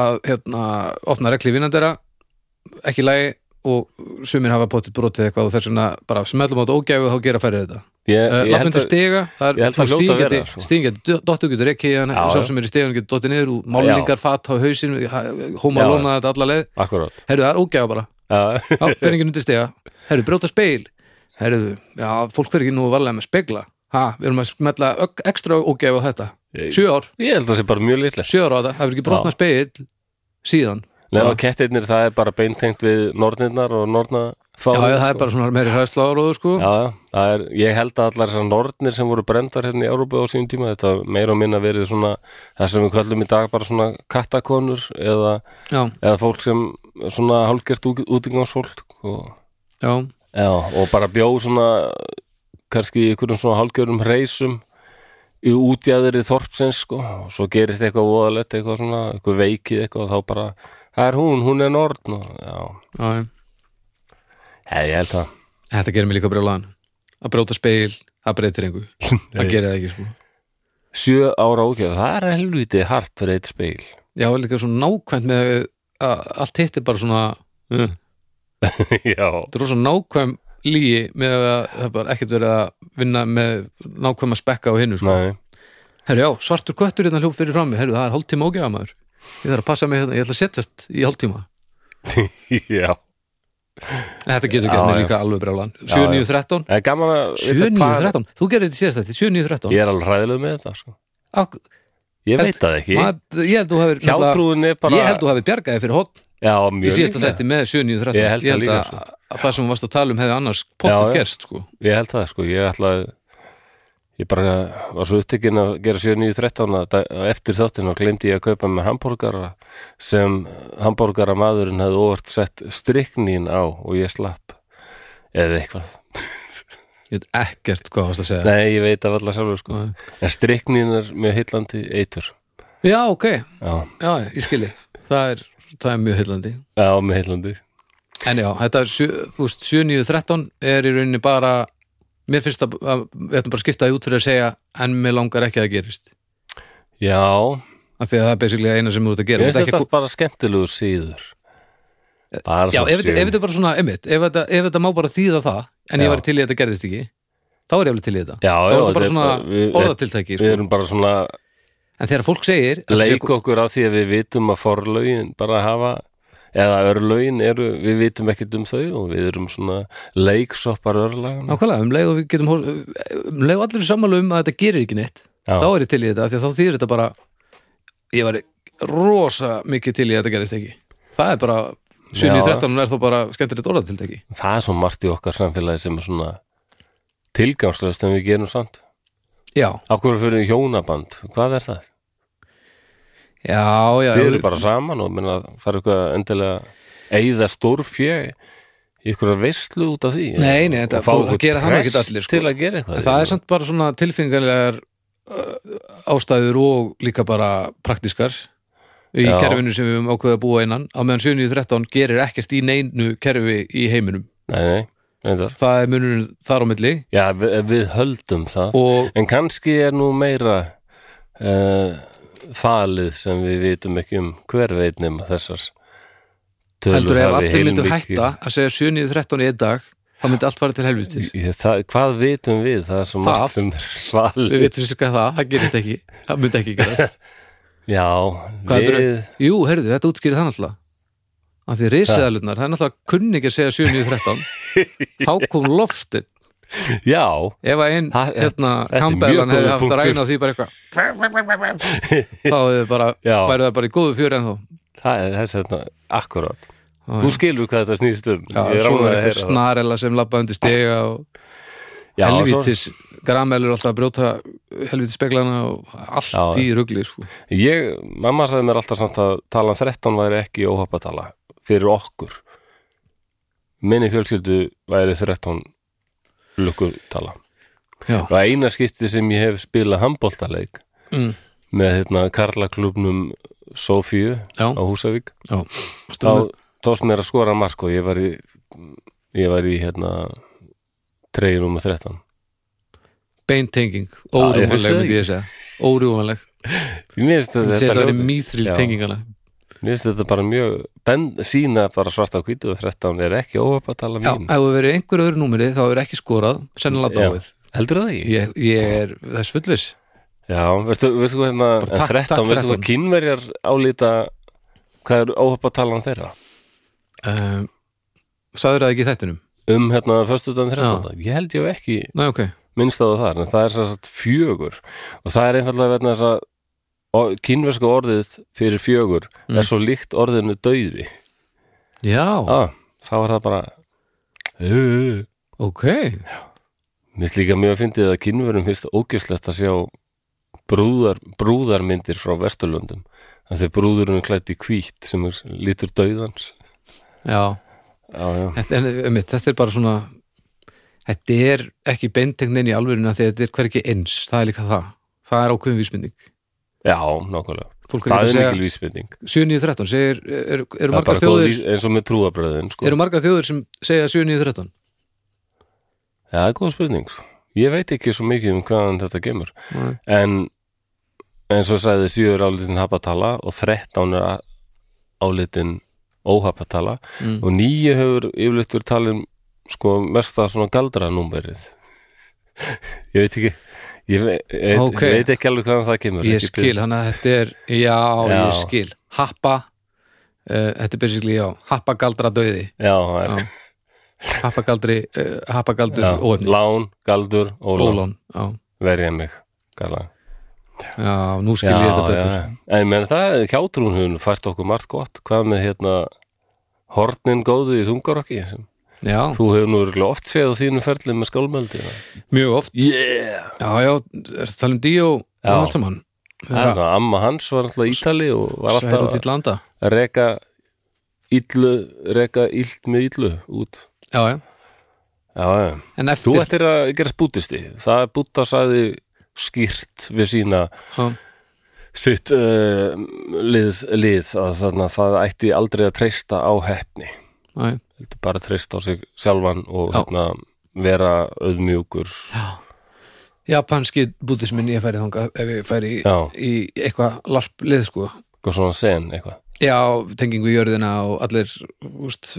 Speaker 2: að hérna, opna reglíf innan dyrra ekki lægi og sumir hafa potið brotið eitthvað og þess vegna bara smellum átt ógæfu og þá gera færið þetta
Speaker 1: ég,
Speaker 2: uh,
Speaker 1: ég held
Speaker 2: Lappmyndir
Speaker 1: að,
Speaker 2: stiga, það
Speaker 1: ég
Speaker 2: er
Speaker 1: held að hljóta að vera, sko.
Speaker 2: stíðin getur dottu getur ekki í hann,
Speaker 1: Já,
Speaker 2: sá
Speaker 1: já.
Speaker 2: sem er í stigan getur dottið niður, og málningar, fat á hausinn hóma
Speaker 1: Já,
Speaker 2: lóna þetta alla leið
Speaker 1: akkurát
Speaker 2: Herðu, það er ógæfa bara
Speaker 1: já,
Speaker 2: Já, fer enginn undir stiga Herðu, brjóta speil Herðu, já, fólk fer ekki nú varlega með spegla Ha, við erum að smetla ök- ekstra ógæfa á þetta
Speaker 1: Ég-
Speaker 2: Sjö ár,
Speaker 1: ég held að það sé bara mjög litlega
Speaker 2: sjö ár á þetta Það hefur ekki brotnað speil síðan
Speaker 1: nema kettirnir það er bara beintengt við nornirnar og norna
Speaker 2: Já, já, það er bara svona meiri hræðsla áróður sko
Speaker 1: sko. Já, já, það er, ég held að allar þessar nornir sem voru brendar hérna í Európa á sínum tíma, þetta meira og minna verið svona, það sem við kallum í dag bara svona kattakonur eða,
Speaker 2: já,
Speaker 1: eða fólk sem svona hálfgert útingansfólk og,
Speaker 2: já,
Speaker 1: já, og bara bjó svona, kannski í einhverjum svona hálfgjörum reisum í útjæður í þorpsins sko, og svo gerist eitthvað voðalegt, eitthvað svona, eitthvað veikið eitthvað og þá bara, það er hún, hún er norn og, já,
Speaker 2: já, já.
Speaker 1: ég, ég held það,
Speaker 2: Þetta gerir mig líka brjólaðan Að brjóta speil, það breytir engu Það gerir það ekki sko
Speaker 1: sjö ára ógjöf, það er helviti hart fyrir eitt speil.
Speaker 2: Já, líka svona nákvæmt með að allt hitt er bara svona uh,
Speaker 1: *laughs* Já,
Speaker 2: Þetta er rosa nákvæm lígi með að það er bara ekkert verið að vinna með nákvæma spekka á hinnu sko.
Speaker 1: nei,
Speaker 2: Herru, já, svartur köttur hérna hljóf fyrir frammi Herru, það er hálftíma ógæða maður Ég þarf að passa mig hérna, ég ætla að setjast í hálftíma
Speaker 1: já
Speaker 2: En Þetta
Speaker 1: Já,
Speaker 2: getur gett mér
Speaker 1: já.
Speaker 2: líka alveg brjálan 7.9.13
Speaker 1: Það er gaman að vita hvað-
Speaker 2: 7.9.13, þú gerir þetta síðast þetta 7.9.13
Speaker 1: Ég er alveg hræðileg með þetta sko.
Speaker 2: Ak-
Speaker 1: Ég
Speaker 2: Held-
Speaker 1: veit það ekki
Speaker 2: maður- Ég held þú hefur nefnilega-
Speaker 1: Hjátrúin er bara
Speaker 2: Ég held þú hefur bjargaði fyrir hot
Speaker 1: Já,
Speaker 2: Ég
Speaker 1: mjög
Speaker 2: síðast að
Speaker 1: líklega.
Speaker 2: þetta með 7.9.13
Speaker 1: Ég held það líka,
Speaker 2: að,
Speaker 1: sko.
Speaker 2: að það sem þú varst að tala um hefði annars
Speaker 1: Já,
Speaker 2: pottet
Speaker 1: já.
Speaker 2: gerst sko.
Speaker 1: Ég held það sko Ég ætla að Ég bara var svo upptekinn að gera 7.9.13 að dag- að eftir þáttinn og glemdi ég að kaupa með hambúrgara sem hambúrgara maðurinn hefði óvart sett striknin á og ég slapp eða eitthvað.
Speaker 2: Ég veit ekkert hvað varst að segja
Speaker 1: Nei, ég veit af alla sjálfur sko.
Speaker 2: Nei.
Speaker 1: En striknin er mjög heillandi eitur.
Speaker 2: Já, ok,
Speaker 1: Já,
Speaker 2: já, ég skilji Það er, það er mjög heillandi
Speaker 1: já mjög heillandi.
Speaker 2: En já, þetta er sjö- þú veist, 7.9.13 er í rauninni bara Mér finnst að, að við ætlum bara að skipta því út fyrir að segja En mér langar ekki að það gerist
Speaker 1: Já,
Speaker 2: Af því að það er basically eina sem þú ert að
Speaker 1: Ég
Speaker 2: gera Þú
Speaker 1: finnst
Speaker 2: ert ekki
Speaker 1: þetta
Speaker 2: að-
Speaker 1: bara skemmtilegur síður bara
Speaker 2: Já,
Speaker 1: svona
Speaker 2: ef þetta
Speaker 1: sjö.
Speaker 2: ef þetta er bara svona, einmitt Ef þetta, ef þetta má bara þýða það En
Speaker 1: Já.
Speaker 2: ég var til í að þetta gerðist ekki Þá er ég alveg til í þetta
Speaker 1: Já,
Speaker 2: Þá
Speaker 1: já,
Speaker 2: er þetta bara
Speaker 1: þetta er
Speaker 2: svona
Speaker 1: bara- við-
Speaker 2: orðatiltæki
Speaker 1: Við
Speaker 2: sko.
Speaker 1: erum bara svona
Speaker 2: En þegar fólk segir að þetta sé
Speaker 1: leik okkur að því að við vitum að forlögin bara hafa eða örlögin eru, við vitum ekkert um þau og við erum svona leiksoppar örlagan
Speaker 2: Nákvæmlega, um leið og við getum hor- um leið og allir eru sammála um að þetta gerir ekki neitt
Speaker 1: Já.
Speaker 2: þá er ég til í þetta, af því að þá þýðir þetta bara ég var rosa mikið til í að þetta gerist ekki það er bara, 7 í
Speaker 1: Já.
Speaker 2: 13 er þá bara skemmtilegt orðatiltæki
Speaker 1: Það er svo margt í okkar samfélagi sem er svona tilgangslöst en við gerum samt
Speaker 2: Já,
Speaker 1: Af hverju fyrir við í hjónaband, hvað er það?
Speaker 2: já, já
Speaker 1: Við
Speaker 2: já,
Speaker 1: erum bara saman og minna, það er eitthvað endilega eigða stórfjö í eitthvað veistlu út af því
Speaker 2: Nei, nei, þetta-
Speaker 1: Og fá
Speaker 2: fólk-
Speaker 1: einhvern
Speaker 2: gera það nú ekkert
Speaker 1: prest
Speaker 2: allir, sko.
Speaker 1: til að gera eitthvað
Speaker 2: en það er samt bara svona tilfinganlegar uh, ástæður og líka bara praktískar í
Speaker 1: Já.
Speaker 2: kerfinu sem við höfum ákveðið að búa innan á meðan 7 í 13 gerir ekkert í neinu kerfi í heiminum
Speaker 1: Nei, nei, reyndar
Speaker 2: það er munurinn þar á milli
Speaker 1: Já, við, við höldum það
Speaker 2: og
Speaker 1: En kannski er nú meira uh, falið sem við vitum ekki um hver veit nema þessar tölur
Speaker 2: heldur ef
Speaker 1: hafi
Speaker 2: allir myndu
Speaker 1: heilmikið-
Speaker 2: hætta að segja 7 í 13 í einn dag þá myndi allt fara til helvitis
Speaker 1: Ég- Það, hvað vitum við? Það er svo
Speaker 2: Það.
Speaker 1: margt sem er
Speaker 2: við
Speaker 1: svalið
Speaker 2: veitum sér hvað það, það gerist ekki það myndi ekki
Speaker 1: *laughs*
Speaker 2: gerast
Speaker 1: Já,
Speaker 2: Hvað
Speaker 1: við
Speaker 2: heldurðu? jú, heyrðu, þetta útskýrði það náttúrulega af því risaðalutnar, það er náttúrulega kunni ekki að segja 7 í
Speaker 1: *laughs*
Speaker 2: 13 þá kom loftið
Speaker 1: Já,
Speaker 2: ef að einn,
Speaker 1: Það-
Speaker 2: hérna,
Speaker 1: þetta er mjög
Speaker 2: Campbellan hefði
Speaker 1: góður
Speaker 2: haft að
Speaker 1: punktur.
Speaker 2: ræna því bara eitthvað þá hefði bara,
Speaker 1: *laughs* Já.
Speaker 2: værið það bara í góðu fjöri en þó
Speaker 1: það er þess að akkurát Þú skilur hvað þetta snýst um
Speaker 2: Já,
Speaker 1: Ég er
Speaker 2: svo
Speaker 1: ánægður að
Speaker 2: er eitthvað
Speaker 1: heyra það.
Speaker 2: snarela sem labba undir stiga og
Speaker 1: Já, svo,
Speaker 2: helvítis gramelur alltaf að brjóta helvítis speglana og allt
Speaker 1: Já,
Speaker 2: í rugli sko.
Speaker 1: ég, Mamma sagði mér alltaf samt að talan 13 væri ekki óhappatala fyrir okkur Minni fjölskyldu væri 13 lukkur tala
Speaker 2: Já.
Speaker 1: og eina skipti sem ég hef spilað handbóltaleik
Speaker 2: Mm.
Speaker 1: með hérna karlaklubnum Sofíu
Speaker 2: Já.
Speaker 1: á Húsavík
Speaker 2: já,
Speaker 1: þá
Speaker 2: Stúlna-
Speaker 1: tókst mér að skora mark og ég var í ég var í hérna treyju nummer 13
Speaker 2: beintenging,
Speaker 1: ég vissi
Speaker 2: órjúvanleg
Speaker 1: það
Speaker 2: myndi ég segja, órjúvanleg
Speaker 1: mér finnst þetta,
Speaker 2: þetta
Speaker 1: þetta,
Speaker 2: er
Speaker 1: ljóti-
Speaker 2: mýþril
Speaker 1: Já.
Speaker 2: tengingana
Speaker 1: mér finnst þetta bara mjög ben, sína bara svart á hvítu og 13 er ekki óöpatala
Speaker 2: já,
Speaker 1: mín
Speaker 2: ef það verið einhver öðru númeri þá er ekki skorað, sennilega
Speaker 1: Já.
Speaker 2: dáið
Speaker 1: heldur það ekki?
Speaker 2: ég, ég er þess fullvis
Speaker 1: já, veistu, veistu hvað hérna
Speaker 2: Bara
Speaker 1: en
Speaker 2: takk,
Speaker 1: 13,
Speaker 2: takk,
Speaker 1: veistu
Speaker 2: 13.
Speaker 1: hvað kínverjar álíta hvað er óöpatalan þeirra?
Speaker 2: um, sagður það ekki í þættinum
Speaker 1: um hérna föstudan 13. ég held ég hef ekki
Speaker 2: Nei, ok,
Speaker 1: minnst á það þar, en það er sem sagt fjögur og það er einfallega verðna þess að o- kínversku orðið fyrir fjögur
Speaker 2: Mm.
Speaker 1: er svo líkt orðinu dauði
Speaker 2: já,
Speaker 1: ah, þá er það bara Ugh.
Speaker 2: ok
Speaker 1: Mér finnst líka mjög að fyndið að kínverum finnst ógjöslegt að sjá brúðar, brúðarmyndir frá Vesturlöndum að þeir brúðurinn er klætt í hvít sem er lítur dauðans
Speaker 2: já,
Speaker 1: Já, já,
Speaker 2: þetta, en, um, þetta er bara svona þetta er ekki beintegnin í alvöruna því að þetta er hvergi eins, það er líka það það er ákveðin vísmynding
Speaker 1: já nákvæmlega
Speaker 2: fólk er
Speaker 1: Það er
Speaker 2: ekki að
Speaker 1: mikil vísbending
Speaker 2: segja 7.9.13 segir, er, er,
Speaker 1: Það
Speaker 2: eru
Speaker 1: er bara
Speaker 2: margar
Speaker 1: góð
Speaker 2: þjóðir
Speaker 1: vís, eins og með trúabröðin sko.
Speaker 2: eru margar þjóðir sem segja 7.9.13
Speaker 1: Já, það er góð spurning sko. Ég veit ekki svo mikið um hvaðan þetta kemur
Speaker 2: Nei.
Speaker 1: en eins og sagði sjö er álitin hapatala og 13 er a- álitin óhapatala
Speaker 2: Mm.
Speaker 1: og níu hefur yfirleitt verið talin sko mesta svona galdranúmerið Ég veit ekki Ég veit, ég veit-
Speaker 2: Ok.
Speaker 1: ég veit ekki alveg hvaðan það kemur
Speaker 2: ég
Speaker 1: Ekki
Speaker 2: skil,
Speaker 1: byrð.
Speaker 2: þannig að þetta er já,
Speaker 1: Já.
Speaker 2: ég skil, happa uh, þetta er basically, já, happa galdra döiði
Speaker 1: Já, það er
Speaker 2: Já. happa galdri, uh, happa galdur
Speaker 1: Já,
Speaker 2: óöfni,
Speaker 1: Lán, galdur, ólán,
Speaker 2: ólón já,
Speaker 1: verja mig Kallaði
Speaker 2: já, nú skil ég þetta betur
Speaker 1: já. En ég meina það, hjátrún hún fært okkur margt gott, hvað með hérna hornin góðu í þungarokki sem
Speaker 2: já,
Speaker 1: þú hefur nú örugglega oft séð á þínu ferlið með skálmöldi
Speaker 2: mjög oft
Speaker 1: Yeah!
Speaker 2: já, já, er það talið um Díó
Speaker 1: Já.
Speaker 2: og allt saman
Speaker 1: En, amma hans var alltaf ítali og var
Speaker 2: Særu til
Speaker 1: alltaf
Speaker 2: landa
Speaker 1: að reka illu, reka illt með illu út.
Speaker 2: já, já,
Speaker 1: Já, já.
Speaker 2: en
Speaker 1: Þú
Speaker 2: eftir
Speaker 1: ættir að gerast bútisti. Það er búta sagði skýrt við sína
Speaker 2: já,
Speaker 1: sitt uh, lið, lið að þarna það ætti aldrei að treysta á hefni.
Speaker 2: já,
Speaker 1: heldur bara að treysta á sig sjálfan og
Speaker 2: Já.
Speaker 1: hérna, vera auðmjúkur
Speaker 2: japanski búdismin ég færi þangað ef ég færi í,
Speaker 1: Já.
Speaker 2: í eitthvað larplið sko
Speaker 1: eitthvað svona sen eitthvað
Speaker 2: Já, tengingu í jörðina og allir úst,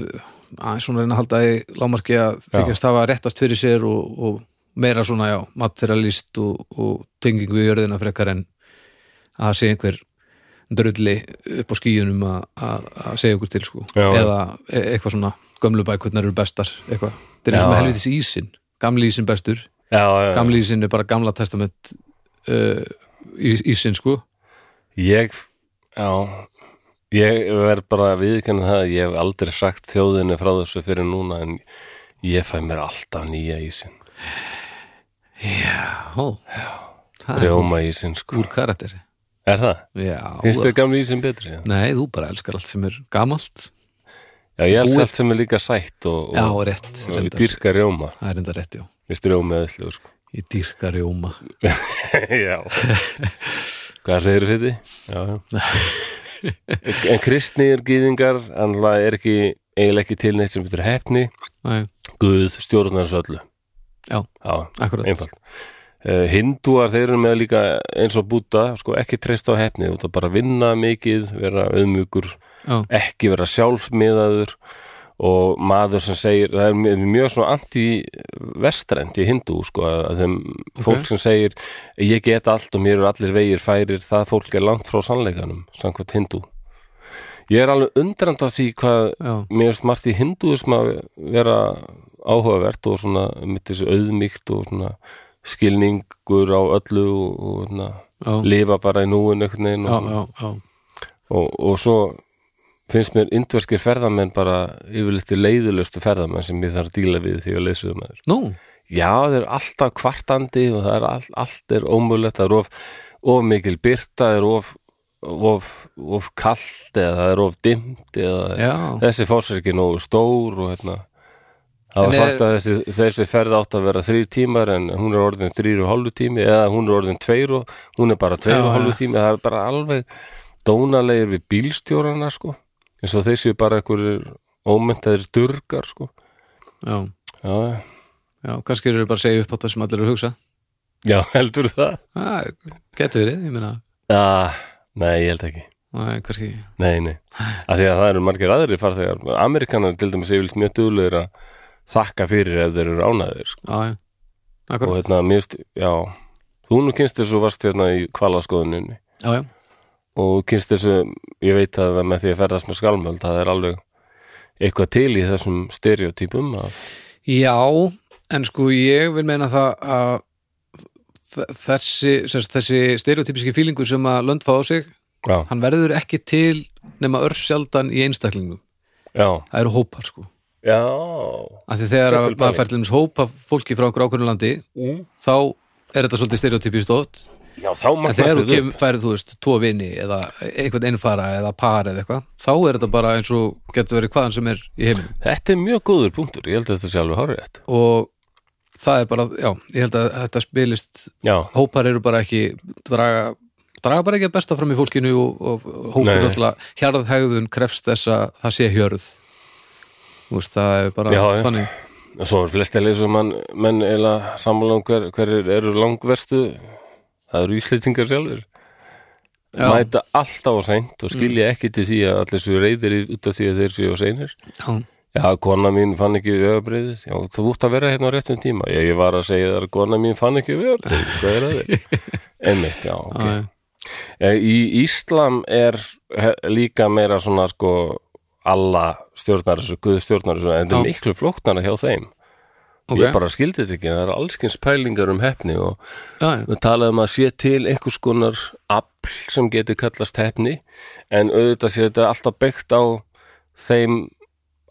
Speaker 2: aðeins svona reyna að halda í lámarki að þykjast hafa réttast fyrir sér og, og meira svona, já, materialist og, og tengingu í jörðina frekar en að það sé einhver drulli upp á skíunum að- að að segja okkur til, sko
Speaker 1: Já, já.
Speaker 2: eða e eitthvað svona, gömlu bækurnar eru bestar, eitthvað, þetta er
Speaker 1: Já.
Speaker 2: eins og með helvitis ísin gamli ísin bestur,
Speaker 1: já, já, já.
Speaker 2: gamli ísin er bara gamla testament uh, ís- ísin, sko
Speaker 1: ég já, ég verð bara að viðkenna það að ég hef aldrei sagt þjóðinni frá þessu fyrir núna en ég fæ mér alltaf nýja ísinn
Speaker 2: Já, Það er
Speaker 1: rjóma ísinn sko
Speaker 2: úr karakteri
Speaker 1: er það?
Speaker 2: Já,
Speaker 1: finnst þau gamli ísinn betri? eða?
Speaker 2: nei, þú bara elskar allt sem er gamalt
Speaker 1: já, ég
Speaker 2: Búið.
Speaker 1: elska allt sem er líka sætt og,
Speaker 2: Já,
Speaker 1: og,
Speaker 2: rétt,
Speaker 1: og ég
Speaker 2: reyndar
Speaker 1: dyrka rjóma
Speaker 2: Það er enda rétt, já
Speaker 1: finnst rjóma eðislu
Speaker 2: *laughs*
Speaker 1: sko
Speaker 2: Ég dýrka rjóma
Speaker 1: Já Hvað segir þetta? Já, já
Speaker 2: *laughs*
Speaker 1: En kristnir gýðingar annað er ekki, eiginlega ekki til neitt sem betur hefni,
Speaker 2: Nei,
Speaker 1: Guð stjórnar svo öllu
Speaker 2: Já,
Speaker 1: Já,
Speaker 2: akkurat
Speaker 1: einfalt Uh, hindúar þeir eru með líka eins og búta sko ekki treysta á hefni út að bara vinna mikið, vera auðmjúkur
Speaker 2: Já,
Speaker 1: ekki vera sjálfmiðaður og maður sem segir það er mjög- mjög svona anti-vestrend í hindú sko að að þeim fólk sem segir ég get allt og mér eru allir vegir færir það fólk er langt frá sannleikanum samkvæmt hindú ég er alveg undrand af því hvað
Speaker 2: já,
Speaker 1: mér erst margt í hindúism að vera áhugavert og svona mitt þessi auðmíkt og svona skilningur á öllu og, og na,
Speaker 2: já, já,
Speaker 1: lifa bara í núin einhvern veginn og,
Speaker 2: já, já.
Speaker 1: og, og svo finnst mér indverskir ferðamenn bara yfirleitt í leiðilustu ferðamenn sem ég þarf að díla við því að leysuðu maður
Speaker 2: Nú,
Speaker 1: já, þeir eru alltaf kvartandi og það er all, allt er ómulegt það er of, of mikil byrta það er of, of, of kalt eða það er of dimmt eða
Speaker 2: já
Speaker 1: þessi fórsir ekki nógu stór og hérna það
Speaker 2: En
Speaker 1: var
Speaker 2: er-
Speaker 1: sagt að þessi, þessi ferð átt að vera þrýr tímar en hún er orðin þrýr og hálfu tími eða hún er orðin tveir og hún er bara tveir
Speaker 2: Já,
Speaker 1: og hálfu
Speaker 2: já.
Speaker 1: tími það er bara alveg dónalegir við bílstjórana sko eins og þeir séu bara einhverjir ómyndaðir durgar sko
Speaker 2: já,
Speaker 1: já,
Speaker 2: já, kannski eru þeir bara að segja upp á það sem allir eru að hugsa
Speaker 1: já *laughs* heldur það
Speaker 2: ah, getur verið, ég meina
Speaker 1: já, nei ég held ekki
Speaker 2: Nei, kannski,
Speaker 1: nei, nei, af því að það eru margir aðrir farþegar, Amerikanar til dæmis yfirleitt mjög duglegir að þakka fyrir ef þeir eru ánæðir sko.
Speaker 2: já, já Akkur,
Speaker 1: og hérna, mér veist, já þú nú kynst þessu varst hérna í kvalaskoðuninni
Speaker 2: já, já,
Speaker 1: og kynst þessu, ég veit að það með því að ferðast með skalmöld, það er alveg eitthvað til í þessum stereotypum að,
Speaker 2: Já, en sko ég vil meina það að þ- þessi, sérst, þessi stereotypiski fílingur sem að lönd fá á sig
Speaker 1: já,
Speaker 2: hann verður ekki til nema örf sjaldan í einstaklingum
Speaker 1: já,
Speaker 2: það eru hópar sko
Speaker 1: já
Speaker 2: af því þegar
Speaker 1: Þetta
Speaker 2: að
Speaker 1: er
Speaker 2: maður
Speaker 1: pæling.
Speaker 2: fær til þess hópa fólki frá okkur ákvörnum landi
Speaker 1: mm.
Speaker 2: þá er þetta svolítið stereotypist oft
Speaker 1: já, þá
Speaker 2: en þegar þú
Speaker 1: magnast
Speaker 2: kem, færið þú veist tvo vini eða einhvern einfara eða par eða eitthvað þá er þetta bara eins og getur verið hvaðan sem er í heiminum
Speaker 1: þetta er mjög góður punktur, ég held að þetta sé alveg hárið þetta
Speaker 2: og það er bara, já, ég held að þetta spilist
Speaker 1: já,
Speaker 2: hópar eru bara ekki draga, draga bara ekki að besta fram í fólkinu og, og, og hópar
Speaker 1: Nei, nei.
Speaker 2: alltaf hjarðhægðun krefst þess að það sé hjörð Þú veist, það er bara
Speaker 1: Já, já.
Speaker 2: þannig
Speaker 1: svo er flesti leið sem mann, menn eila sammála um hver, hver eru langverstu það eru íslitingar sjálfur
Speaker 2: Já.
Speaker 1: mæta alltaf á seint og skilja ekki til því að allir séu reyðir í- út af því að þeir séu á seinir
Speaker 2: já,
Speaker 1: Já, kona mín fann ekki vegabriðið. Já, þú út að vera hérna á réttum tíma. Já, ég var að segja þar að kona mín fann ekki vegabriðið. Hvað er það?
Speaker 2: *laughs*
Speaker 1: Einmitt, já, ok.
Speaker 2: já,
Speaker 1: Eh, Í Íslam er he- líka meira svona sko alla stjórnar þessu, guð stjórnar þessu, en þetta er
Speaker 2: Já.
Speaker 1: miklu flóknara hjá þeim.
Speaker 2: ok
Speaker 1: Ég bara skildi þetta ekki, en það er allskins pælingar um hefni og
Speaker 2: já, já,
Speaker 1: það talaði um að sé til einhvers konar afl sem getur kallast hefni en auðvitað sé þetta alltaf byggt á þeim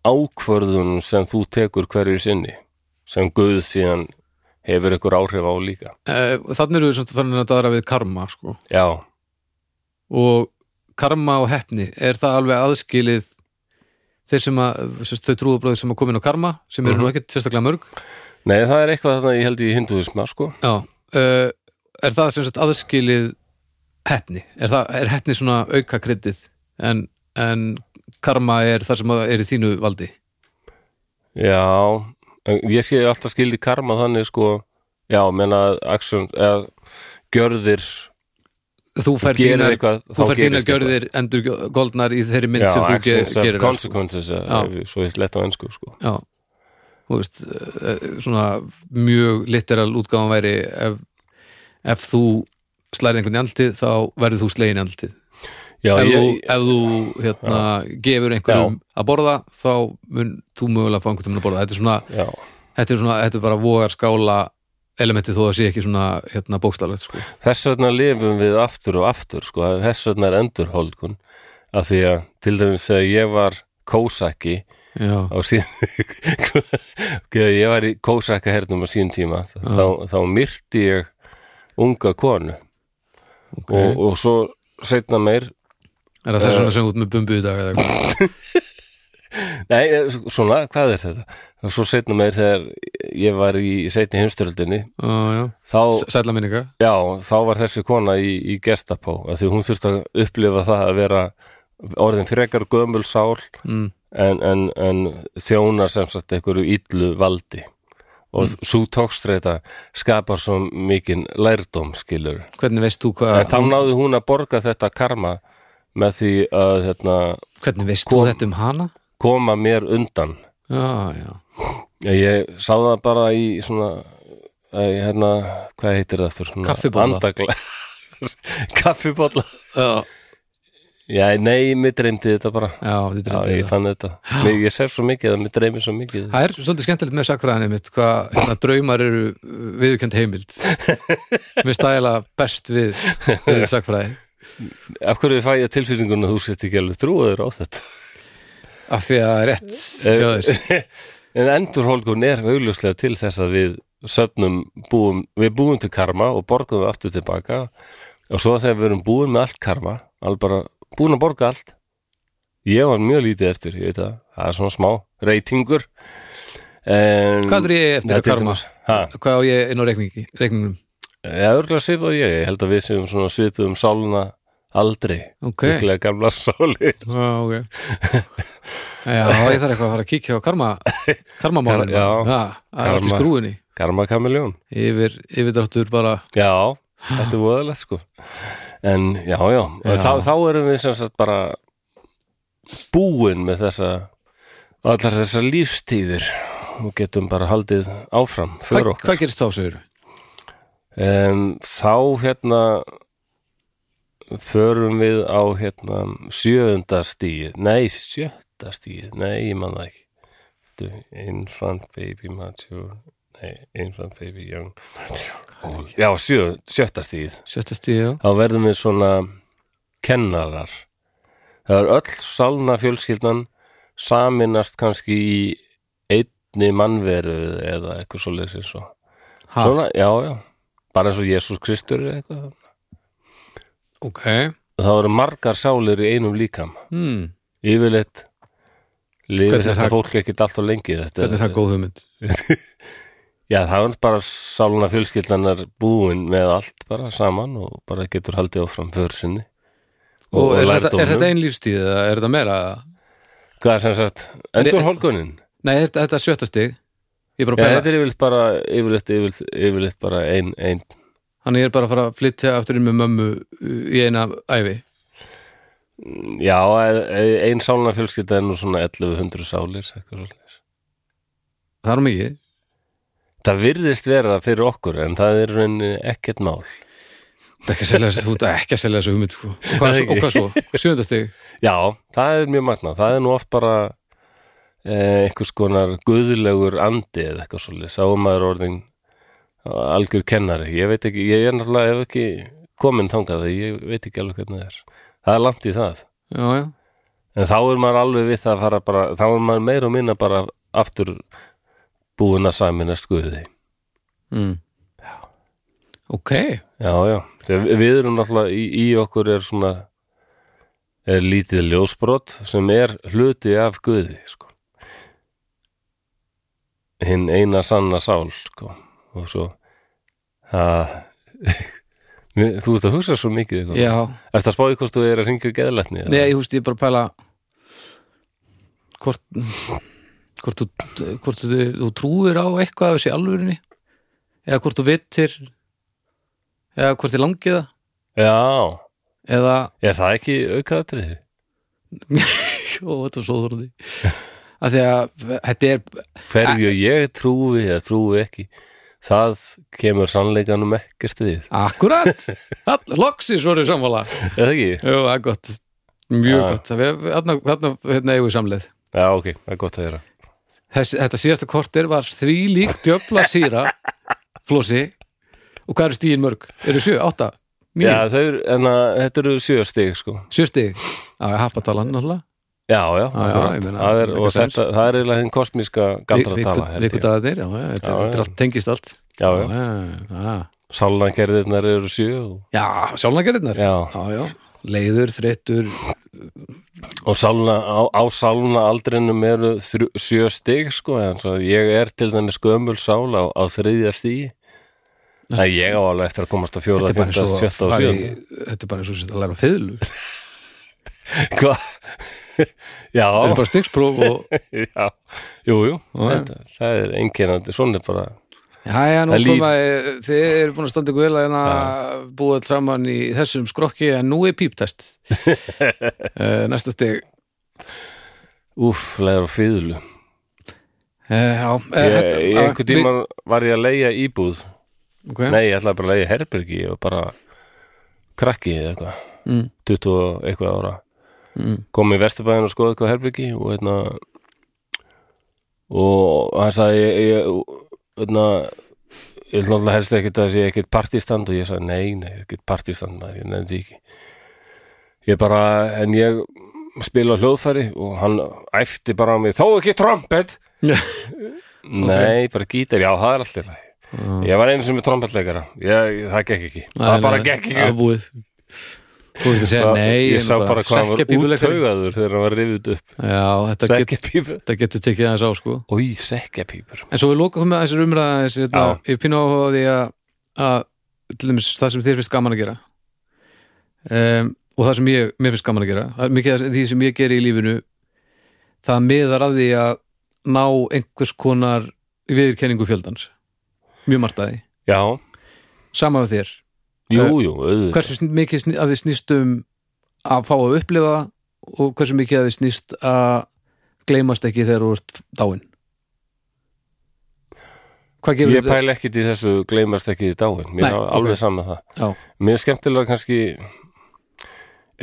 Speaker 1: ákvörðunum sem þú tekur hverju sinni sem Guð síðan hefur ykkur áhrif á líka
Speaker 2: Eh, þannig eru við svolítið fannin að dara við karma sko.
Speaker 1: já,
Speaker 2: og karma og heppni er það alveg aðskilið þeir sem að, sérst, þau trúðabröður sem að komin á karma sem
Speaker 1: Mhm.
Speaker 2: eru nú ekkert sérstaklega mörg
Speaker 1: nei það er eitthvað þarna ég held í hinduisma sko
Speaker 2: Já, uh, er það sem sagt aðskilið hefni? Er, það, er hefni svona auka kryddið en, en karma er það sem er í þínu valdi?
Speaker 1: já, en ég sé alltaf skildi karma þannig sko já, menna action, eða gjörðir
Speaker 2: Þú fær
Speaker 1: gerir
Speaker 2: þínar,
Speaker 1: eitthvað,
Speaker 2: þú
Speaker 1: þá
Speaker 2: fær þínar
Speaker 1: gerist
Speaker 2: gjörðir endur goldnar í þeirri mynd
Speaker 1: já,
Speaker 2: sem þú ge-
Speaker 1: actions have
Speaker 2: gerir sko.
Speaker 1: consequences
Speaker 2: Já.
Speaker 1: eða, ef- svo ég slett á ennsku sko
Speaker 2: Já, þú veist eh, svona mjög litteral útgáfan væri ef, ef þú slærið einhvern í andlitið þá verður þú slegin í andlitið
Speaker 1: já, ég,
Speaker 2: ef, þú, ef þú hérna, gefur einhverjum að borða þá mun þú mögulega fá einhvern tímann að borða þetta er svona,
Speaker 1: já
Speaker 2: þetta er svona, þetta er bara vogar skála elementi þó að sé ekki svona hérna, bókstalegt sko.
Speaker 1: Þess vegna lifum við aftur og aftur sko, þess vegna er endurhólkun af því að til dæmis þegar ég var kósaki
Speaker 2: já,
Speaker 1: á síðan *laughs* þegar ég var í kósaka hernum á síðan tíma þá, þá myrti ég unga konu
Speaker 2: ok
Speaker 1: og, Eh. og svo setna meir
Speaker 2: er það þess vegna sem út með bumbu í dag
Speaker 1: *laughs*
Speaker 2: eða eitthvað?
Speaker 1: nei, eh, svona, hvað er þetta? og svo setna meir þegar ég var í setni heimstöröldinni
Speaker 2: já, Ah, já.
Speaker 1: þá,
Speaker 2: S- sælla minninga
Speaker 1: Já, þá var þessi kona í, í gestapó af því hún þurfti að upplifa það að vera orðin frekar gömul sál
Speaker 2: Mm.
Speaker 1: en, en, en þjónar sem sagt einhverju illu valdi og mm. svo tókstreita skapar svo mikinn lærdóm skilur.
Speaker 2: hvernig veist þú hvað
Speaker 1: En þá náði hún að borga þetta karma með því að hérna,
Speaker 2: hvernig veist
Speaker 1: Kom-
Speaker 2: þú þetta um hana
Speaker 1: koma mér undan
Speaker 2: já, já,
Speaker 1: Ég, ég sá það bara í svona æ, hérna, hvað heitir það aftur? Svona
Speaker 2: Kaffibolla.
Speaker 1: andagla- *laughs* Kaffibolla
Speaker 2: já,
Speaker 1: Já, nei, mér dreymdi þetta bara
Speaker 2: já, þetta
Speaker 1: Já,
Speaker 2: er
Speaker 1: ég
Speaker 2: þetta.
Speaker 1: fann þetta mér, Ég sér svo mikið að mér dreymi svo mikið
Speaker 2: það er svolítið skemmtilegt með sakfræðinni mitt hvað hérna, draumar eru viðurkend
Speaker 1: *laughs*
Speaker 2: heimild mér stæla best við, við sakfræði
Speaker 1: Af hverju fæ ég tilfýringuna þú sett ekki alveg trúaður á þetta
Speaker 2: af því að það er rétt
Speaker 1: Eh,
Speaker 2: þjóður
Speaker 1: En endurhólkun er augljóslega til þess að við söfnum búum, við búum til karma og borgum við aftur tilbaka og svo þegar við erum búin með allt karma alveg bara búin að borga allt Ég var mjög lítið eftir, ég veit það Það er svona smá reytingur en,
Speaker 2: Hvað er ég eftir
Speaker 1: Það
Speaker 2: að karma?
Speaker 1: til dæmis- Ha?
Speaker 2: Hvað á ég inn á reikningi, reikningnum?
Speaker 1: Já, örgulega svipað og ég, ég held að við séum svona svipuð um sáluna aldrei
Speaker 2: Ok.
Speaker 1: líklega gamla *laughs* sálir
Speaker 2: Já, ok Já, ég þarf eitthvað að fara að kíkja á karma karmamálinu
Speaker 1: Já.
Speaker 2: það er allt í
Speaker 1: Karma.
Speaker 2: skrúinni
Speaker 1: Karma Kamiljón
Speaker 2: yfir, yfirdráttur bara
Speaker 1: Já, þetta er voðalegt sko En já, já,
Speaker 2: Já.
Speaker 1: já. Þá, þá erum við sem sagt bara búin með þessa allar þessar lífstíðir og getum bara haldið áfram
Speaker 2: Hva,
Speaker 1: fyrir okkur
Speaker 2: Hvað gerist þá, segir
Speaker 1: um, Þá hérna förum við á hérna sjöunda stíð nei, sjötta stíð, nei, ég man það ekki Þetta er Infant baby mature nei, infant baby young já, sjö, sjötta stíð
Speaker 2: Sjötta stíð, já
Speaker 1: þá verðum við svona kennarar það er öll sálna fjölskyldan saminast kannski í einni mannveru eða eitthvað svo leysir svo
Speaker 2: ha,
Speaker 1: svona, já, já, bara eins og Jésús Kristur eða eitthvað
Speaker 2: Ok
Speaker 1: það eru margar sálir í einum líkam
Speaker 2: hmm.
Speaker 1: yfirleitt lifir
Speaker 2: Hvernig er
Speaker 1: þetta
Speaker 2: það-
Speaker 1: fólk ekkit alltaf lengi þetta,
Speaker 2: Hvernig er það góð hugmynd?
Speaker 1: já, það er bara sáluna fjölskyldanar búin með allt bara saman og bara getur haldið áfram för sinni
Speaker 2: Og, er, þetta,
Speaker 1: lærdómnum.
Speaker 2: er þetta ein lífstíð eða er þetta meira?
Speaker 1: Hvað er sem sagt, endur hólkunin?
Speaker 2: Nei, þetta, þetta er sjötta stíð Ég er bara
Speaker 1: Já,
Speaker 2: að pæla
Speaker 1: þetta er yfirleitt bara, yfirleitt, yfirleitt, yfirleitt bara ein, ein
Speaker 2: Þannig ég er bara að fara að flytja aftur inn með mömmu uh, í eina ævi
Speaker 1: já, e- ein sálna fjölskylda er nú svona 1100 sálir, eitthvað svolítið.
Speaker 2: Það er nú mikið
Speaker 1: Það virðist vera fyrir okkur, en það er í rauninni ekkert mál.
Speaker 2: Þetta er ekki að selja þessu- Þú ert ekki að selja þessu hugmynd sko. og, hvað,
Speaker 1: Nei,
Speaker 2: og hvað svo? Sjönda stíð
Speaker 1: Já, það er mjög magnað. Það er nú oft bara e, einhvers konar guðlegur andi eða eitthvað svolítið. Sáum maður orðin algjör kennari. Ég veit ekki, ég er náttúrulega ef ekki komin þangað, ég veit ekki alveg hvernig það er. Það er langt í það.
Speaker 2: Já, já
Speaker 1: En þá er maður alveg við það að fara bara, þá er maður meira og minna bara aftur búin að saminast guði.
Speaker 2: mm. Ok
Speaker 1: Já, já. Þegar við- við erum náttúrulega, í, í okkur er svona er lítið ljósbrot sem er hluti af guði, sko. Hinn eina sanna sál, sko. Og svo, *laughs* það, þú ert að hugsa svo mikið, eitthvað.
Speaker 2: Já,
Speaker 1: Ertu að spáði hvort þú er að hringja geðlætni?
Speaker 2: Nei, ég húst, ég er bara að pæla hvort hvort þú, hvort þú, þú trúir á eitthvað af þessi alvörinni eða hvort þú vittir eða hvort þið langið það
Speaker 1: Já,
Speaker 2: eða,
Speaker 1: er það ekki aukaðatriði?
Speaker 2: ó, þetta er svo þorði að því að þetta er
Speaker 1: hverju ég trúi eða trúi ekki það kemur sannleikanum ekkert við
Speaker 2: akkurat all, loksins voru samfála
Speaker 1: eða ekki?
Speaker 2: Jú, það er gott, mjög
Speaker 1: Já.
Speaker 2: gott við, við, hérna, hérna, hérna eigum við samleið
Speaker 1: Já, ok, það er gott að gera
Speaker 2: Þess, þetta síðasta kortir var því lík djöfla síra flósi og hvað eru stíðin mörg? Eru sjö, átta, níu,
Speaker 1: Já, þau, eru- en að, þetta eru sjö stig sko
Speaker 2: sjö stíð Já, ég happa talan náttúrulega
Speaker 1: Já, já,
Speaker 2: Já, já,
Speaker 1: akkurat.
Speaker 2: ég meina,
Speaker 1: það er,
Speaker 2: make
Speaker 1: og
Speaker 2: sense.
Speaker 1: þetta, það er eiginlega hinn kosmíska galdra tala
Speaker 2: Viku- Vikudagarnir, já, já, þetta
Speaker 1: Já,
Speaker 2: þetta er
Speaker 1: já.
Speaker 2: allt, tengist allt
Speaker 1: Já,
Speaker 2: Já,
Speaker 1: já,
Speaker 2: já,
Speaker 1: sálnagerðirnar eru sjö og,
Speaker 2: já sjálfnagerðirnar Já,
Speaker 1: Já,
Speaker 2: já, leiður, þreyttur
Speaker 1: og sálna, á, á sálna aldrinum eru þrjú, sjö stig sko, en svo ég er til dæmis gömul sál á, á þriðja stígi Það ég á alveg eftir að komast á fjóra,
Speaker 2: Þetta er bara
Speaker 1: fjóra,
Speaker 2: eins og
Speaker 1: sjötta og
Speaker 2: fara
Speaker 1: sjönda
Speaker 2: í- Þetta er bara eins og þetta að læra á fiðlu Þetta
Speaker 1: *laughs* Hvað? já,
Speaker 2: er bara stigspróf og
Speaker 1: *laughs* já, jú, jú,
Speaker 2: Já, já.
Speaker 1: þetta, það er einkennandi, svona er bara,
Speaker 2: *laughs* Já, já, nú
Speaker 1: Það er líf.
Speaker 2: koma, ég- þið eru búin að standa ykkur vel að hérna búið alls saman í þessum skrokki en nú er píptest *laughs* Eh, Næsta stig
Speaker 1: úff, leður á fýðlu.
Speaker 2: Eh, Já, eh,
Speaker 1: Ég,
Speaker 2: þetta-
Speaker 1: í
Speaker 2: já,
Speaker 1: einhver
Speaker 2: við-
Speaker 1: tíma var ég að leigja íbúð,
Speaker 2: ok.
Speaker 1: nei, ég ætlaði bara að leigja herbergi og bara krakki eða eitthvað,
Speaker 2: Mm.
Speaker 1: 20 og eitthvað ára.
Speaker 2: Mm.
Speaker 1: Kom í Vesturbæðin og skoði eitthvað herbergi og hérna, og hann sagði, ég, ég, hérna, ég vil náttúrulega helst ekkit að sé ekkit partístand og ég sagði nei, nei, ekkit partístand maður, ég nefndi ekki ég bara, en ég spila á hljóðfæri og hann æfti bara á mig, þó ekki
Speaker 2: *laughs*
Speaker 1: trompet
Speaker 2: Já.
Speaker 1: nei, bara gítar, já, það er alltaf
Speaker 2: Já.
Speaker 1: mm. ég var einu sem er trompetleikara ég, það gekk ekki,
Speaker 2: Nei,
Speaker 1: það
Speaker 2: nei,
Speaker 1: bara gekk ekki
Speaker 2: Ah. Það er búið Þú ert að segja
Speaker 1: Það-
Speaker 2: nei
Speaker 1: ég sá bara hvað hann var
Speaker 2: úttaug
Speaker 1: úttaugaður þegar hann var rifið upp
Speaker 2: Já, þetta get,
Speaker 1: sekkjapípur,
Speaker 2: þetta getur tekið aðeins á sko
Speaker 1: oi, sekkjapípur
Speaker 2: En svo við lokum með þessir umræða þessi, þetta, Ég pínu áhuga á því að- að til dæmis það sem þér finnst gaman að gera um, og það sem ég, mér finnst gaman að gera það er mikið af því sem ég geri í lífinu það miðar að því að ná einhvers konar viðurkenningu fjöldans mjög margt að því,
Speaker 1: Já,
Speaker 2: sama af þér
Speaker 1: jú,
Speaker 2: Eh,
Speaker 1: jú, auðvitað
Speaker 2: hversu sn- mikið sn- að þið snýst um að fá að upplifa það og hversu mikið að þið snýst að gleymast ekki þegar þú ert dáin hvað gefur
Speaker 1: Ég pæla ekkit í þessu, gleymast ekki í dáin Mér
Speaker 2: Nei,
Speaker 1: er
Speaker 2: ok.
Speaker 1: alveg saman það
Speaker 2: já,
Speaker 1: Mér er skemmtilega kannski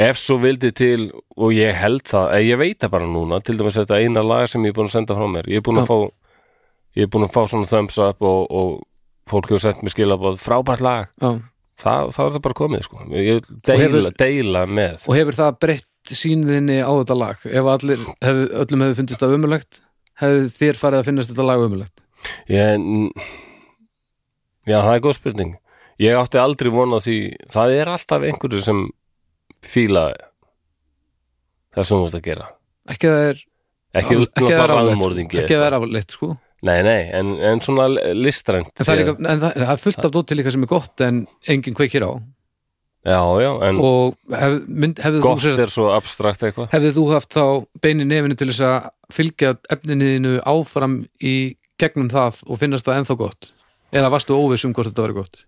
Speaker 1: ef svo vildi til og ég held það, eða ég veit það bara núna til dæmis þetta eina lag sem ég er búin að senda frá mér ég er búin
Speaker 2: Já.
Speaker 1: að fá ég er búin að fá svona thumbs up og, og fólk hefur sendt mér skilabóð frábært lag
Speaker 2: já.
Speaker 1: Þa, þá er það bara komið sko ég vil deila,
Speaker 2: hefur-
Speaker 1: deila með
Speaker 2: og hefur það breytt sínðinni á þetta lag ef allir, hef, öllum hefur fundist það ömulegt hefði þér farið að finnast þetta lag ömulegt
Speaker 1: ég, n- já það er góð spurning ég átti aldrei vona því það er alltaf einhverju sem fíla það sem þú ert að gera
Speaker 2: ekki að það er
Speaker 1: ekki út
Speaker 2: ekki að það er
Speaker 1: náttúrulega
Speaker 2: afleitt,
Speaker 1: raðmorðingi
Speaker 2: ekki að það er afleitt sko.
Speaker 1: Nei, nei, en, en svona l- listrænt
Speaker 2: en, það er
Speaker 1: sé-
Speaker 2: líka, en það, það er fullt af dóti líka sem er gott en enginn kveikir á
Speaker 1: Já, já, en
Speaker 2: og hef, mynd, hefði þú
Speaker 1: Mm. gott
Speaker 2: sér
Speaker 1: er svo abstrakt eitthvað
Speaker 2: hefði þú haft þá beini nefinu til þess að fylgja efniniðinu áfram í gegnum það og finnast það ennþá gott eða varstu óviss um hvort þetta verið gott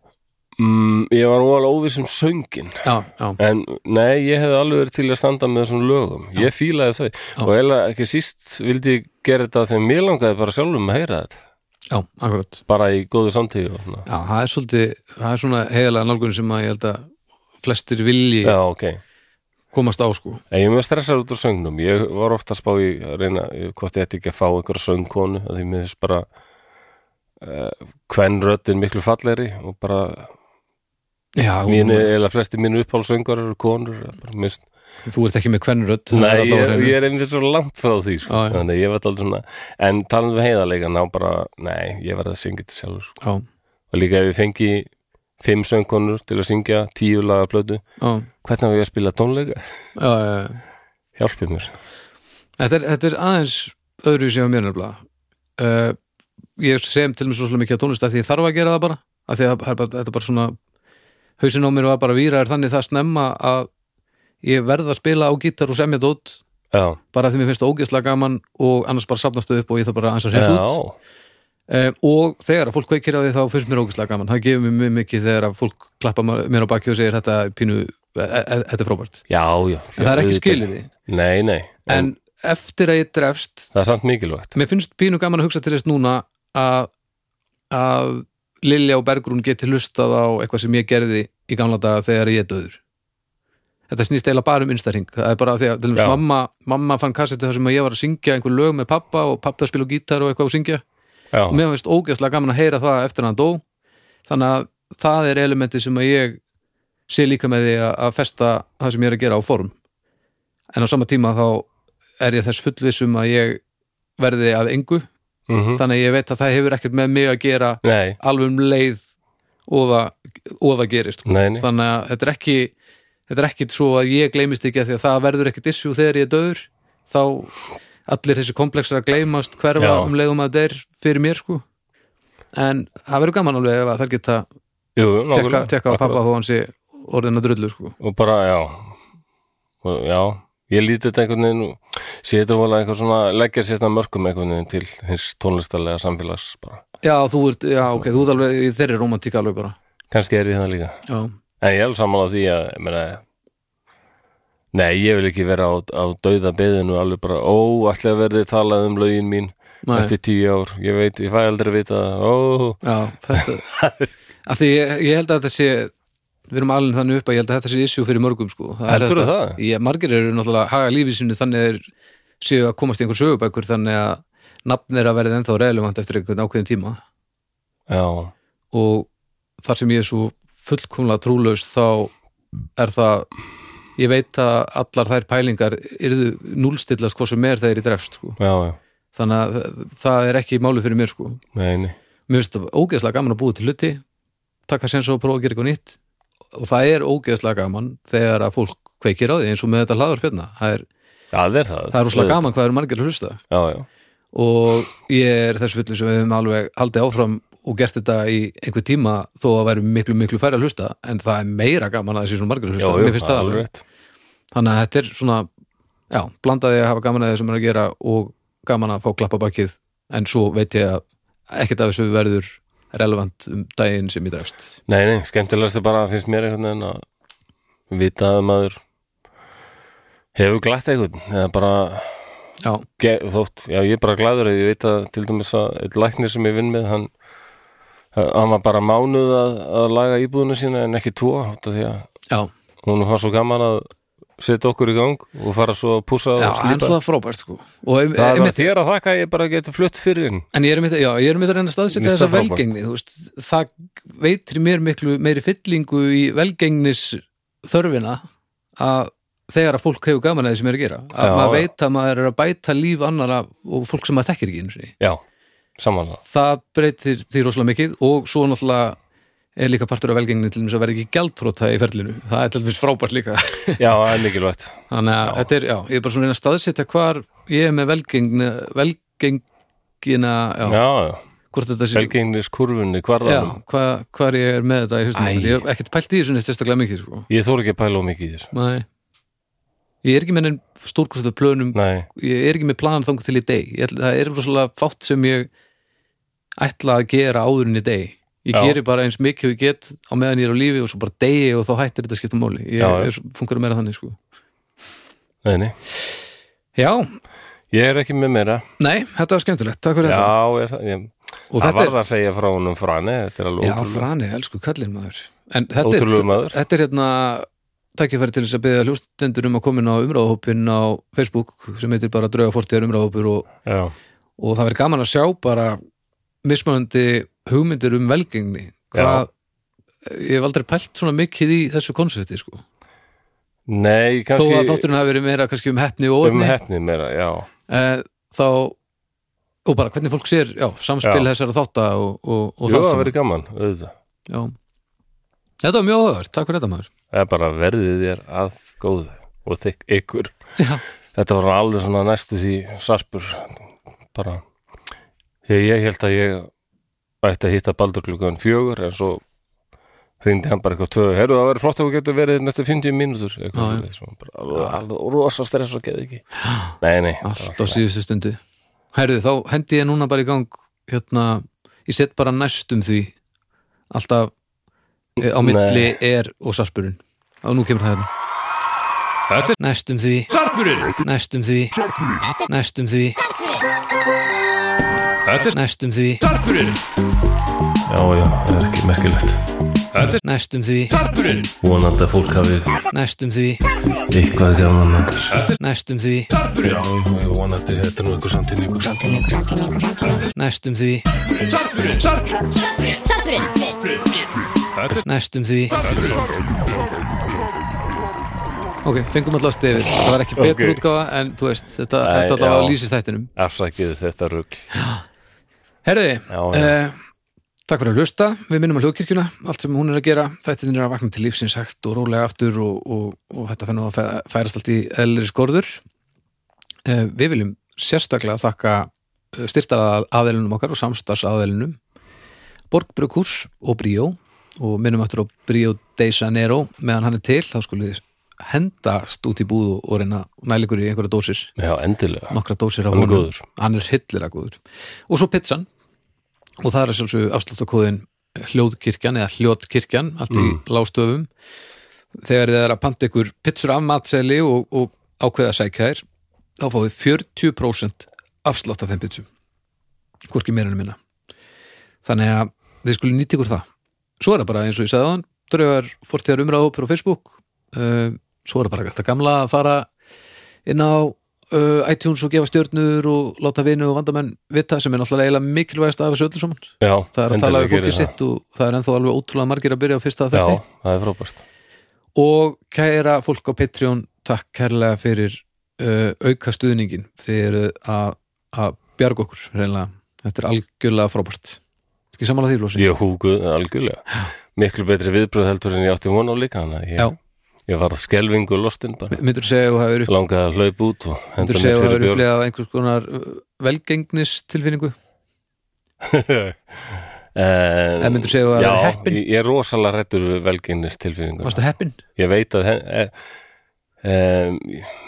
Speaker 1: mm, Ég var óalega óviss um söngin
Speaker 2: já, já,
Speaker 1: En nei, ég hefði alveg verið til að standa með þessum lögum Ég fílaði þau Og eiginlega ekki síst vildi ég gera þetta þegar mér langaði bara sjálfum að heyra þetta
Speaker 2: já, akkurat
Speaker 1: Bara í góðu samtíðu og svona.
Speaker 2: já, það er svolítið, það er svona heiðalega nálgun sem að ég held að flestir vilji
Speaker 1: Já, ok en
Speaker 2: komast á sko
Speaker 1: Ég er mjög stressar út úr söngnum Ég var ofta að spá í að reyna hvort ég ætti ekki að fá einhverja söngkonu af Því mér finnst bara uh, Kvenröddin miklu fallegri og bara
Speaker 2: já,
Speaker 1: mínu,
Speaker 2: Mínu,
Speaker 1: eða flesti mínu uppálsöngar eru konur eða bara mist.
Speaker 2: þú ert ekki með kvennrödd það
Speaker 1: Nei,
Speaker 2: er
Speaker 1: ég,
Speaker 2: alltaf á
Speaker 1: er-
Speaker 2: hreinu.
Speaker 1: ég er einmitt svo langt frá því sko.
Speaker 2: Já, já.
Speaker 1: þannig að ég verð aldrei svona en talandi um heiðarleika ná bara, nei, ég verð að syngja þetta sjálfur sko.
Speaker 2: já,
Speaker 1: og líka ef ég fengi fimm söngkonur til að syngja tíu laga plötu,
Speaker 2: já,
Speaker 1: hvernig á ég að spila tónleika?
Speaker 2: já, já, já.
Speaker 1: Hjálpi mér
Speaker 2: Þetta er, þetta er aðeins öðru sem mér nefnilega uh, ég sem til mér svo mikið að tónlist að því ég þarf að gera það bara að því að það er bara, þetta er bara svona hausinn á mér var bara víra er þannig það snemma að ég verð að spila á gítar og semja dót
Speaker 1: Já,
Speaker 2: bara af því mér finnst það ógeðslega gaman og annars bara safnast þau upp og ég þarf bara aðeins að
Speaker 1: já,
Speaker 2: hreins út uh, og þegar að fólk kveikir á því þá finnst mér ógeðslega gaman það gefur mér mjög mikið þegar að fólk klappa mér á baki og segir þetta er pínu, e e e þetta er frábært
Speaker 1: já, já
Speaker 2: en það er ekki
Speaker 1: auðvitað.
Speaker 2: skilið því
Speaker 1: Nei, nei, en,
Speaker 2: en eftir að ég drefst
Speaker 1: það er samt mikilvægt
Speaker 2: mér finnst pínu gaman að hugsa til þess núna að, að Lilja og Bergrún geti hlustað á eitthvað sem ég gerði í gamla daga þegar ég er döður þetta snýst eiginlega bara um innstæring það er bara því að til
Speaker 1: Já.
Speaker 2: dæmis mamma, mamma fann kassetu þar sem að ég var að syngja einhver lög með pappa og pappa spila á gítar og eitthvað og syngja
Speaker 1: Já,
Speaker 2: og mér finnst ógeðslega gaman að heyra það eftir að hann dó þannig að það er elementi sem að ég sé líka með því að- að festa það sem ég er að gera á form en á sama tíma þá er ég þess fullvissum að ég verði að engu
Speaker 1: mhm.
Speaker 2: þannig að ég veit að það hefur ekkert með mig að gera
Speaker 1: nei,
Speaker 2: alveg um leið og það, og það gerist sko.
Speaker 1: nei, nei
Speaker 2: þannig að þetta er ekki þetta er ekkit svo að ég gleymist ekki að því að það verður ekkit issue þegar ég er döður þá allir þessi komplexar að gleymast hverfa
Speaker 1: Já.
Speaker 2: um leiðum að þetta er fyrir mér sko en það verður gaman alveg ef að þær geta
Speaker 1: Jú, jú,
Speaker 2: tekka,
Speaker 1: nákvæmlega.
Speaker 2: tekka á
Speaker 1: Akkurat.
Speaker 2: pappa þó hann sé orðin að drullu sko
Speaker 1: og bara, já og, já, ég líti þetta einhvern veginn og sé þetta vola einhvern svona leggja sér þetta mörgum einhvern veginn til hins tónlistarlega samfélags bara,
Speaker 2: já þú ert, já ok, þú ert alveg í þeirri romantík alveg bara
Speaker 1: kannski er ég það líka
Speaker 2: já,
Speaker 1: en ég er alveg sammála því að ég meina, nei, ég vil ekki vera á, á dauða beðinu alveg bara, ó, ætli að verði talað um lögin mín
Speaker 2: Nei.
Speaker 1: eftir tíu ár ég veit, ég fæ aldrei að vita það, ó
Speaker 2: Já,
Speaker 1: *laughs*
Speaker 2: þetta af því ég, ég held að þetta sé við erum alveg þannig upp að ég held að þetta sé issue fyrir mörgum sko. Það er
Speaker 1: Heldurðu
Speaker 2: þetta-
Speaker 1: það?
Speaker 2: Ég, margir eru náttúrulega að haga lífið sinni þannig að þeir séu að komast í einhver sögubækur þannig að nafn er að verða ennþá relevant eftir einhvern ákveðin tíma
Speaker 1: já,
Speaker 2: og þar sem ég er svo fullkomlega trúlaus þá er það ég veit að allar þær pælingar yrðu núlstillast hvað sem er þegar ég drefst sko.
Speaker 1: já, já,
Speaker 2: þannig að það- það er ekki máli fyrir mér sko
Speaker 1: nei, nei
Speaker 2: mér finnst það ógeðslega gaman að búa til hluti taka sér svo að prófa að gera eitthvað nýtt og það er ógeðslega gaman þegar að fólk kveikir á því eins og með þetta hlaður hérna það er,
Speaker 1: já, það er það
Speaker 2: það er rosalega gaman hvað eru margir að hlusta
Speaker 1: já, já,
Speaker 2: og ég er þess fullu sem við höfum alveg haldið áfram og gert þetta í einhver tíma þó að væri miklu miklu færri að hlusta en það er meira gaman að þessi svona
Speaker 1: já,
Speaker 2: margir að hlusta
Speaker 1: já,
Speaker 2: mér finnst það
Speaker 1: alveg
Speaker 2: alveg
Speaker 1: rétt.
Speaker 2: þannig að þetta er svona já, blandaði að hafa gaman að því sem er að gera og gaman að fá klappabakið en svo veit ég að ekkert af þessu verður relevant um daginn sem ég drefst
Speaker 1: Nei, nei, skemmtilegast er bara að finnst mér einhvern veginn að vita að maður hefur glætt einhvern eða bara
Speaker 2: já,
Speaker 1: ge- þótt, já ég er bara glæður að ég veit að til dæmis að eitt læknir sem ég vinn með hann, hann var bara mánuð að, að laga íbúðuna sína en ekki tvo út af því að
Speaker 2: já,
Speaker 1: hún var svo gaman að setja okkur í gang og fara svo að púsa og
Speaker 2: já en
Speaker 1: slípa
Speaker 2: það er frábært sko og um,
Speaker 1: það
Speaker 2: um,
Speaker 1: var þér að þakka að ég bara geti flutt fyrir hinn
Speaker 2: En ég er mitt, já, ég er mitt að reyna að staðsetja
Speaker 1: Mér finnst
Speaker 2: þessa
Speaker 1: það frábært.
Speaker 2: velgengni, þú veist, það veitir mér miklu meiri fyllingu í velgengnis þörfina að þegar að fólk hefur gaman að því sem er að gera, að
Speaker 1: Já,
Speaker 2: maður
Speaker 1: já.
Speaker 2: veit að maður er að bæta líf annara og fólk sem maður þekkir ekki einu sinni.
Speaker 1: já, saman
Speaker 2: *laughs*
Speaker 1: það
Speaker 2: Það breytir því rosalega mikið og svo náttúrulega er líka partur af velgengni til þess að vera ekki gjaldtróta í ferlinu, það er til þess frábært líka.
Speaker 1: já, það er mikilvægt
Speaker 2: Þannig að þetta er, já, ég er bara svona að reyna að staðsetja hvar ég er með velgengni, velgengina, já,
Speaker 1: já, já,
Speaker 2: hvort þetta sé
Speaker 1: selgengniskurfunni, hvarðanum
Speaker 2: Já, hvað, hvað ég er með þetta í
Speaker 1: Æ.
Speaker 2: haustum Ég hef ekkert pælt í þessu neitt sérstaklega mikið sko.
Speaker 1: ég þór ekki að pæla of mikið í þessu
Speaker 2: Nei Ég er ekki með enn stórkostlega plönum
Speaker 1: nei,
Speaker 2: Ég er ekki með plan þangu til í deg ég, ætla- Það er rosalega fátt sem ég ætla að gera áður en í deg Ég
Speaker 1: Já.
Speaker 2: geri bara eins mikið og ég get á meðan ég er á lífi og svo bara degi og þá hættir þetta að skipta máli Ég
Speaker 1: Já, já.
Speaker 2: er- funkar meira þannig sko
Speaker 1: nei, nei
Speaker 2: Já,
Speaker 1: ég er ekki með meira
Speaker 2: nei, þetta var skemmtilegt Takk fyrir
Speaker 1: já,
Speaker 2: þetta
Speaker 1: er, það- ég,
Speaker 2: Og
Speaker 1: það
Speaker 2: þetta
Speaker 1: var það að segja frá honum frani þetta er alveg
Speaker 2: Já,
Speaker 1: ótrúlega
Speaker 2: frani, elsku kallinn maður En þetta er,
Speaker 1: ótrúlega maður
Speaker 2: Þetta er hérna tækifæri til þess að byggja hljóstendur um að koma inn á umræðahópin á Facebook sem heitir bara drauga fórtíðar umræðahópur og,
Speaker 1: já,
Speaker 2: og það verður gaman að sjá bara mismunandi hugmyndir um velgengni hvað, ég hef aldrei pælt svona mikið í þessu konsepti sko.
Speaker 1: nei,
Speaker 2: þó
Speaker 1: kannski
Speaker 2: að þátturinn hafi verið meira kannski um heppni og
Speaker 1: um
Speaker 2: orðni
Speaker 1: hefni meira, já
Speaker 2: eh, þá og bara hvernig fólk sér já, samspil
Speaker 1: Já.
Speaker 2: þessara þátta og, og, og
Speaker 1: jú,
Speaker 2: þátt
Speaker 1: það
Speaker 2: saman.
Speaker 1: verið gaman, auðvitað
Speaker 2: Já. Þetta var mjög áhugaður, takk fyrir þetta maður
Speaker 1: það er bara verðið þér að góðu og þig ykkur
Speaker 2: Já,
Speaker 1: þetta var alveg svona næstu því sarpur bara ég, ég held að ég ætti að hitta Baldur klukkan fjögur en svo hringdi hann bara eitthvað tvö herru það verður flott að þú getur verið næstu 50 mínútur
Speaker 2: Já, já.
Speaker 1: eitthvað já, bara, alveg, alveg rosa stress og geði ekki nei, nei,
Speaker 2: Allt á síðustu stundu Herðu, þá hendi ég núna bara í gang hérna, ég set bara næstum því alltaf eh, á milli er og sarpurinn og nú kemur það hérna
Speaker 1: Þetta
Speaker 2: Næstum því Sarpurinn Næstum því Næstum því
Speaker 1: Þetta
Speaker 2: Næstum því
Speaker 1: já, já, það er ekki merkilegt
Speaker 2: Næstum því
Speaker 1: vonandi að fólk hafi
Speaker 2: Næstum því
Speaker 1: eitthvað gaman að þessu.
Speaker 2: Næstum því
Speaker 1: já, já, vonandi þetta er nú eitthvað samtíningur
Speaker 2: Næstum því Næstum því Ok, fengum alltaf stefið Það var ekki betur
Speaker 1: Ok.
Speaker 2: útgáfa en þú veist þetta,
Speaker 1: Nei,
Speaker 2: þetta alltaf
Speaker 1: já.
Speaker 2: lýsir þættinum
Speaker 1: afsakið þetta rugg
Speaker 2: Herði,
Speaker 1: Já, já.
Speaker 2: eh, takk fyrir að hlusta Við minnum að hlugkirkjuna, allt sem hún er að gera Þættin er að vakna til lífsins hægt og rólega aftur og, og, og þetta fennu að fæ- færast allt í eðlir skorður eh, Við viljum sérstaklega þakka styrtar aðeilunum okkar og samstars aðeilunum Borgbrukurs og Bríó og minnum aftur á Bríó de Janeiro meðan hann er til, þá skulið þið hendast út í búð og- og reyna næl ykkur í einhverja dósir
Speaker 1: já, endilega
Speaker 2: nokkra dósir af
Speaker 1: Hann er
Speaker 2: honum.
Speaker 1: góður.
Speaker 2: hann er hillilega góður og svo pizzan og það er sjálfsög afsláttakóðin hljóðkirkjan eða hljóðkirkjan allt
Speaker 1: Mm.
Speaker 2: í lástöfum þegar þið er að panta ykkur pizzur af matseli og, og ákveða að sækja þær þá fáið 40% afslátt af þeim pizzum hvorki meira en minna þannig að þið skulle nýta ykkur það svo er það bara eins og ég sagði þann draugar fórtíðar umræðupur á Facebook uh, svo er það bara þetta gamla að fara inn á uh, iTunes og gefa stjörnur og láta vinu og vandamenn vita sem er náttúrulega eiginlega mikilvægast af þessu öllu saman
Speaker 1: já,
Speaker 2: það er að tala við fólkið sitt og það er ennþá alveg ótrúlega margir að byrja á fyrsta
Speaker 1: já,
Speaker 2: þetta
Speaker 1: það er frábært
Speaker 2: og kæra fólk á Patreon takk kærlega fyrir uh, auka stuðningin þið eru að, að bjarga okkur reynilega, þetta er algjörlega frábært ekki samanlega því, Lósi?
Speaker 1: Ég húguð algjörlega Miklu betri viðbröð heldur en ég átti von á líka hana
Speaker 2: Já.
Speaker 1: ég, ég varð skelvingu lostin bara
Speaker 2: myndur segja að þú hefur upp-
Speaker 1: Langaði að hlaupa út og henda
Speaker 2: myndirðu
Speaker 1: mér
Speaker 2: segja að þú
Speaker 1: fyrir
Speaker 2: hefur
Speaker 1: björn
Speaker 2: upplegað einhvers konar uh, velgengnis tilfinningu
Speaker 1: En
Speaker 2: En myndirðu segja að þú
Speaker 1: Já,
Speaker 2: hefur verið heppin?
Speaker 1: ég, ég er rosalega rættur velginnist tilfinningur
Speaker 2: varstu heppin?
Speaker 1: Ég veit að he, e, Um,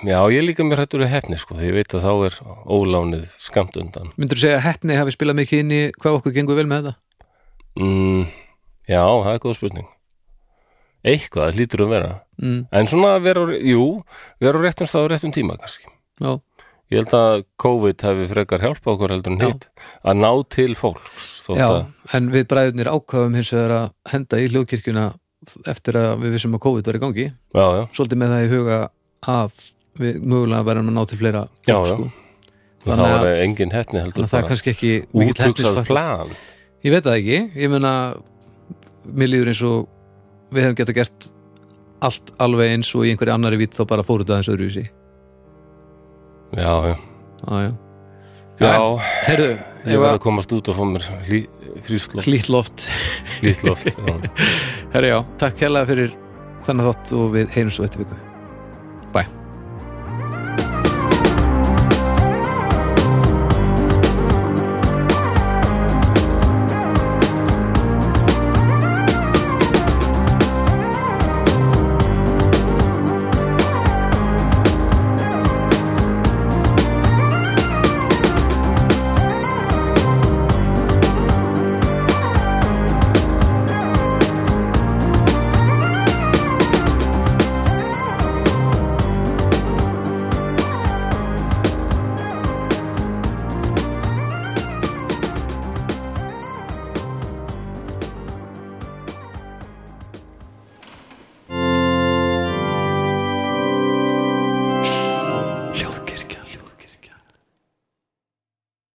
Speaker 1: já, ég er líka mér hættur að hefni sko, því ég veit að þá er ólánið skamt undan.
Speaker 2: Myndur segja að heppni hafi spilað mikið inn í hvað okkur gengur vel með þetta?
Speaker 1: Mm, já, það er góð spurning. Eitthvað, það lítur um vera.
Speaker 2: Mm,
Speaker 1: En svona vera, á- jú, vera á réttum stað á réttum tíma kannski.
Speaker 2: já,
Speaker 1: Ég held að COVID hefði frekar hjálpa okkur heldur en
Speaker 2: Já.
Speaker 1: hitt að ná til fólks. þótt
Speaker 2: já,
Speaker 1: að-
Speaker 2: en við bræðunir ákvaðum hins vegar að henda í hljóðkirkjuna eftir að við vissum að COVID var í gangi
Speaker 1: já, já,
Speaker 2: svolítið með það í huga að við mögulega verðum að ná til fleira fólk,
Speaker 1: Já, já.
Speaker 2: Sko.
Speaker 1: og
Speaker 2: Þannig
Speaker 1: þá
Speaker 2: að-
Speaker 1: er engin hefni heldur
Speaker 2: Þannig að það er
Speaker 1: bara
Speaker 2: kannski ekki mikill
Speaker 1: útugsað
Speaker 2: heppnisfaktor.
Speaker 1: plan.
Speaker 2: Ég veit það ekki, ég meina mér líður eins og við hefum geta gert allt alveg eins og í einhverju annari vitt þá bara fóru þetta aðeins öðruvísi
Speaker 1: Já, já.
Speaker 2: ah,
Speaker 1: Já,
Speaker 2: Herðu,
Speaker 1: ég
Speaker 2: ég
Speaker 1: var að
Speaker 2: var
Speaker 1: komast út og fá mér hlý- frísloft,
Speaker 2: hlýtt loft
Speaker 1: hlýtt loft. já.
Speaker 2: Herðu já, takk hérlega fyrir þannig þátt og við heyrjum svo eftir viku